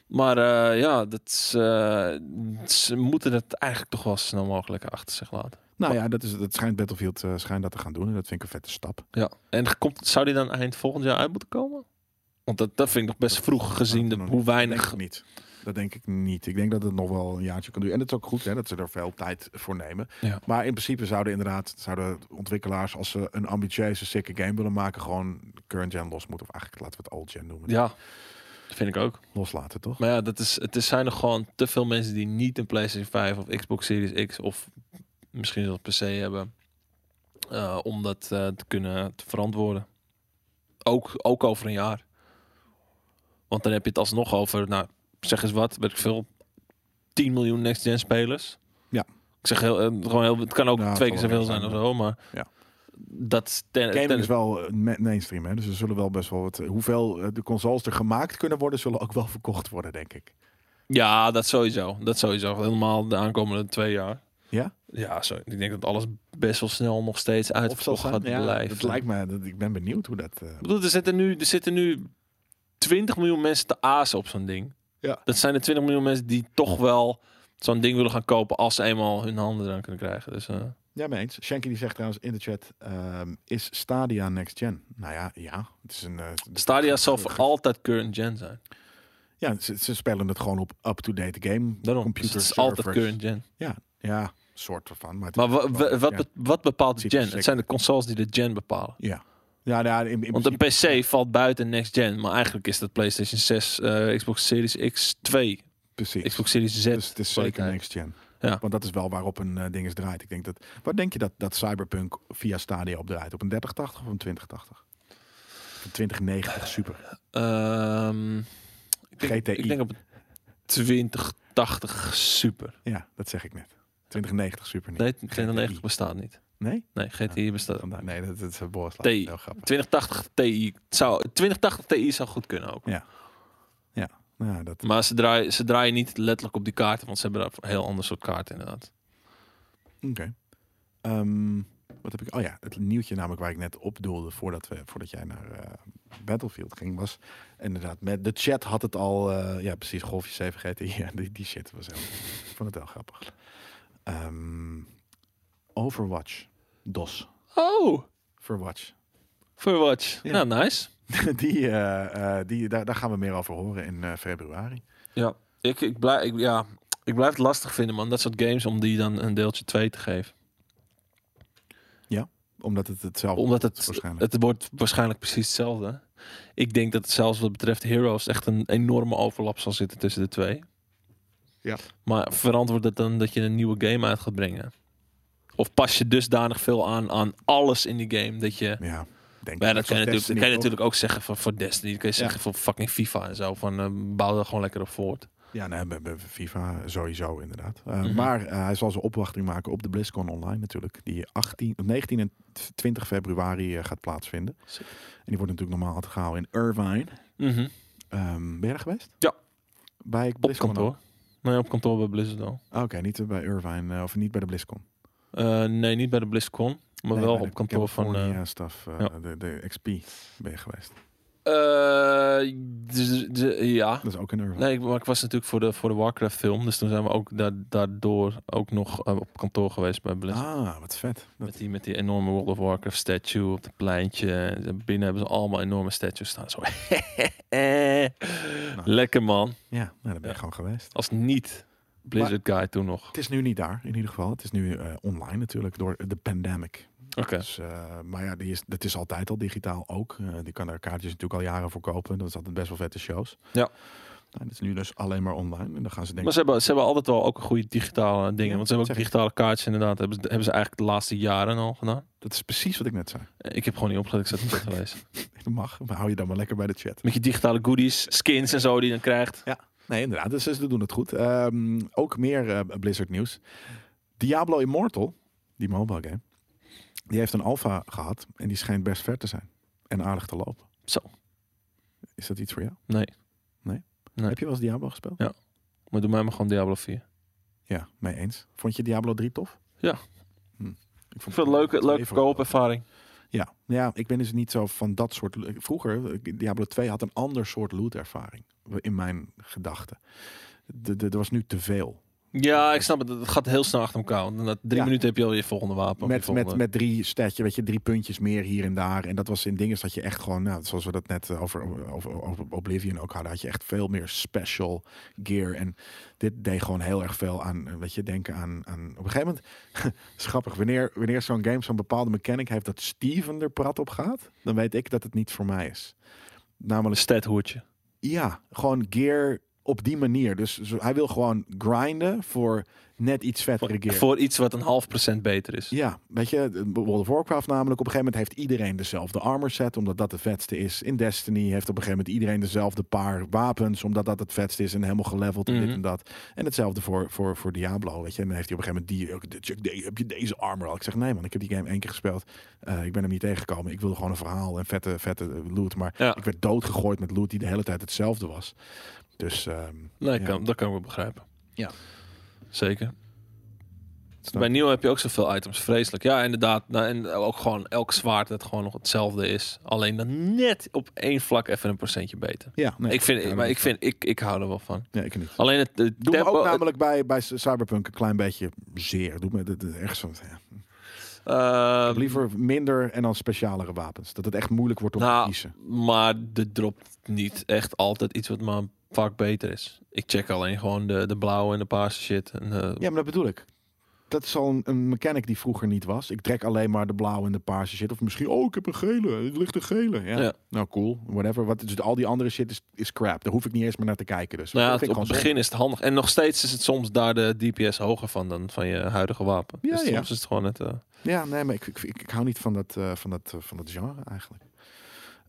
Maar eh, ja, dat is, eh, ze moeten dat eigenlijk toch wel zo snel mogelijk achter zich laten. Nou ja, dat, is, dat schijnt Battlefield eh, schijnt dat te gaan doen. En dat vind ik een vette stap. Ja. En komt, zou die dan eind volgend jaar uit moeten komen? Want dat, dat vind ik nog best vroeg gezien de, dat- hoe denk weinig ik niet. Dat denk ik niet. Ik denk dat het nog wel een jaartje kan duren. En het is ook goed hè, dat ze er veel tijd voor nemen. Ja. Maar in principe zouden inderdaad zouden ontwikkelaars, als ze een ambitieuze, sikke game willen maken, gewoon current gen los moeten. Of eigenlijk laten we het old gen noemen. Ja, dat vind ik ook. Loslaten, toch? Maar ja, dat is, het is, zijn er gewoon te veel mensen die niet een PlayStation 5 of Xbox Series X of misschien zelfs PC hebben. eh, om dat eh, te kunnen te verantwoorden. Ook, ook over een jaar. Want dan heb je het alsnog over, nou zeg eens wat, weet ik veel, 10 miljoen next-gen spelers. Ja. Ik zeg heel, eh, gewoon heel, het kan ook Nou, het twee zal keer wel zoveel meer zijn zijn, of zo, maar Ja. dat ten, Gaming ten- is wel eh, ma- mainstream, hè? dus er zullen wel best wel wat. Hoeveel eh, de consoles er gemaakt kunnen worden, zullen ook wel verkocht worden, denk ik. Ja, dat sowieso. Dat sowieso. Helemaal de aankomende twee jaar. Ja? Ja, zo. Ik denk dat alles best wel snel nog steeds Of zal uitverkocht zijn, gaat ja, blijven. Het lijkt me, dat, ik ben benieuwd hoe dat. eh, Ik bedoel, er zitten, nu, er zitten nu 20 miljoen mensen te azen op zo'n ding. Ja. Dat zijn de 20 miljoen mensen die toch wel zo'n ding willen gaan kopen als ze eenmaal hun handen eraan kunnen krijgen. Dus, eh, Ja, mee eens. Shanky die zegt trouwens in de chat, ehm, is Stadia next gen? Nou ja, ja. Het is een, eh, Stadia zal voor altijd current gen zijn. Ja, ze, ze spelen het gewoon op up-to-date game Daarom. Dus computer het is altijd servers. current gen. Ja, soort van. Maar, het Maar is wa- gewoon- wa- wat, ja. be- wat bepaalt de Ziet er gen? sick. Het zijn de consoles die de gen bepalen. Ja. Ja, nou ja, in, in Want een PC valt buiten next gen, maar eigenlijk is dat PlayStation 6, eh, Xbox Series X2, precies. Xbox Series Z. dus het is zeker kwaliteit. next gen. Ja. Want dat is wel waarop een eh, ding is draait. Ik denk dat, waar denk je dat, dat Cyberpunk via Stadia op draait? Op een 3080 of een 2080? Of een 2090, super. Ehm, ik, denk, GTI. ik denk op 2080 super. Ja, dat zeg ik net. 2090, super niet. Nee, 2090 bestaat niet. Nee? Nee, GTI bestaat. Vandaar- Nee, dat, dat is een borst. T. Heel grappig. 2080 Ti zou 2080 Ti zou goed kunnen ook. Nou, dat, Maar ze draaien, ze draaien niet letterlijk op die kaarten, want ze hebben daar een heel ander soort kaarten inderdaad. Oké. Ehm, wat heb ik? Oh ja, het nieuwtje namelijk waar ik net op doelde voordat, we, voordat jij naar eh, Battlefield ging was inderdaad met de chat had het al. eh, ja, precies. Golfje 7 GT. Ja, die, die shit was heel. ik vond het heel grappig. Ehm, Overwatch. DOS. Oh, Overwatch. voor watch. Ja. Nou, nice. die, eh, eh, die, daar, daar gaan we meer over horen in eh, februari. Ja, ik, ik, blijf, ik, ja, ik blijf het lastig vinden, man. Dat soort games om die dan een deeltje 2 te geven. Omdat het hetzelfde Omdat is het, waarschijnlijk. het wordt waarschijnlijk precies hetzelfde. Ik denk dat het zelfs wat betreft Heroes echt een enorme overlap zal zitten tussen de twee. Ja. Maar verantwoord het dan dat je een nieuwe game uit gaat brengen? Of pas je dusdanig veel aan aan alles in die game dat je... ja, denk ik. Maar ja, dat Zoals kan je, natuurlijk, Destiny, dat kan je toch? natuurlijk ook zeggen voor, voor Destiny. Dat kan je zeggen voor fucking FIFA en zo. Van, eh, bouw er gewoon lekker op voort. Ja, nee, bij, bij FIFA sowieso inderdaad. Uh, Mhm. Maar eh, hij zal zijn opwachting maken op de BlizzCon online natuurlijk. Die 18, of 19 en 20 februari eh, gaat plaatsvinden. Zeker. En die wordt natuurlijk normaal altijd gehouden in Irvine. Mhm. Ehm, ben je er geweest? Ja. Bij Op BlizzCon ook? kantoor. Nee, op kantoor bij Blizzard al. Oké, niet eh, bij Irvine eh, of niet bij de BlizzCon. Eh, nee, niet bij de BlizzCon. Maar Nee, wel bij op de kantoor van... eh, California stuff, eh, ja. de, de XP ben je geweest. eh, d- d- d- ja. Dat is ook in Irvine. Nee, ik- maar ik was natuurlijk voor de, voor de Warcraft film. Dus toen zijn we ook da- daardoor ook nog eh, op kantoor geweest bij Blizzard. ah, wat vet. Dat, Met die, met die enorme World of Warcraft statue op het pleintje. En Binnen hebben ze allemaal enorme statues staan. Zo. Nou. Lekker man. ja, nou, daar ben je Ja. gewoon geweest. Als niet Blizzard guy toen nog. Het is nu niet daar, in ieder geval. Het is nu eh, online natuurlijk, door de pandemic. Oké. Dus, eh, maar ja, die is, dat is altijd al digitaal ook. Eh, die kan daar kaartjes natuurlijk al jaren voor kopen. Dat is altijd best wel vette shows. Ja. Nou, dat is nu dus alleen maar online. En dan gaan ze Maar denken... ze hebben, ze hebben altijd wel ook een goede digitale dingen. Ja, want ze hebben ook zeg ik. digitale kaartjes inderdaad. Hebben ze, hebben ze eigenlijk de laatste jaren al gedaan. Dat is precies wat ik net zei. Eh, Ik heb gewoon niet opgelet. Ik zat niet geweest. Dat mag, maar hou je dan maar lekker bij de chat. Met je digitale goodies, skins en zo die je dan krijgt. Nee, inderdaad. Dus ze doen het goed. Ehm, ook meer eh, Blizzard nieuws. Diablo Immortal, die mobile game, die heeft een alpha gehad. En die schijnt best ver te zijn. En aardig te lopen. Zo. Is dat iets voor jou? Nee. Heb je wel eens Diablo gespeeld? Maar doe mij maar gewoon Diablo 4. Ja, mee eens. Vond je Diablo 3 tof? Ja. Hm. Ik Ik vind het een leuke, leuke Even wel. koopervaring. Ja. Nou ja, ik ben dus niet zo van dat soort. lo- Vroeger, eh, Diablo 2 had een ander soort loot-ervaring. In mijn gedachten. De- de- Er was nu te veel. Ja, ik snap het. Het gaat heel snel achter elkaar. Want na drie Ja. minuten heb je al je volgende wapen. of je Met, volgende... met, met drie statje, weet je, drie puntjes meer hier en daar. En dat was in dingen dat je echt gewoon, nou, zoals we dat net eh, over, over, over Oblivion ook hadden, had je echt veel meer special gear. En dit deed gewoon heel erg veel aan, eh, weet je, denken aan, aan op een gegeven moment, is grappig, wanneer, wanneer zo'n game zo'n bepaalde mechanic heeft dat Steven er prat op gaat, dan weet ik dat het niet voor mij is. Namelijk een stadhoertje. ja, gewoon gear op die manier. Dus zo- hij wil gewoon grinden voor net iets vettere gear. Voor iets wat een half procent beter is. Ja, weet je, de- World of Warcraft namelijk. Op een gegeven moment heeft iedereen dezelfde armor set, omdat dat de vetste is. In Destiny heeft op een gegeven moment iedereen dezelfde paar wapens, omdat dat het vetste is en helemaal geleveld en dit Mhm. en dat. En hetzelfde voor, voor, voor Diablo, weet je. En dan heeft hij op een gegeven moment die, check, de- heb je deze armor al? Ik zeg, nee man, ik heb die game één keer gespeeld. Eh, ik ben hem niet tegengekomen. Ik wilde gewoon een verhaal en vette, vette loot. Maar Ja. ik werd doodgegooid met loot die de hele tijd hetzelfde was. Dus, ehm, Nee, Ja. kan, dat kan ik wel begrijpen. Ja. Zeker. snap Bij Nieuw heb je ook zoveel items. Vreselijk. Ja, inderdaad. Nou, en ook gewoon elk zwaard dat gewoon nog hetzelfde is. Alleen dan net op één vlak even een procentje beter. ja, nee, ik vind, hou er maar wel ik, vind ik, ik hou er wel van. van. Ja, ik niet. Alleen het, het Doe me tempo- ook namelijk bij, bij Cyberpunk een klein beetje zeer. Doe me dat dat- ergens van. Ja. eh, Liever minder en dan specialere wapens. Dat het echt moeilijk wordt om Nou, te kiezen. Maar de dropt niet echt altijd iets wat maar vaak beter is. Ik check alleen gewoon de, de blauwe en de paarse shit. En, eh, Ja, maar dat bedoel ik. dat is al een, een mechanic die vroeger niet was. Ik trek alleen maar de blauwe en de paarse shit. Of misschien, oh, ik heb een gele. Er ligt een gele. Ja. Ja. Nou, cool. Whatever. Wat, dus al die andere shit is, is crap. Daar hoef ik niet eens meer naar te kijken. Dus Nou ja, dat het- vind op ik het gewoon begin is het handig. En nog steeds is het soms daar de DPS hoger van dan van je huidige wapen. Ja, dus ja. soms is het gewoon net... eh, zonde. Ja, nee, maar ik, ik, ik, ik hou niet van dat, eh, van dat, eh, van dat genre eigenlijk.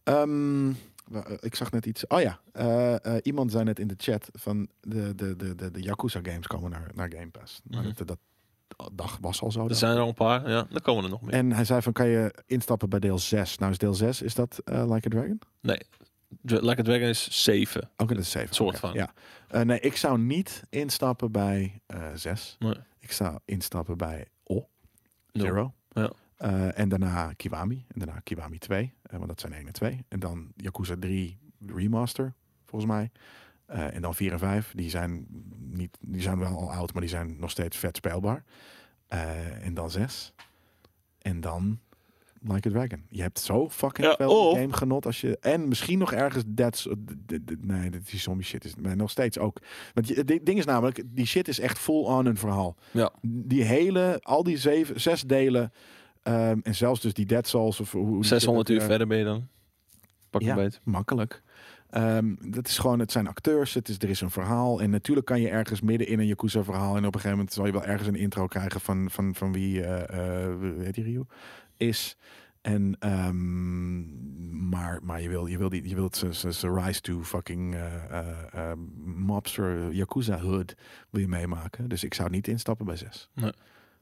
Ehm, wa- eh, ik zag net iets. Oh ja, eh, eh, iemand zei net in de chat van de, de, de, de, de Yakuza games komen naar, naar Game Pass. Maar Mhm. dat, eh, dat, dag was al zo. er dan. zijn er al een paar. Ja, dan komen er nog meer. En hij zei van, kan je instappen bij deel 6? Nou is deel 6, is dat eh, Like a Dragon? Dra- Like a Dragon is 7. Ook dat is 7. Soort van. Ja. Eh, nee, ik zou niet instappen bij eh 6. Nee. Ik zou instappen bij O, Nul. Zero. Ja. Eh, en daarna Kiwami. En daarna Kiwami 2. eh, want dat zijn 1 en 2. En dan Yakuza 3 Remaster, volgens mij. Eh, en dan 4 en 5. Die zijn, niet, die zijn wel al oud, maar die zijn nog steeds vet speelbaar. Eh, en dan 6. En dan Like a Dragon. Je hebt zo fucking Ja, veel of- game genot als je... En misschien nog ergens Dead... Nee, dat- die zombie shit is... Maar nog steeds ook. Want je- het di- ding is namelijk, die shit is echt full on een verhaal. Ja. Die hele, al die zeven, zes delen... ehm, en zelfs dus die Dead Souls of hoe- hoe... die shit 600 ook, uur eh, verder ben je dan. Pak Ja. een beet. Makkelijk. Ehm, dat is gewoon, het zijn acteurs, het is, er is een verhaal. En natuurlijk kan je ergens midden in een Yakuza-verhaal... en op een gegeven moment zal je wel ergens een intro krijgen van, van, van wie, eh eh, hoe heet die Ryu, is. En, ehm, maar, maar je wil, je wil, die, je wil ze- ze- ze rise to fucking eh eh, eh, mobster Yakuza-hood wil je meemaken. Dus ik zou niet instappen bij 6. Nee.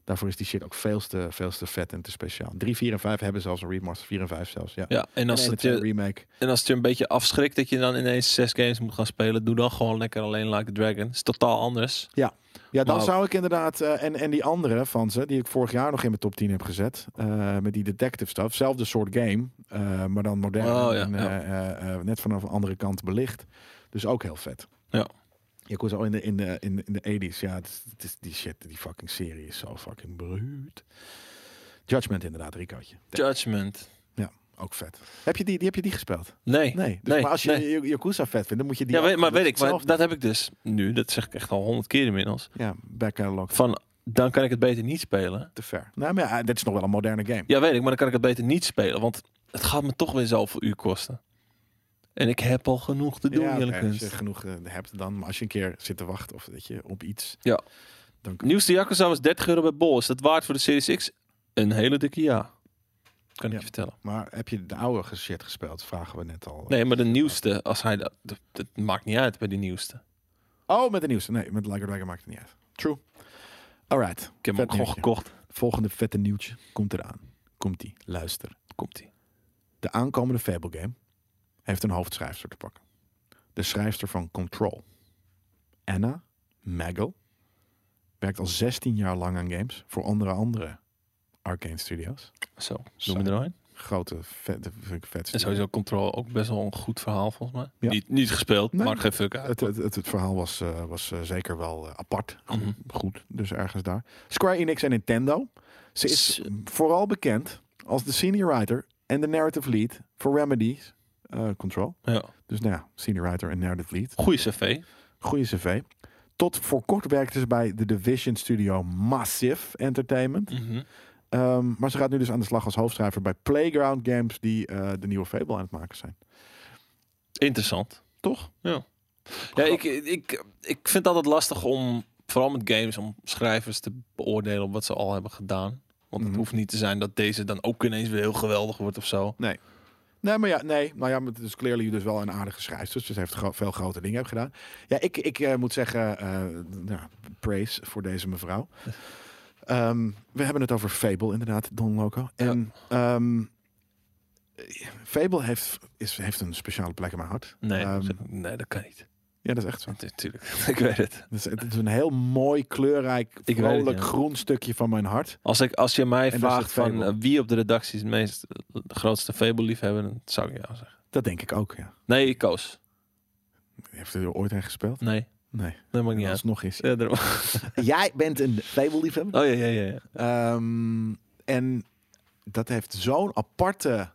Daarvoor is die shit ook veel te, veel te vet en te speciaal. 3, 4 en 5 hebben zelfs een remaster. 4 en 5 zelfs, ja. Ja, en als, En het een je, remake. en als het je een beetje afschrikt dat je dan ineens zes games moet gaan spelen, doe dan gewoon lekker alleen Like a Dragon. Is totaal anders. Ja, dan Maar- zou ik inderdaad. eh, en, en die andere van ze, die ik vorig jaar nog in mijn top 10 heb gezet. eh, met die detective stuff. Zelfde soort game. eh, maar dan modern. Oh, ja, en, ja. eh, eh, eh, net vanaf een andere kant belicht. Dus ook heel vet. Ja. Ik was al in de, in de, in de, in de 80s. Ja, het is, het is die shit, die fucking serie is zo fucking bruut. Judgment inderdaad, Ricootje. Judgment. Ook vet. Heb je die, die, heb je die gespeeld? Nee. Nee. Dus, Nee, maar als je nee. nee. Yakuza vet vindt, dan moet je die... ja, weet- ook- maar dat weet is ik, maar hetzelfde. dat heb ik dus nu. Dat zeg ik echt al honderd keer inmiddels. Ja, back catalog. Van, dan kan ik het beter niet spelen. Te ver. Nou, maar ja, dit is nog wel een moderne game. Ja, weet ik, maar dan kan ik het beter niet spelen. Want het gaat me toch weer zoveel uur kosten. En ik heb al genoeg te doen, ja, eerlijk oké, als je gezegd. genoeg eh, hebt dan. Maar als je een keer zit te wachten of dat je op iets. Ja. Dan kun- Nieuwste Yakuza was 30 euro bij Bol. Is dat waard voor de Series X? Een hele dikke ja. Kan ik Ja. je vertellen. Maar heb je de oude shit gespeeld? Vragen we net al. Nee, maar de nieuwste, als hij dat, dat, dat maakt niet uit bij die nieuwste. Oh, met de nieuwste. Nee, met Like a Dragon maakt het niet uit. True. Alright. Ik heb hem Vet ook gewoon nieuwtje. gekocht. Volgende vette nieuwtje komt eraan. Komt die. Luister. Komt ie. De aankomende Fable game heeft een hoofdschrijfster te pakken. De schrijfster van Control. Anna Magel werkt al 16 jaar lang aan games voor onder andere Arcane Studios. Zo, Zo. noem je er een. Grote, vette, vet En sowieso Control ook best wel een goed verhaal volgens mij. Ja. Niet, niet gespeeld, Nee. maar geen fuck uit. Het, het, het, het verhaal was, eh, was eh, zeker wel eh, apart. Goed, Mhm. goed, dus ergens daar. Square Enix en Nintendo. Ze is S- vooral bekend als de senior writer en de narrative lead voor Remedy's eh, Control. Ja. Dus nou ja, senior writer en narrative lead. Goeie cv. Goeie cv. Tot voor kort werkte ze bij de Division studio Massive Entertainment. Mhm. Ehm, maar ze gaat nu dus aan de slag als hoofdschrijver bij Playground Games... die eh, de nieuwe Fable aan het maken zijn. Interessant. Toch? Ja. Ja, ik, ik, ik vind het altijd lastig om, vooral met games, om schrijvers te beoordelen op wat ze al hebben gedaan. Want het Mhm. hoeft niet te zijn dat deze dan ook ineens weer heel geweldig wordt of zo. Nee, maar ja, nee. Nou ja, maar het is clearly dus wel een aardige schrijfster. Dus ze heeft gro- veel grote dingen gedaan. Ja, ik, ik eh, moet zeggen, eh nou, praise voor deze mevrouw. Ehm, we hebben het over Fable, inderdaad, Don Loco. En ehm, Fable heeft, is, heeft een speciale plek in mijn hart. Nee, Ehm, ze- nee dat kan niet. ja, dat is echt zo. Want Natuurlijk, ik weet het. Dat is, het is een heel mooi, kleurrijk, weet het, vrolijk, ja. groen stukje van mijn hart. Als, ik, als je mij En daar zit vraagt van Fable. eh, wie op de redactie is het meest, eh, de grootste Fable-liefhebber, dan zou ik ja zeggen. Dat denk ik ook, ja. Nee, ik koos. Heeft u er ooit heen gespeeld? Nee, Nee. dat maakt En als niet uit. het nog is. Ja, daarom. oh Jij bent een Fable-liefhebber? ja, ja, ja. ja. Ehm, en dat heeft zo'n aparte.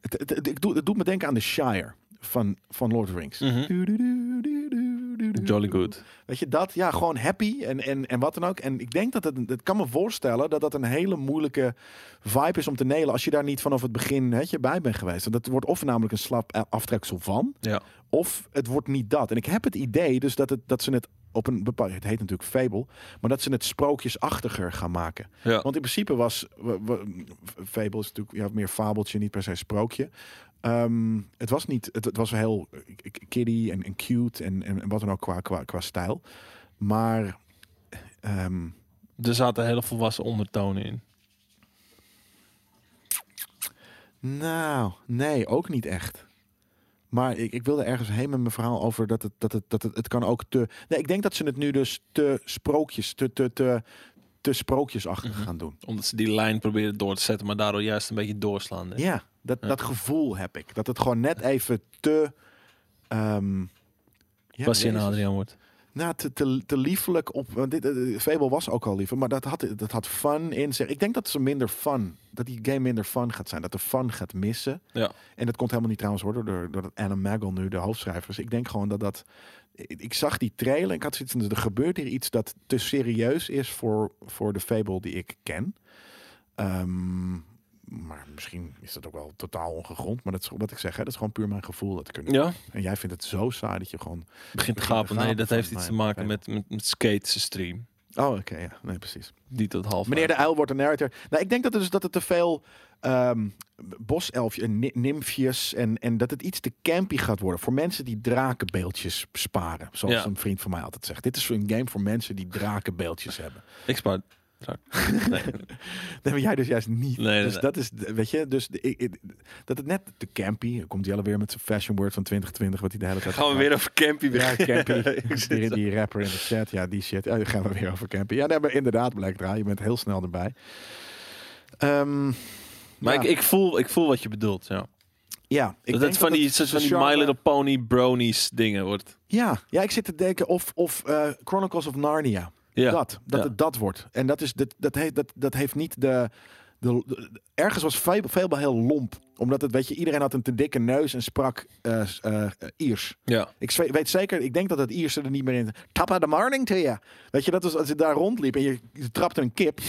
Het, het, het- ik doe, het doet me denken aan The Shire van, van Lord of the Rings. Mhm. Du- du- du- du- du- doe, doe. Jolly good. Weet je dat? Ja, gewoon happy en, en, en wat dan ook. En ik denk dat het, het kan me voorstellen dat dat een hele moeilijke vibe is om te nelen. Als je daar niet vanaf het begin weet je, bij bent geweest. Want dat wordt of namelijk een slap eh, aftreksel van. Ja. Of het wordt niet dat. En ik heb het idee dus dat, het, dat ze het op een bepaald... Het heet natuurlijk Fable. Maar dat ze het sprookjesachtiger gaan maken. Ja. Want in principe was we- we- Fable is natuurlijk ja, meer fabeltje, niet per se sprookje. Ehm, het was niet, het, het was heel eh, k- kiddie en, en cute en, en en wat dan ook qua, qua, qua stijl. Maar ehm, Er zaten hele volwassen ondertonen in. nou, nee, ook niet echt. Maar ik, ik wilde ergens heen met mijn verhaal over dat het, dat het, dat het, het kan ook te. Nee, ik denk dat ze het nu dus te sprookjes, te, te, te, te sprookjesachtig Mhm. gaan doen. Omdat ze die lijn proberen door te zetten, maar daardoor juist een beetje doorslaan. hè? Ja, dat, Ja. dat gevoel heb ik. Dat het gewoon net even te. ehm ja, Pas in jezus. Adriaan wordt. Nou, te, te, te liefelijk op. Want dit, eh, Fable was ook al liever, maar dat had, dat had fun in zich. Ik denk dat ze minder fun. Dat die game minder fun gaat zijn. Dat de fun gaat missen. Ja. En dat komt helemaal niet trouwens worden door, door dat Adam Magel nu, de hoofdschrijver. Dus ik denk gewoon dat dat. Ik ik zag die trailer en ik had zoiets van, er gebeurt hier iets dat te serieus is voor, voor de Fable die ik ken. Ehm, maar misschien is dat ook wel totaal ongegrond. Maar dat is wat ik zeg, hè, dat is gewoon puur mijn gevoel. Dat ik er nu- Ja, En jij vindt het zo saai dat je gewoon... begint te te gapen. Nee, gapen dat van heeft iets mij, te maken oké. met, met, met Skate's stream. Oh, oké, ja. Nee, precies. Niet dat half. Meneer de Uil wordt een narrator. Nou, ik denk dat, het dus, dat het te veel ehm boselfjes en ni- nymfjes en, en dat het iets te campy gaat worden. Voor mensen die drakenbeeldjes sparen. Zoals Ja. een vriend van mij altijd zegt. Dit is een game voor mensen die drakenbeeldjes hebben. Ik spaar. Nee. Dat heb jij dus juist niet. Nee, nee, dus nee. dat is, weet je, dus de- ik- ik- dat het net te campy. Dan Komt Jelle weer met zijn fashion word van 2020, wat hij de hele tijd... Gaan we weer over campy Ja, beginnen? Campy. Ik zit die, zo- die rapper in de chat. Ja, die shit. Ja, daar gaan we weer over Campy. Ja, nee, maar inderdaad, blijkt Je bent heel snel erbij. Ehm, maar ja. ik, ik, voel, ik voel wat je bedoelt. Ja. Ja, ik dat denk het van die, het soort van de die My genre- Little Pony bronies dingen wordt. Ja, ja, ik zit te denken of, of eh, Chronicles of Narnia. Ja. Dat, dat Ja. het dat wordt. En dat, is, dat, dat, heeft, dat, dat heeft niet de, de, de- Ergens was Fable, Fable heel lomp. Omdat het, weet je, iedereen had een te dikke neus en sprak eh, s- eh, eh, Iers. Ja. Ik zwe- weet zeker, ik denk dat het Ierse er niet meer in... Top of the morning to you. Weet je, dat was als je daar rondliep en je, je trapte een kip...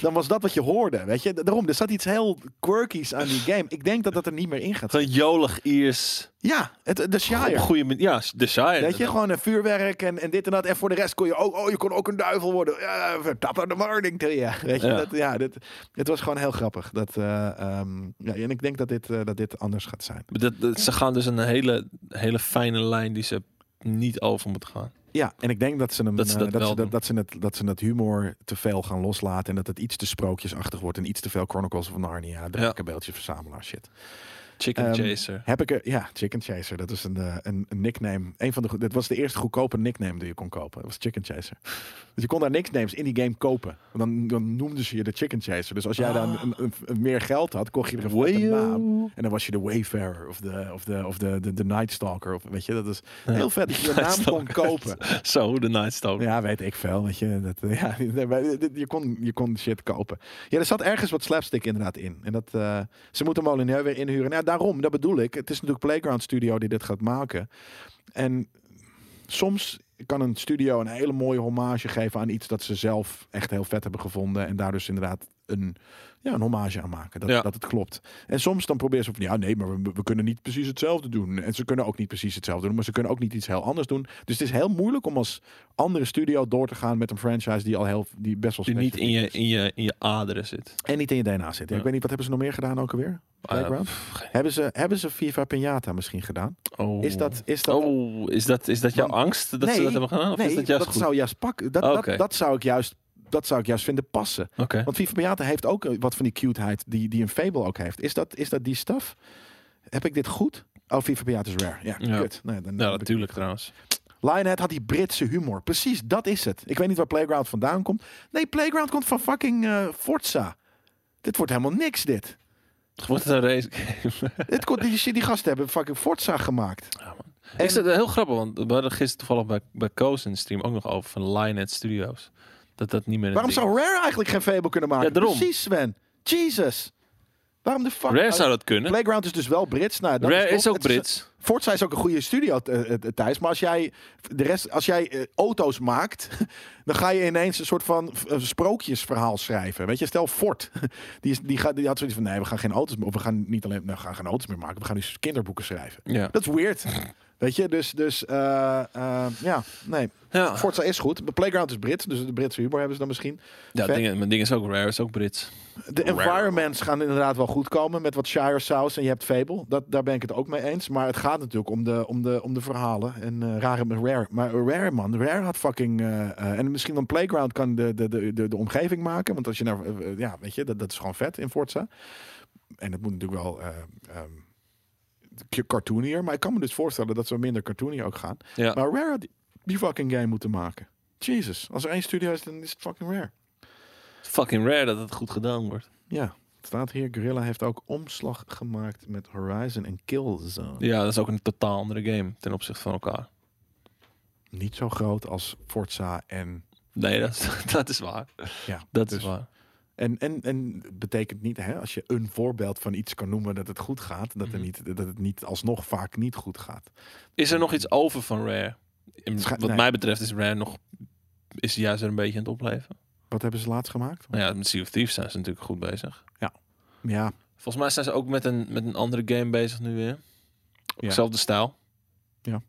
dan was dat wat je hoorde, weet je. Daarom, er zat iets heel quirkies aan die game. Ik denk dat dat er niet meer in gaat. Gewoon jolig Iers. Ja, het, de Op Shire. goede manier. Ja, de Shire. Weet je, gewoon een vuurwerk en, en dit en dat. En voor de rest kon je ook, oh, je kon ook een duivel worden. Ja, tap aan de morning to you. Weet je, Ja. dat, ja, dit, het was gewoon heel grappig. Dat, eh, ehm, ja, en ik denk dat dit, eh, dat dit anders gaat zijn. Maar Dat, dat- ze gaan dus een hele, hele fijne lijn die ze niet over moet gaan. Ja, en ik denk dat ze, hem, Dat ze eh, dat wel ze, doen. dat, dat ze het, dat ze het humor te veel gaan loslaten. En dat het iets te sprookjesachtig wordt. En iets te veel Chronicles of Narnia, drakenbeeldje verzamelaar shit. Chicken Ehm, Chaser. Heb ik er, ja, Chicken Chaser. Dat is een, eh, een, een nickname. Een van de, go- dit was de eerste goedkope nickname die je kon kopen. Dat was Chicken Chaser. Dus je kon daar nicknames in die game kopen. Want dan, dan noemden ze je de Chicken Chaser. Dus als jij dan Ah. een, een- een meer geld had, kocht je er een vette naam. En dan was je de Wayfarer of de, of de, of de, de, de Night Stalker. Of, weet je, dat is Ja. heel vet dat je je naam kon Nightstalker. kopen. Zo, de Nightstalker. Ja, weet ik veel. Weet je, dat, eh, ja, nee, maar dit- je, kon, je kon shit kopen. Ja, er zat ergens wat slapstick inderdaad in. En dat, eh, ze moeten Molineux weer inhuren. Nou, daarom, dat bedoel ik. Het is natuurlijk Playground Studio die dit gaat maken. En soms kan een studio een hele mooie hommage geven aan iets dat ze zelf echt heel vet hebben gevonden. En daar dus inderdaad een, ja, een hommage aan maken. Dat, Ja. dat het klopt. En soms dan proberen ze van, ja nee, maar we, we kunnen niet precies hetzelfde doen. En ze kunnen ook niet precies hetzelfde doen, maar ze kunnen ook niet iets heel anders doen. Dus het is heel moeilijk om als andere studio door te gaan met een franchise die al heel, die best wel Die niet in specifiek je, is. in je, in je aderen zit. En niet in je DNA zit. Ja, Ja. Ik weet niet, wat hebben ze nog meer gedaan ook alweer? Playground? Ah, pff, geen- Hebben ze, hebben ze FIFA Pinata misschien gedaan? oh. Is dat, is dat Oh, is dat, is dat jouw angst dat ze Nee, dat hebben gedaan? Of nee, is dat juist goed? zou juist pakken. Dat, Oké. dat, dat, zou ik juist, dat zou ik juist vinden passen. Oké. Want Viva Beata heeft ook eh, wat van die cuteheid die, die een Fable ook heeft. Is dat, is dat die staf? Heb ik dit goed? Oh, Viva Beata is rare. Ja, Ja. kut. Nee, dan, Ja, heb ik- Nou, natuurlijk trouwens. Lionhead had die Britse humor. Precies, dat is het. Ik weet niet waar Playground vandaan komt. Nee, Playground komt van fucking eh, Forza. Dit wordt helemaal niks, dit. Wordt het een race game? dit komt, die, die gasten hebben fucking Forza gemaakt. En- Ik zit heel grappig, want we hadden gisteren toevallig bij, bij Koos in de stream ook nog over van Lionhead Studios. Dat dat niet meer een Waarom ding zou Rare eigenlijk geen Fable kunnen maken? Ja, daarom. Precies, Sven. Jesus. Waarom de fuck? Rare zou dat kunnen. Playground is dus wel Brits. Nou, dat Rare top. is ook Het een- Brits. Forza is ook een goede studio eh, eh, thuis. Maar als jij, de rest, als jij eh, auto's maakt, dan ga je ineens een soort van eh, sprookjesverhaal schrijven. Weet je, stel Ford. Die, is, die, gaat, die had zoiets van, nee, we gaan geen auto's meer, of we gaan niet alleen, nou, we gaan geen auto's meer maken. We gaan nu kinderboeken schrijven. Ja. Dat is weird. Weet je, dus, dus eh, eh, ja, nee. Ja. Forza is goed. De Playground is Brits, dus de Britse humor hebben ze dan misschien. Ja, Vet. ding, mijn ding is ook rare, is ook Brits. De environments gaan inderdaad wel goed komen met wat Shire saus en je hebt Fable. Dat, daar ben ik het ook mee eens. Maar het gaat natuurlijk om de, om de, om de verhalen. En eh, rare maar Rare. Maar Rare man, Rare had fucking... eh, eh, en misschien dan Playground kan de, de, de, de, de omgeving maken. Want als je naar... eh, eh, ja, weet je, dat, dat is gewoon vet in Forza. En dat moet natuurlijk wel... eh ehm, k- cartoonier. Maar ik kan me dus voorstellen dat ze minder cartoonier ook gaan. Ja. Maar Rare had die, die fucking game moeten maken. Jesus. Als er één studio is, dan is het fucking Rare. Fucking rare dat het goed gedaan wordt. Ja, het staat hier. Guerrilla heeft ook omslag gemaakt met Horizon en Killzone. Ja, dat is ook een totaal andere game ten opzichte van elkaar. Niet zo groot als Forza en... Nee, dat is, dat is waar. Ja, Dat dus- is waar. En, en, en het betekent niet, hè, als je een voorbeeld van iets kan noemen dat het goed gaat, dat, er Mhm. niet, dat het niet alsnog vaak niet goed gaat. Is er nog iets over van Rare? In- Scha- wat nee. mij betreft is Rare nog is juist er een beetje aan het opleven. Wat hebben ze laatst gemaakt? Nou ja, met Sea of Thieves zijn ze natuurlijk goed bezig. Ja, Volgens mij zijn ze ook met een, met een andere game bezig nu weer. Ja. Hetzelfde stijl. Ja.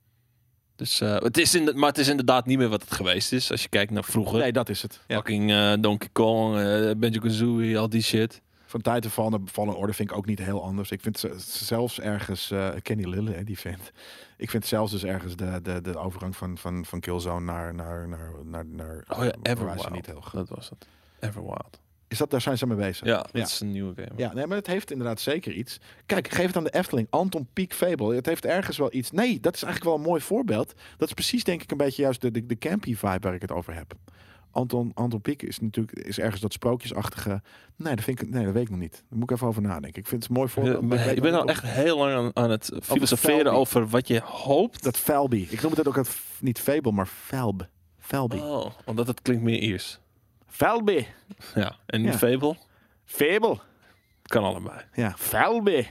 Dus, eh, het is in maar het is inderdaad niet meer wat het geweest is. Als je kijkt naar vroeger. nee, dat is het. Ja. Fucking eh, Donkey Kong, eh Banjo-Kazooie, al die shit. Van Titanfall naar Fallen Order vind ik ook niet heel anders. Ik vind ze- zelfs ergens... eh, Ik ken die Lille, hè, die vent. Ik vind zelfs dus ergens de, de, de overgang van, van, van Killzone naar, naar, naar, naar, naar Oh ja, Horizon Everwild. niet heel goed. Dat was het. Everwild. Is dat, daar zijn ze mee bezig? Ja, dat Ja. is een nieuwe game. Ja, nee, maar het heeft inderdaad zeker iets. Kijk, geef het aan de Efteling. Anton Pieck Fable. Het heeft ergens wel iets. Nee, dat is eigenlijk wel een mooi voorbeeld. Dat is precies, denk ik, een beetje juist de, de, de campy vibe waar ik het over heb. Anton, Anton Pieck is natuurlijk is ergens dat sprookjesachtige. Nee, dat, vind ik, nee, dat weet ik nog niet. Daar moet ik even over nadenken. Ik vind het een mooi Ja, voorbeeld. maar maar weet ik ben nou nog al niet of- echt heel lang aan, aan het filosoferen Felby. over wat je hoopt. Dat Felby. Ik noem het ook het, f- niet Fable, maar Felb. Felby. Oh, omdat het klinkt meer Iers. Felby. Ja, en niet Ja. Fable. Fable. Het kan allebei. Ja, Felby. Dat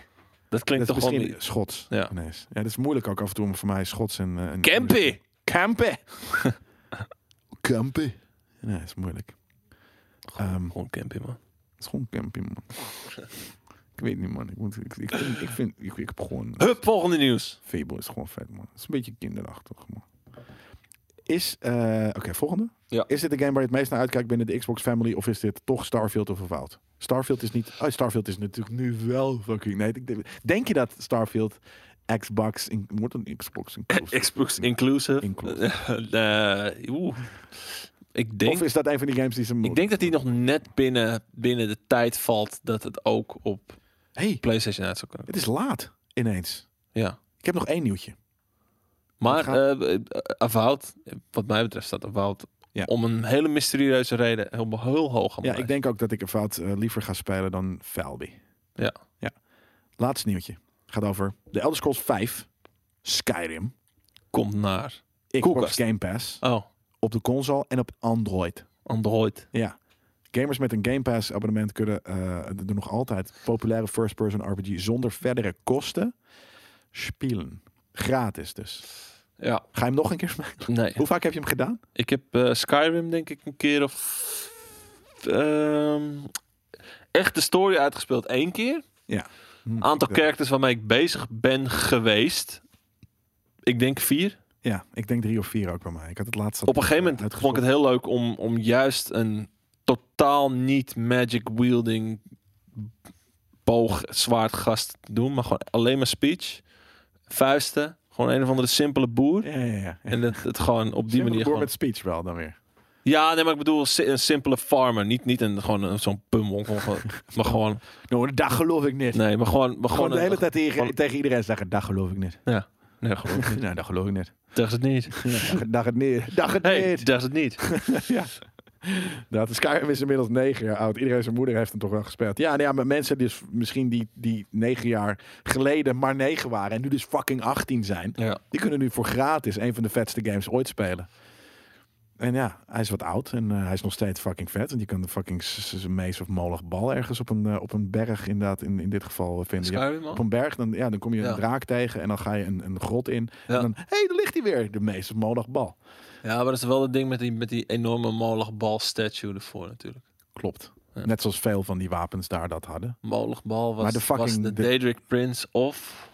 Dat klinkt is toch gewoon... misschien niet- Schots. Ja. ineens. ja, dat is moeilijk ook af en toe om voor mij Schots en... eh, en Campy! Kampen. Kampen. Nee, dat is moeilijk. Ehm, Gewoon campy, man. Het is gewoon camping, man. ik weet niet, man. Ik, moet, ik, ik vind, ik, vind ik, ik heb gewoon... Hup, volgende nieuws. Fable is gewoon vet, man. Het is een beetje kinderachtig, man. Is... eh, Oké, volgende. Ja. Is dit de game waar je het meest naar uitkijkt binnen de Xbox family? Of is dit toch Starfield of Avowed? Starfield is niet... Oh, Starfield is natuurlijk nu wel fucking... Nee, ik denk- denk je dat Starfield Xbox... In, wordt een Xbox inclusive? Xbox Inclusive. Inclusive. Eh, oeh. Ik denk, Of is dat een van die games die ze... ik denk dat die nog net binnen, binnen de tijd valt dat het ook op Hey, PlayStation uit zou kunnen. Het is laat ineens. Ja. Ik heb nog één nieuwtje. Maar Het gaat- eh, eh, Avowed, wat mij betreft staat Avowed Ja. om een hele mysterieuze reden heel, heel hoog aan Ja, mijn ik denk ook dat ik een fout eh, liever ga spelen dan Falby. Ja. ja. Laatste nieuwtje. Gaat over de Elder Scrolls 5, Skyrim, komt naar. Xbox Koelkast. Game Pass, Oh, op de console en op Android. Android. Ja. Gamers met een Game Pass abonnement kunnen eh, de de nog altijd populaire first-person RPG zonder verdere kosten spelen. Gratis dus. Ja, Ga je hem nog een keer spelen? nee. Hoe vaak heb je hem gedaan? Ik heb eh, Skyrim denk ik een keer of... ehm, echt de story uitgespeeld één keer. Hm, Aantal ik denk- characters waarmee ik bezig ben geweest. Ik denk vier. Ja, ik denk drie of vier ook bij mij. Ik had het eh, laatste Op een gegeven moment vond ik het heel leuk om, om juist een totaal niet magic wielding boog zwaard gast te doen, maar gewoon alleen maar speech, vuisten, gewoon een of andere simpele boer. Ja, ja, ja. En het, het gewoon op die Simpele manier boer gewoon... met speech wel dan weer. Ja, nee, maar ik bedoel si- een simpele farmer, niet, niet een, gewoon een- zo'n pummel, gewoon- gewoon- maar gewoon, Nou, dat geloof ik niet. nee, maar gewoon, maar Gewoon gewoon, de hele tijd tegen, gewoon- tegen iedereen zeggen, dat geloof ik niet. nee, gewoon, nou, dat geloof ik niet. dacht het niet. Ja, dat het niet. Dat het Hey, niet. dacht het niet. ja. Dat is Nou, Skyrim is inmiddels negen jaar oud. Iedereen zijn moeder heeft hem toch wel gespeeld. Ja, nou ja, maar mensen dus misschien die, die negen jaar geleden maar negen waren en nu dus fucking 18 zijn, Ja. die kunnen nu voor gratis een van de vetste games ooit spelen. En ja, hij is wat oud en eh, hij is nog steeds fucking vet. En je kan de fucking s- s- mees of molig bal ergens op een, eh, op een berg inderdaad in, in dit geval eh, vinden. Ja, Skyrim, op man. een berg, dan, ja, dan kom je een Ja. draak tegen en dan ga je een, een grot in. Ja. En dan, hé, hey, daar ligt hij weer, de mees of molig bal. Ja, maar dat is wel het ding met die, met die enorme molenbal statue ervoor natuurlijk. Klopt. Ja. Net zoals veel van die wapens daar dat hadden. Molenbal was, Maar de de, was fucking- de de- Daedric Prince of...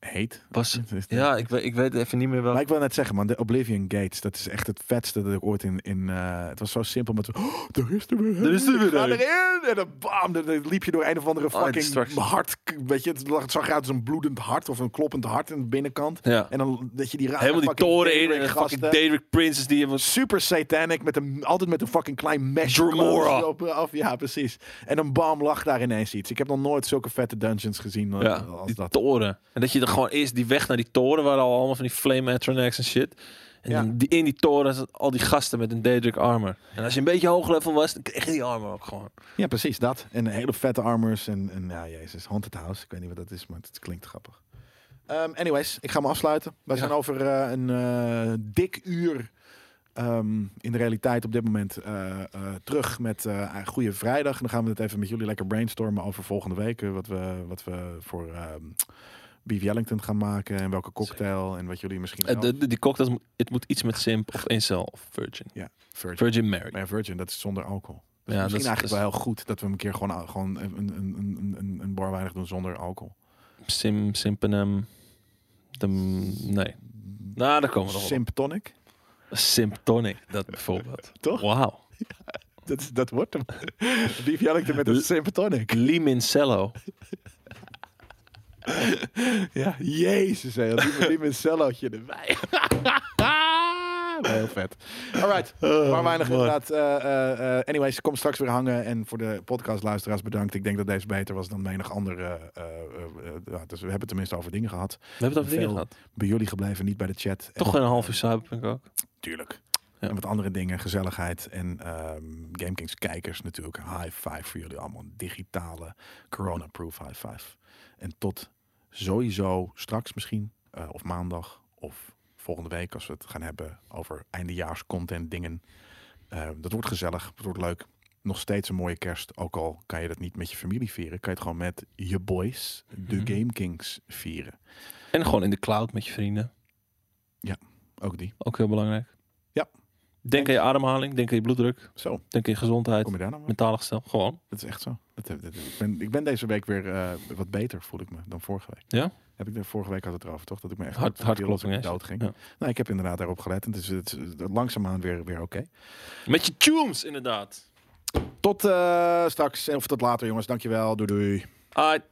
Heet. Was, Het is- ja, ik weet, ik weet even niet meer wel. Maar ik wil net zeggen, man, de Oblivion Gates, dat is echt het vetste dat ik ooit in. in eh, het was zo simpel, maar het was, oh, daar is er weer. een. Er is er weer Ik ga een. erin. En dan bam, dan dan liep je door een of andere Oh, fucking destructie. hart. Weet je, het, lag, het zag eruit als een bloedend hart of een kloppend hart aan de binnenkant. ja. En dan dat je die rare Helemaal die fucking toren in en Daybreak de fucking gasten. Daedric Princes die hebben... Super satanic, met een, altijd met een fucking klein mesh Jormora. clothes op, af. Ja, precies. En dan bam, lag daar ineens iets. Ik heb nog nooit zulke vette dungeons gezien eh, Ja, als die dat. toren. En dat je er gewoon eerst die weg naar die toren waar al allemaal van die flame atronachs en shit. En Ja. dan die, in die toren zat al die gasten met een Daedric armor. En als je een beetje hoog level was, dan kreeg je die armor ook gewoon. Ja, precies dat. En hele vette armors. En, en ja, jezus, Haunted House. Ik weet niet wat dat is, maar het klinkt grappig. Ehm, anyways, ik ga me afsluiten. We Ja. zijn over eh, een eh, dik uur ehm, in de realiteit op dit moment eh, eh, terug met eh Goede Vrijdag. En dan gaan we het even met jullie lekker brainstormen over volgende week. eh, wat, we, wat we voor ehm Beef Wellington gaan maken. En welke cocktail. En wat jullie misschien... Eh, zelf- de- de- die cocktails, mo- het moet iets met simp of incel of virgin. Virgin. Virgin Mary. Maar ja, Virgin, dat is zonder alcohol. Dus Ja, misschien dat is- eigenlijk dat wel heel goed dat we hem een keer gewoon, gewoon een, een, een, een, een bar weinig doen zonder alcohol. Sim, simpenem. De, nee. Nou, daar komen we nog op. Symptonic. Symptonic, dat bijvoorbeeld. Toch? Wauw. Dat, is- dat wordt hem. Beef Jellington met een Symptonic. Limoncello. Ja, jezus. Hè. Die met- die met een cellootje erbij. Heel vet. Alright. maar weinig Oh, man. inderdaad. eh, eh, eh, anyways, kom straks weer hangen. En voor de podcastluisteraars bedankt. Ik denk dat deze beter was dan menig andere. eh, eh, eh, ja, dus we hebben het tenminste over dingen gehad. We hebben het over dingen Veel. gehad. Bij jullie gebleven, niet bij de chat. En- Toch weer een half uur cyberpunk ook. Tuurlijk. Ja. En wat andere dingen, gezelligheid en ehm GameKings kijkers natuurlijk. High five voor jullie allemaal. Een Digitale corona-proof high five. En tot sowieso straks misschien, eh, of maandag, of volgende week als we het gaan hebben over eindejaarscontent dingen. Eh, dat wordt gezellig, dat wordt leuk. Nog steeds een mooie kerst, ook al kan je dat niet met je familie vieren. Kan je het gewoon met je boys, de Mhm. GameKings, vieren. En gewoon in de cloud met je vrienden. Ook die. Ook heel belangrijk. Ja. Denk aan je ademhaling, denk aan je bloeddruk, Zo, denk aan je gezondheid, kom je daar nou mee? mentaal gestel. Gewoon. Dat is echt zo. Dat, heb- dat- ik, ben, ik ben deze week weer eh, wat beter, voel ik me, dan vorige week. Ja? Heb ik de vorige week had het erover, toch? Dat ik me echt Hart- hartklopping, hè? dood ging. Ja. Nou, ik heb inderdaad daarop gelet. En het is, het is langzaamaan weer, weer oké. Met je tunes, inderdaad. Tot eh, straks, of tot later jongens. Dankjewel. Doei doei. Aight.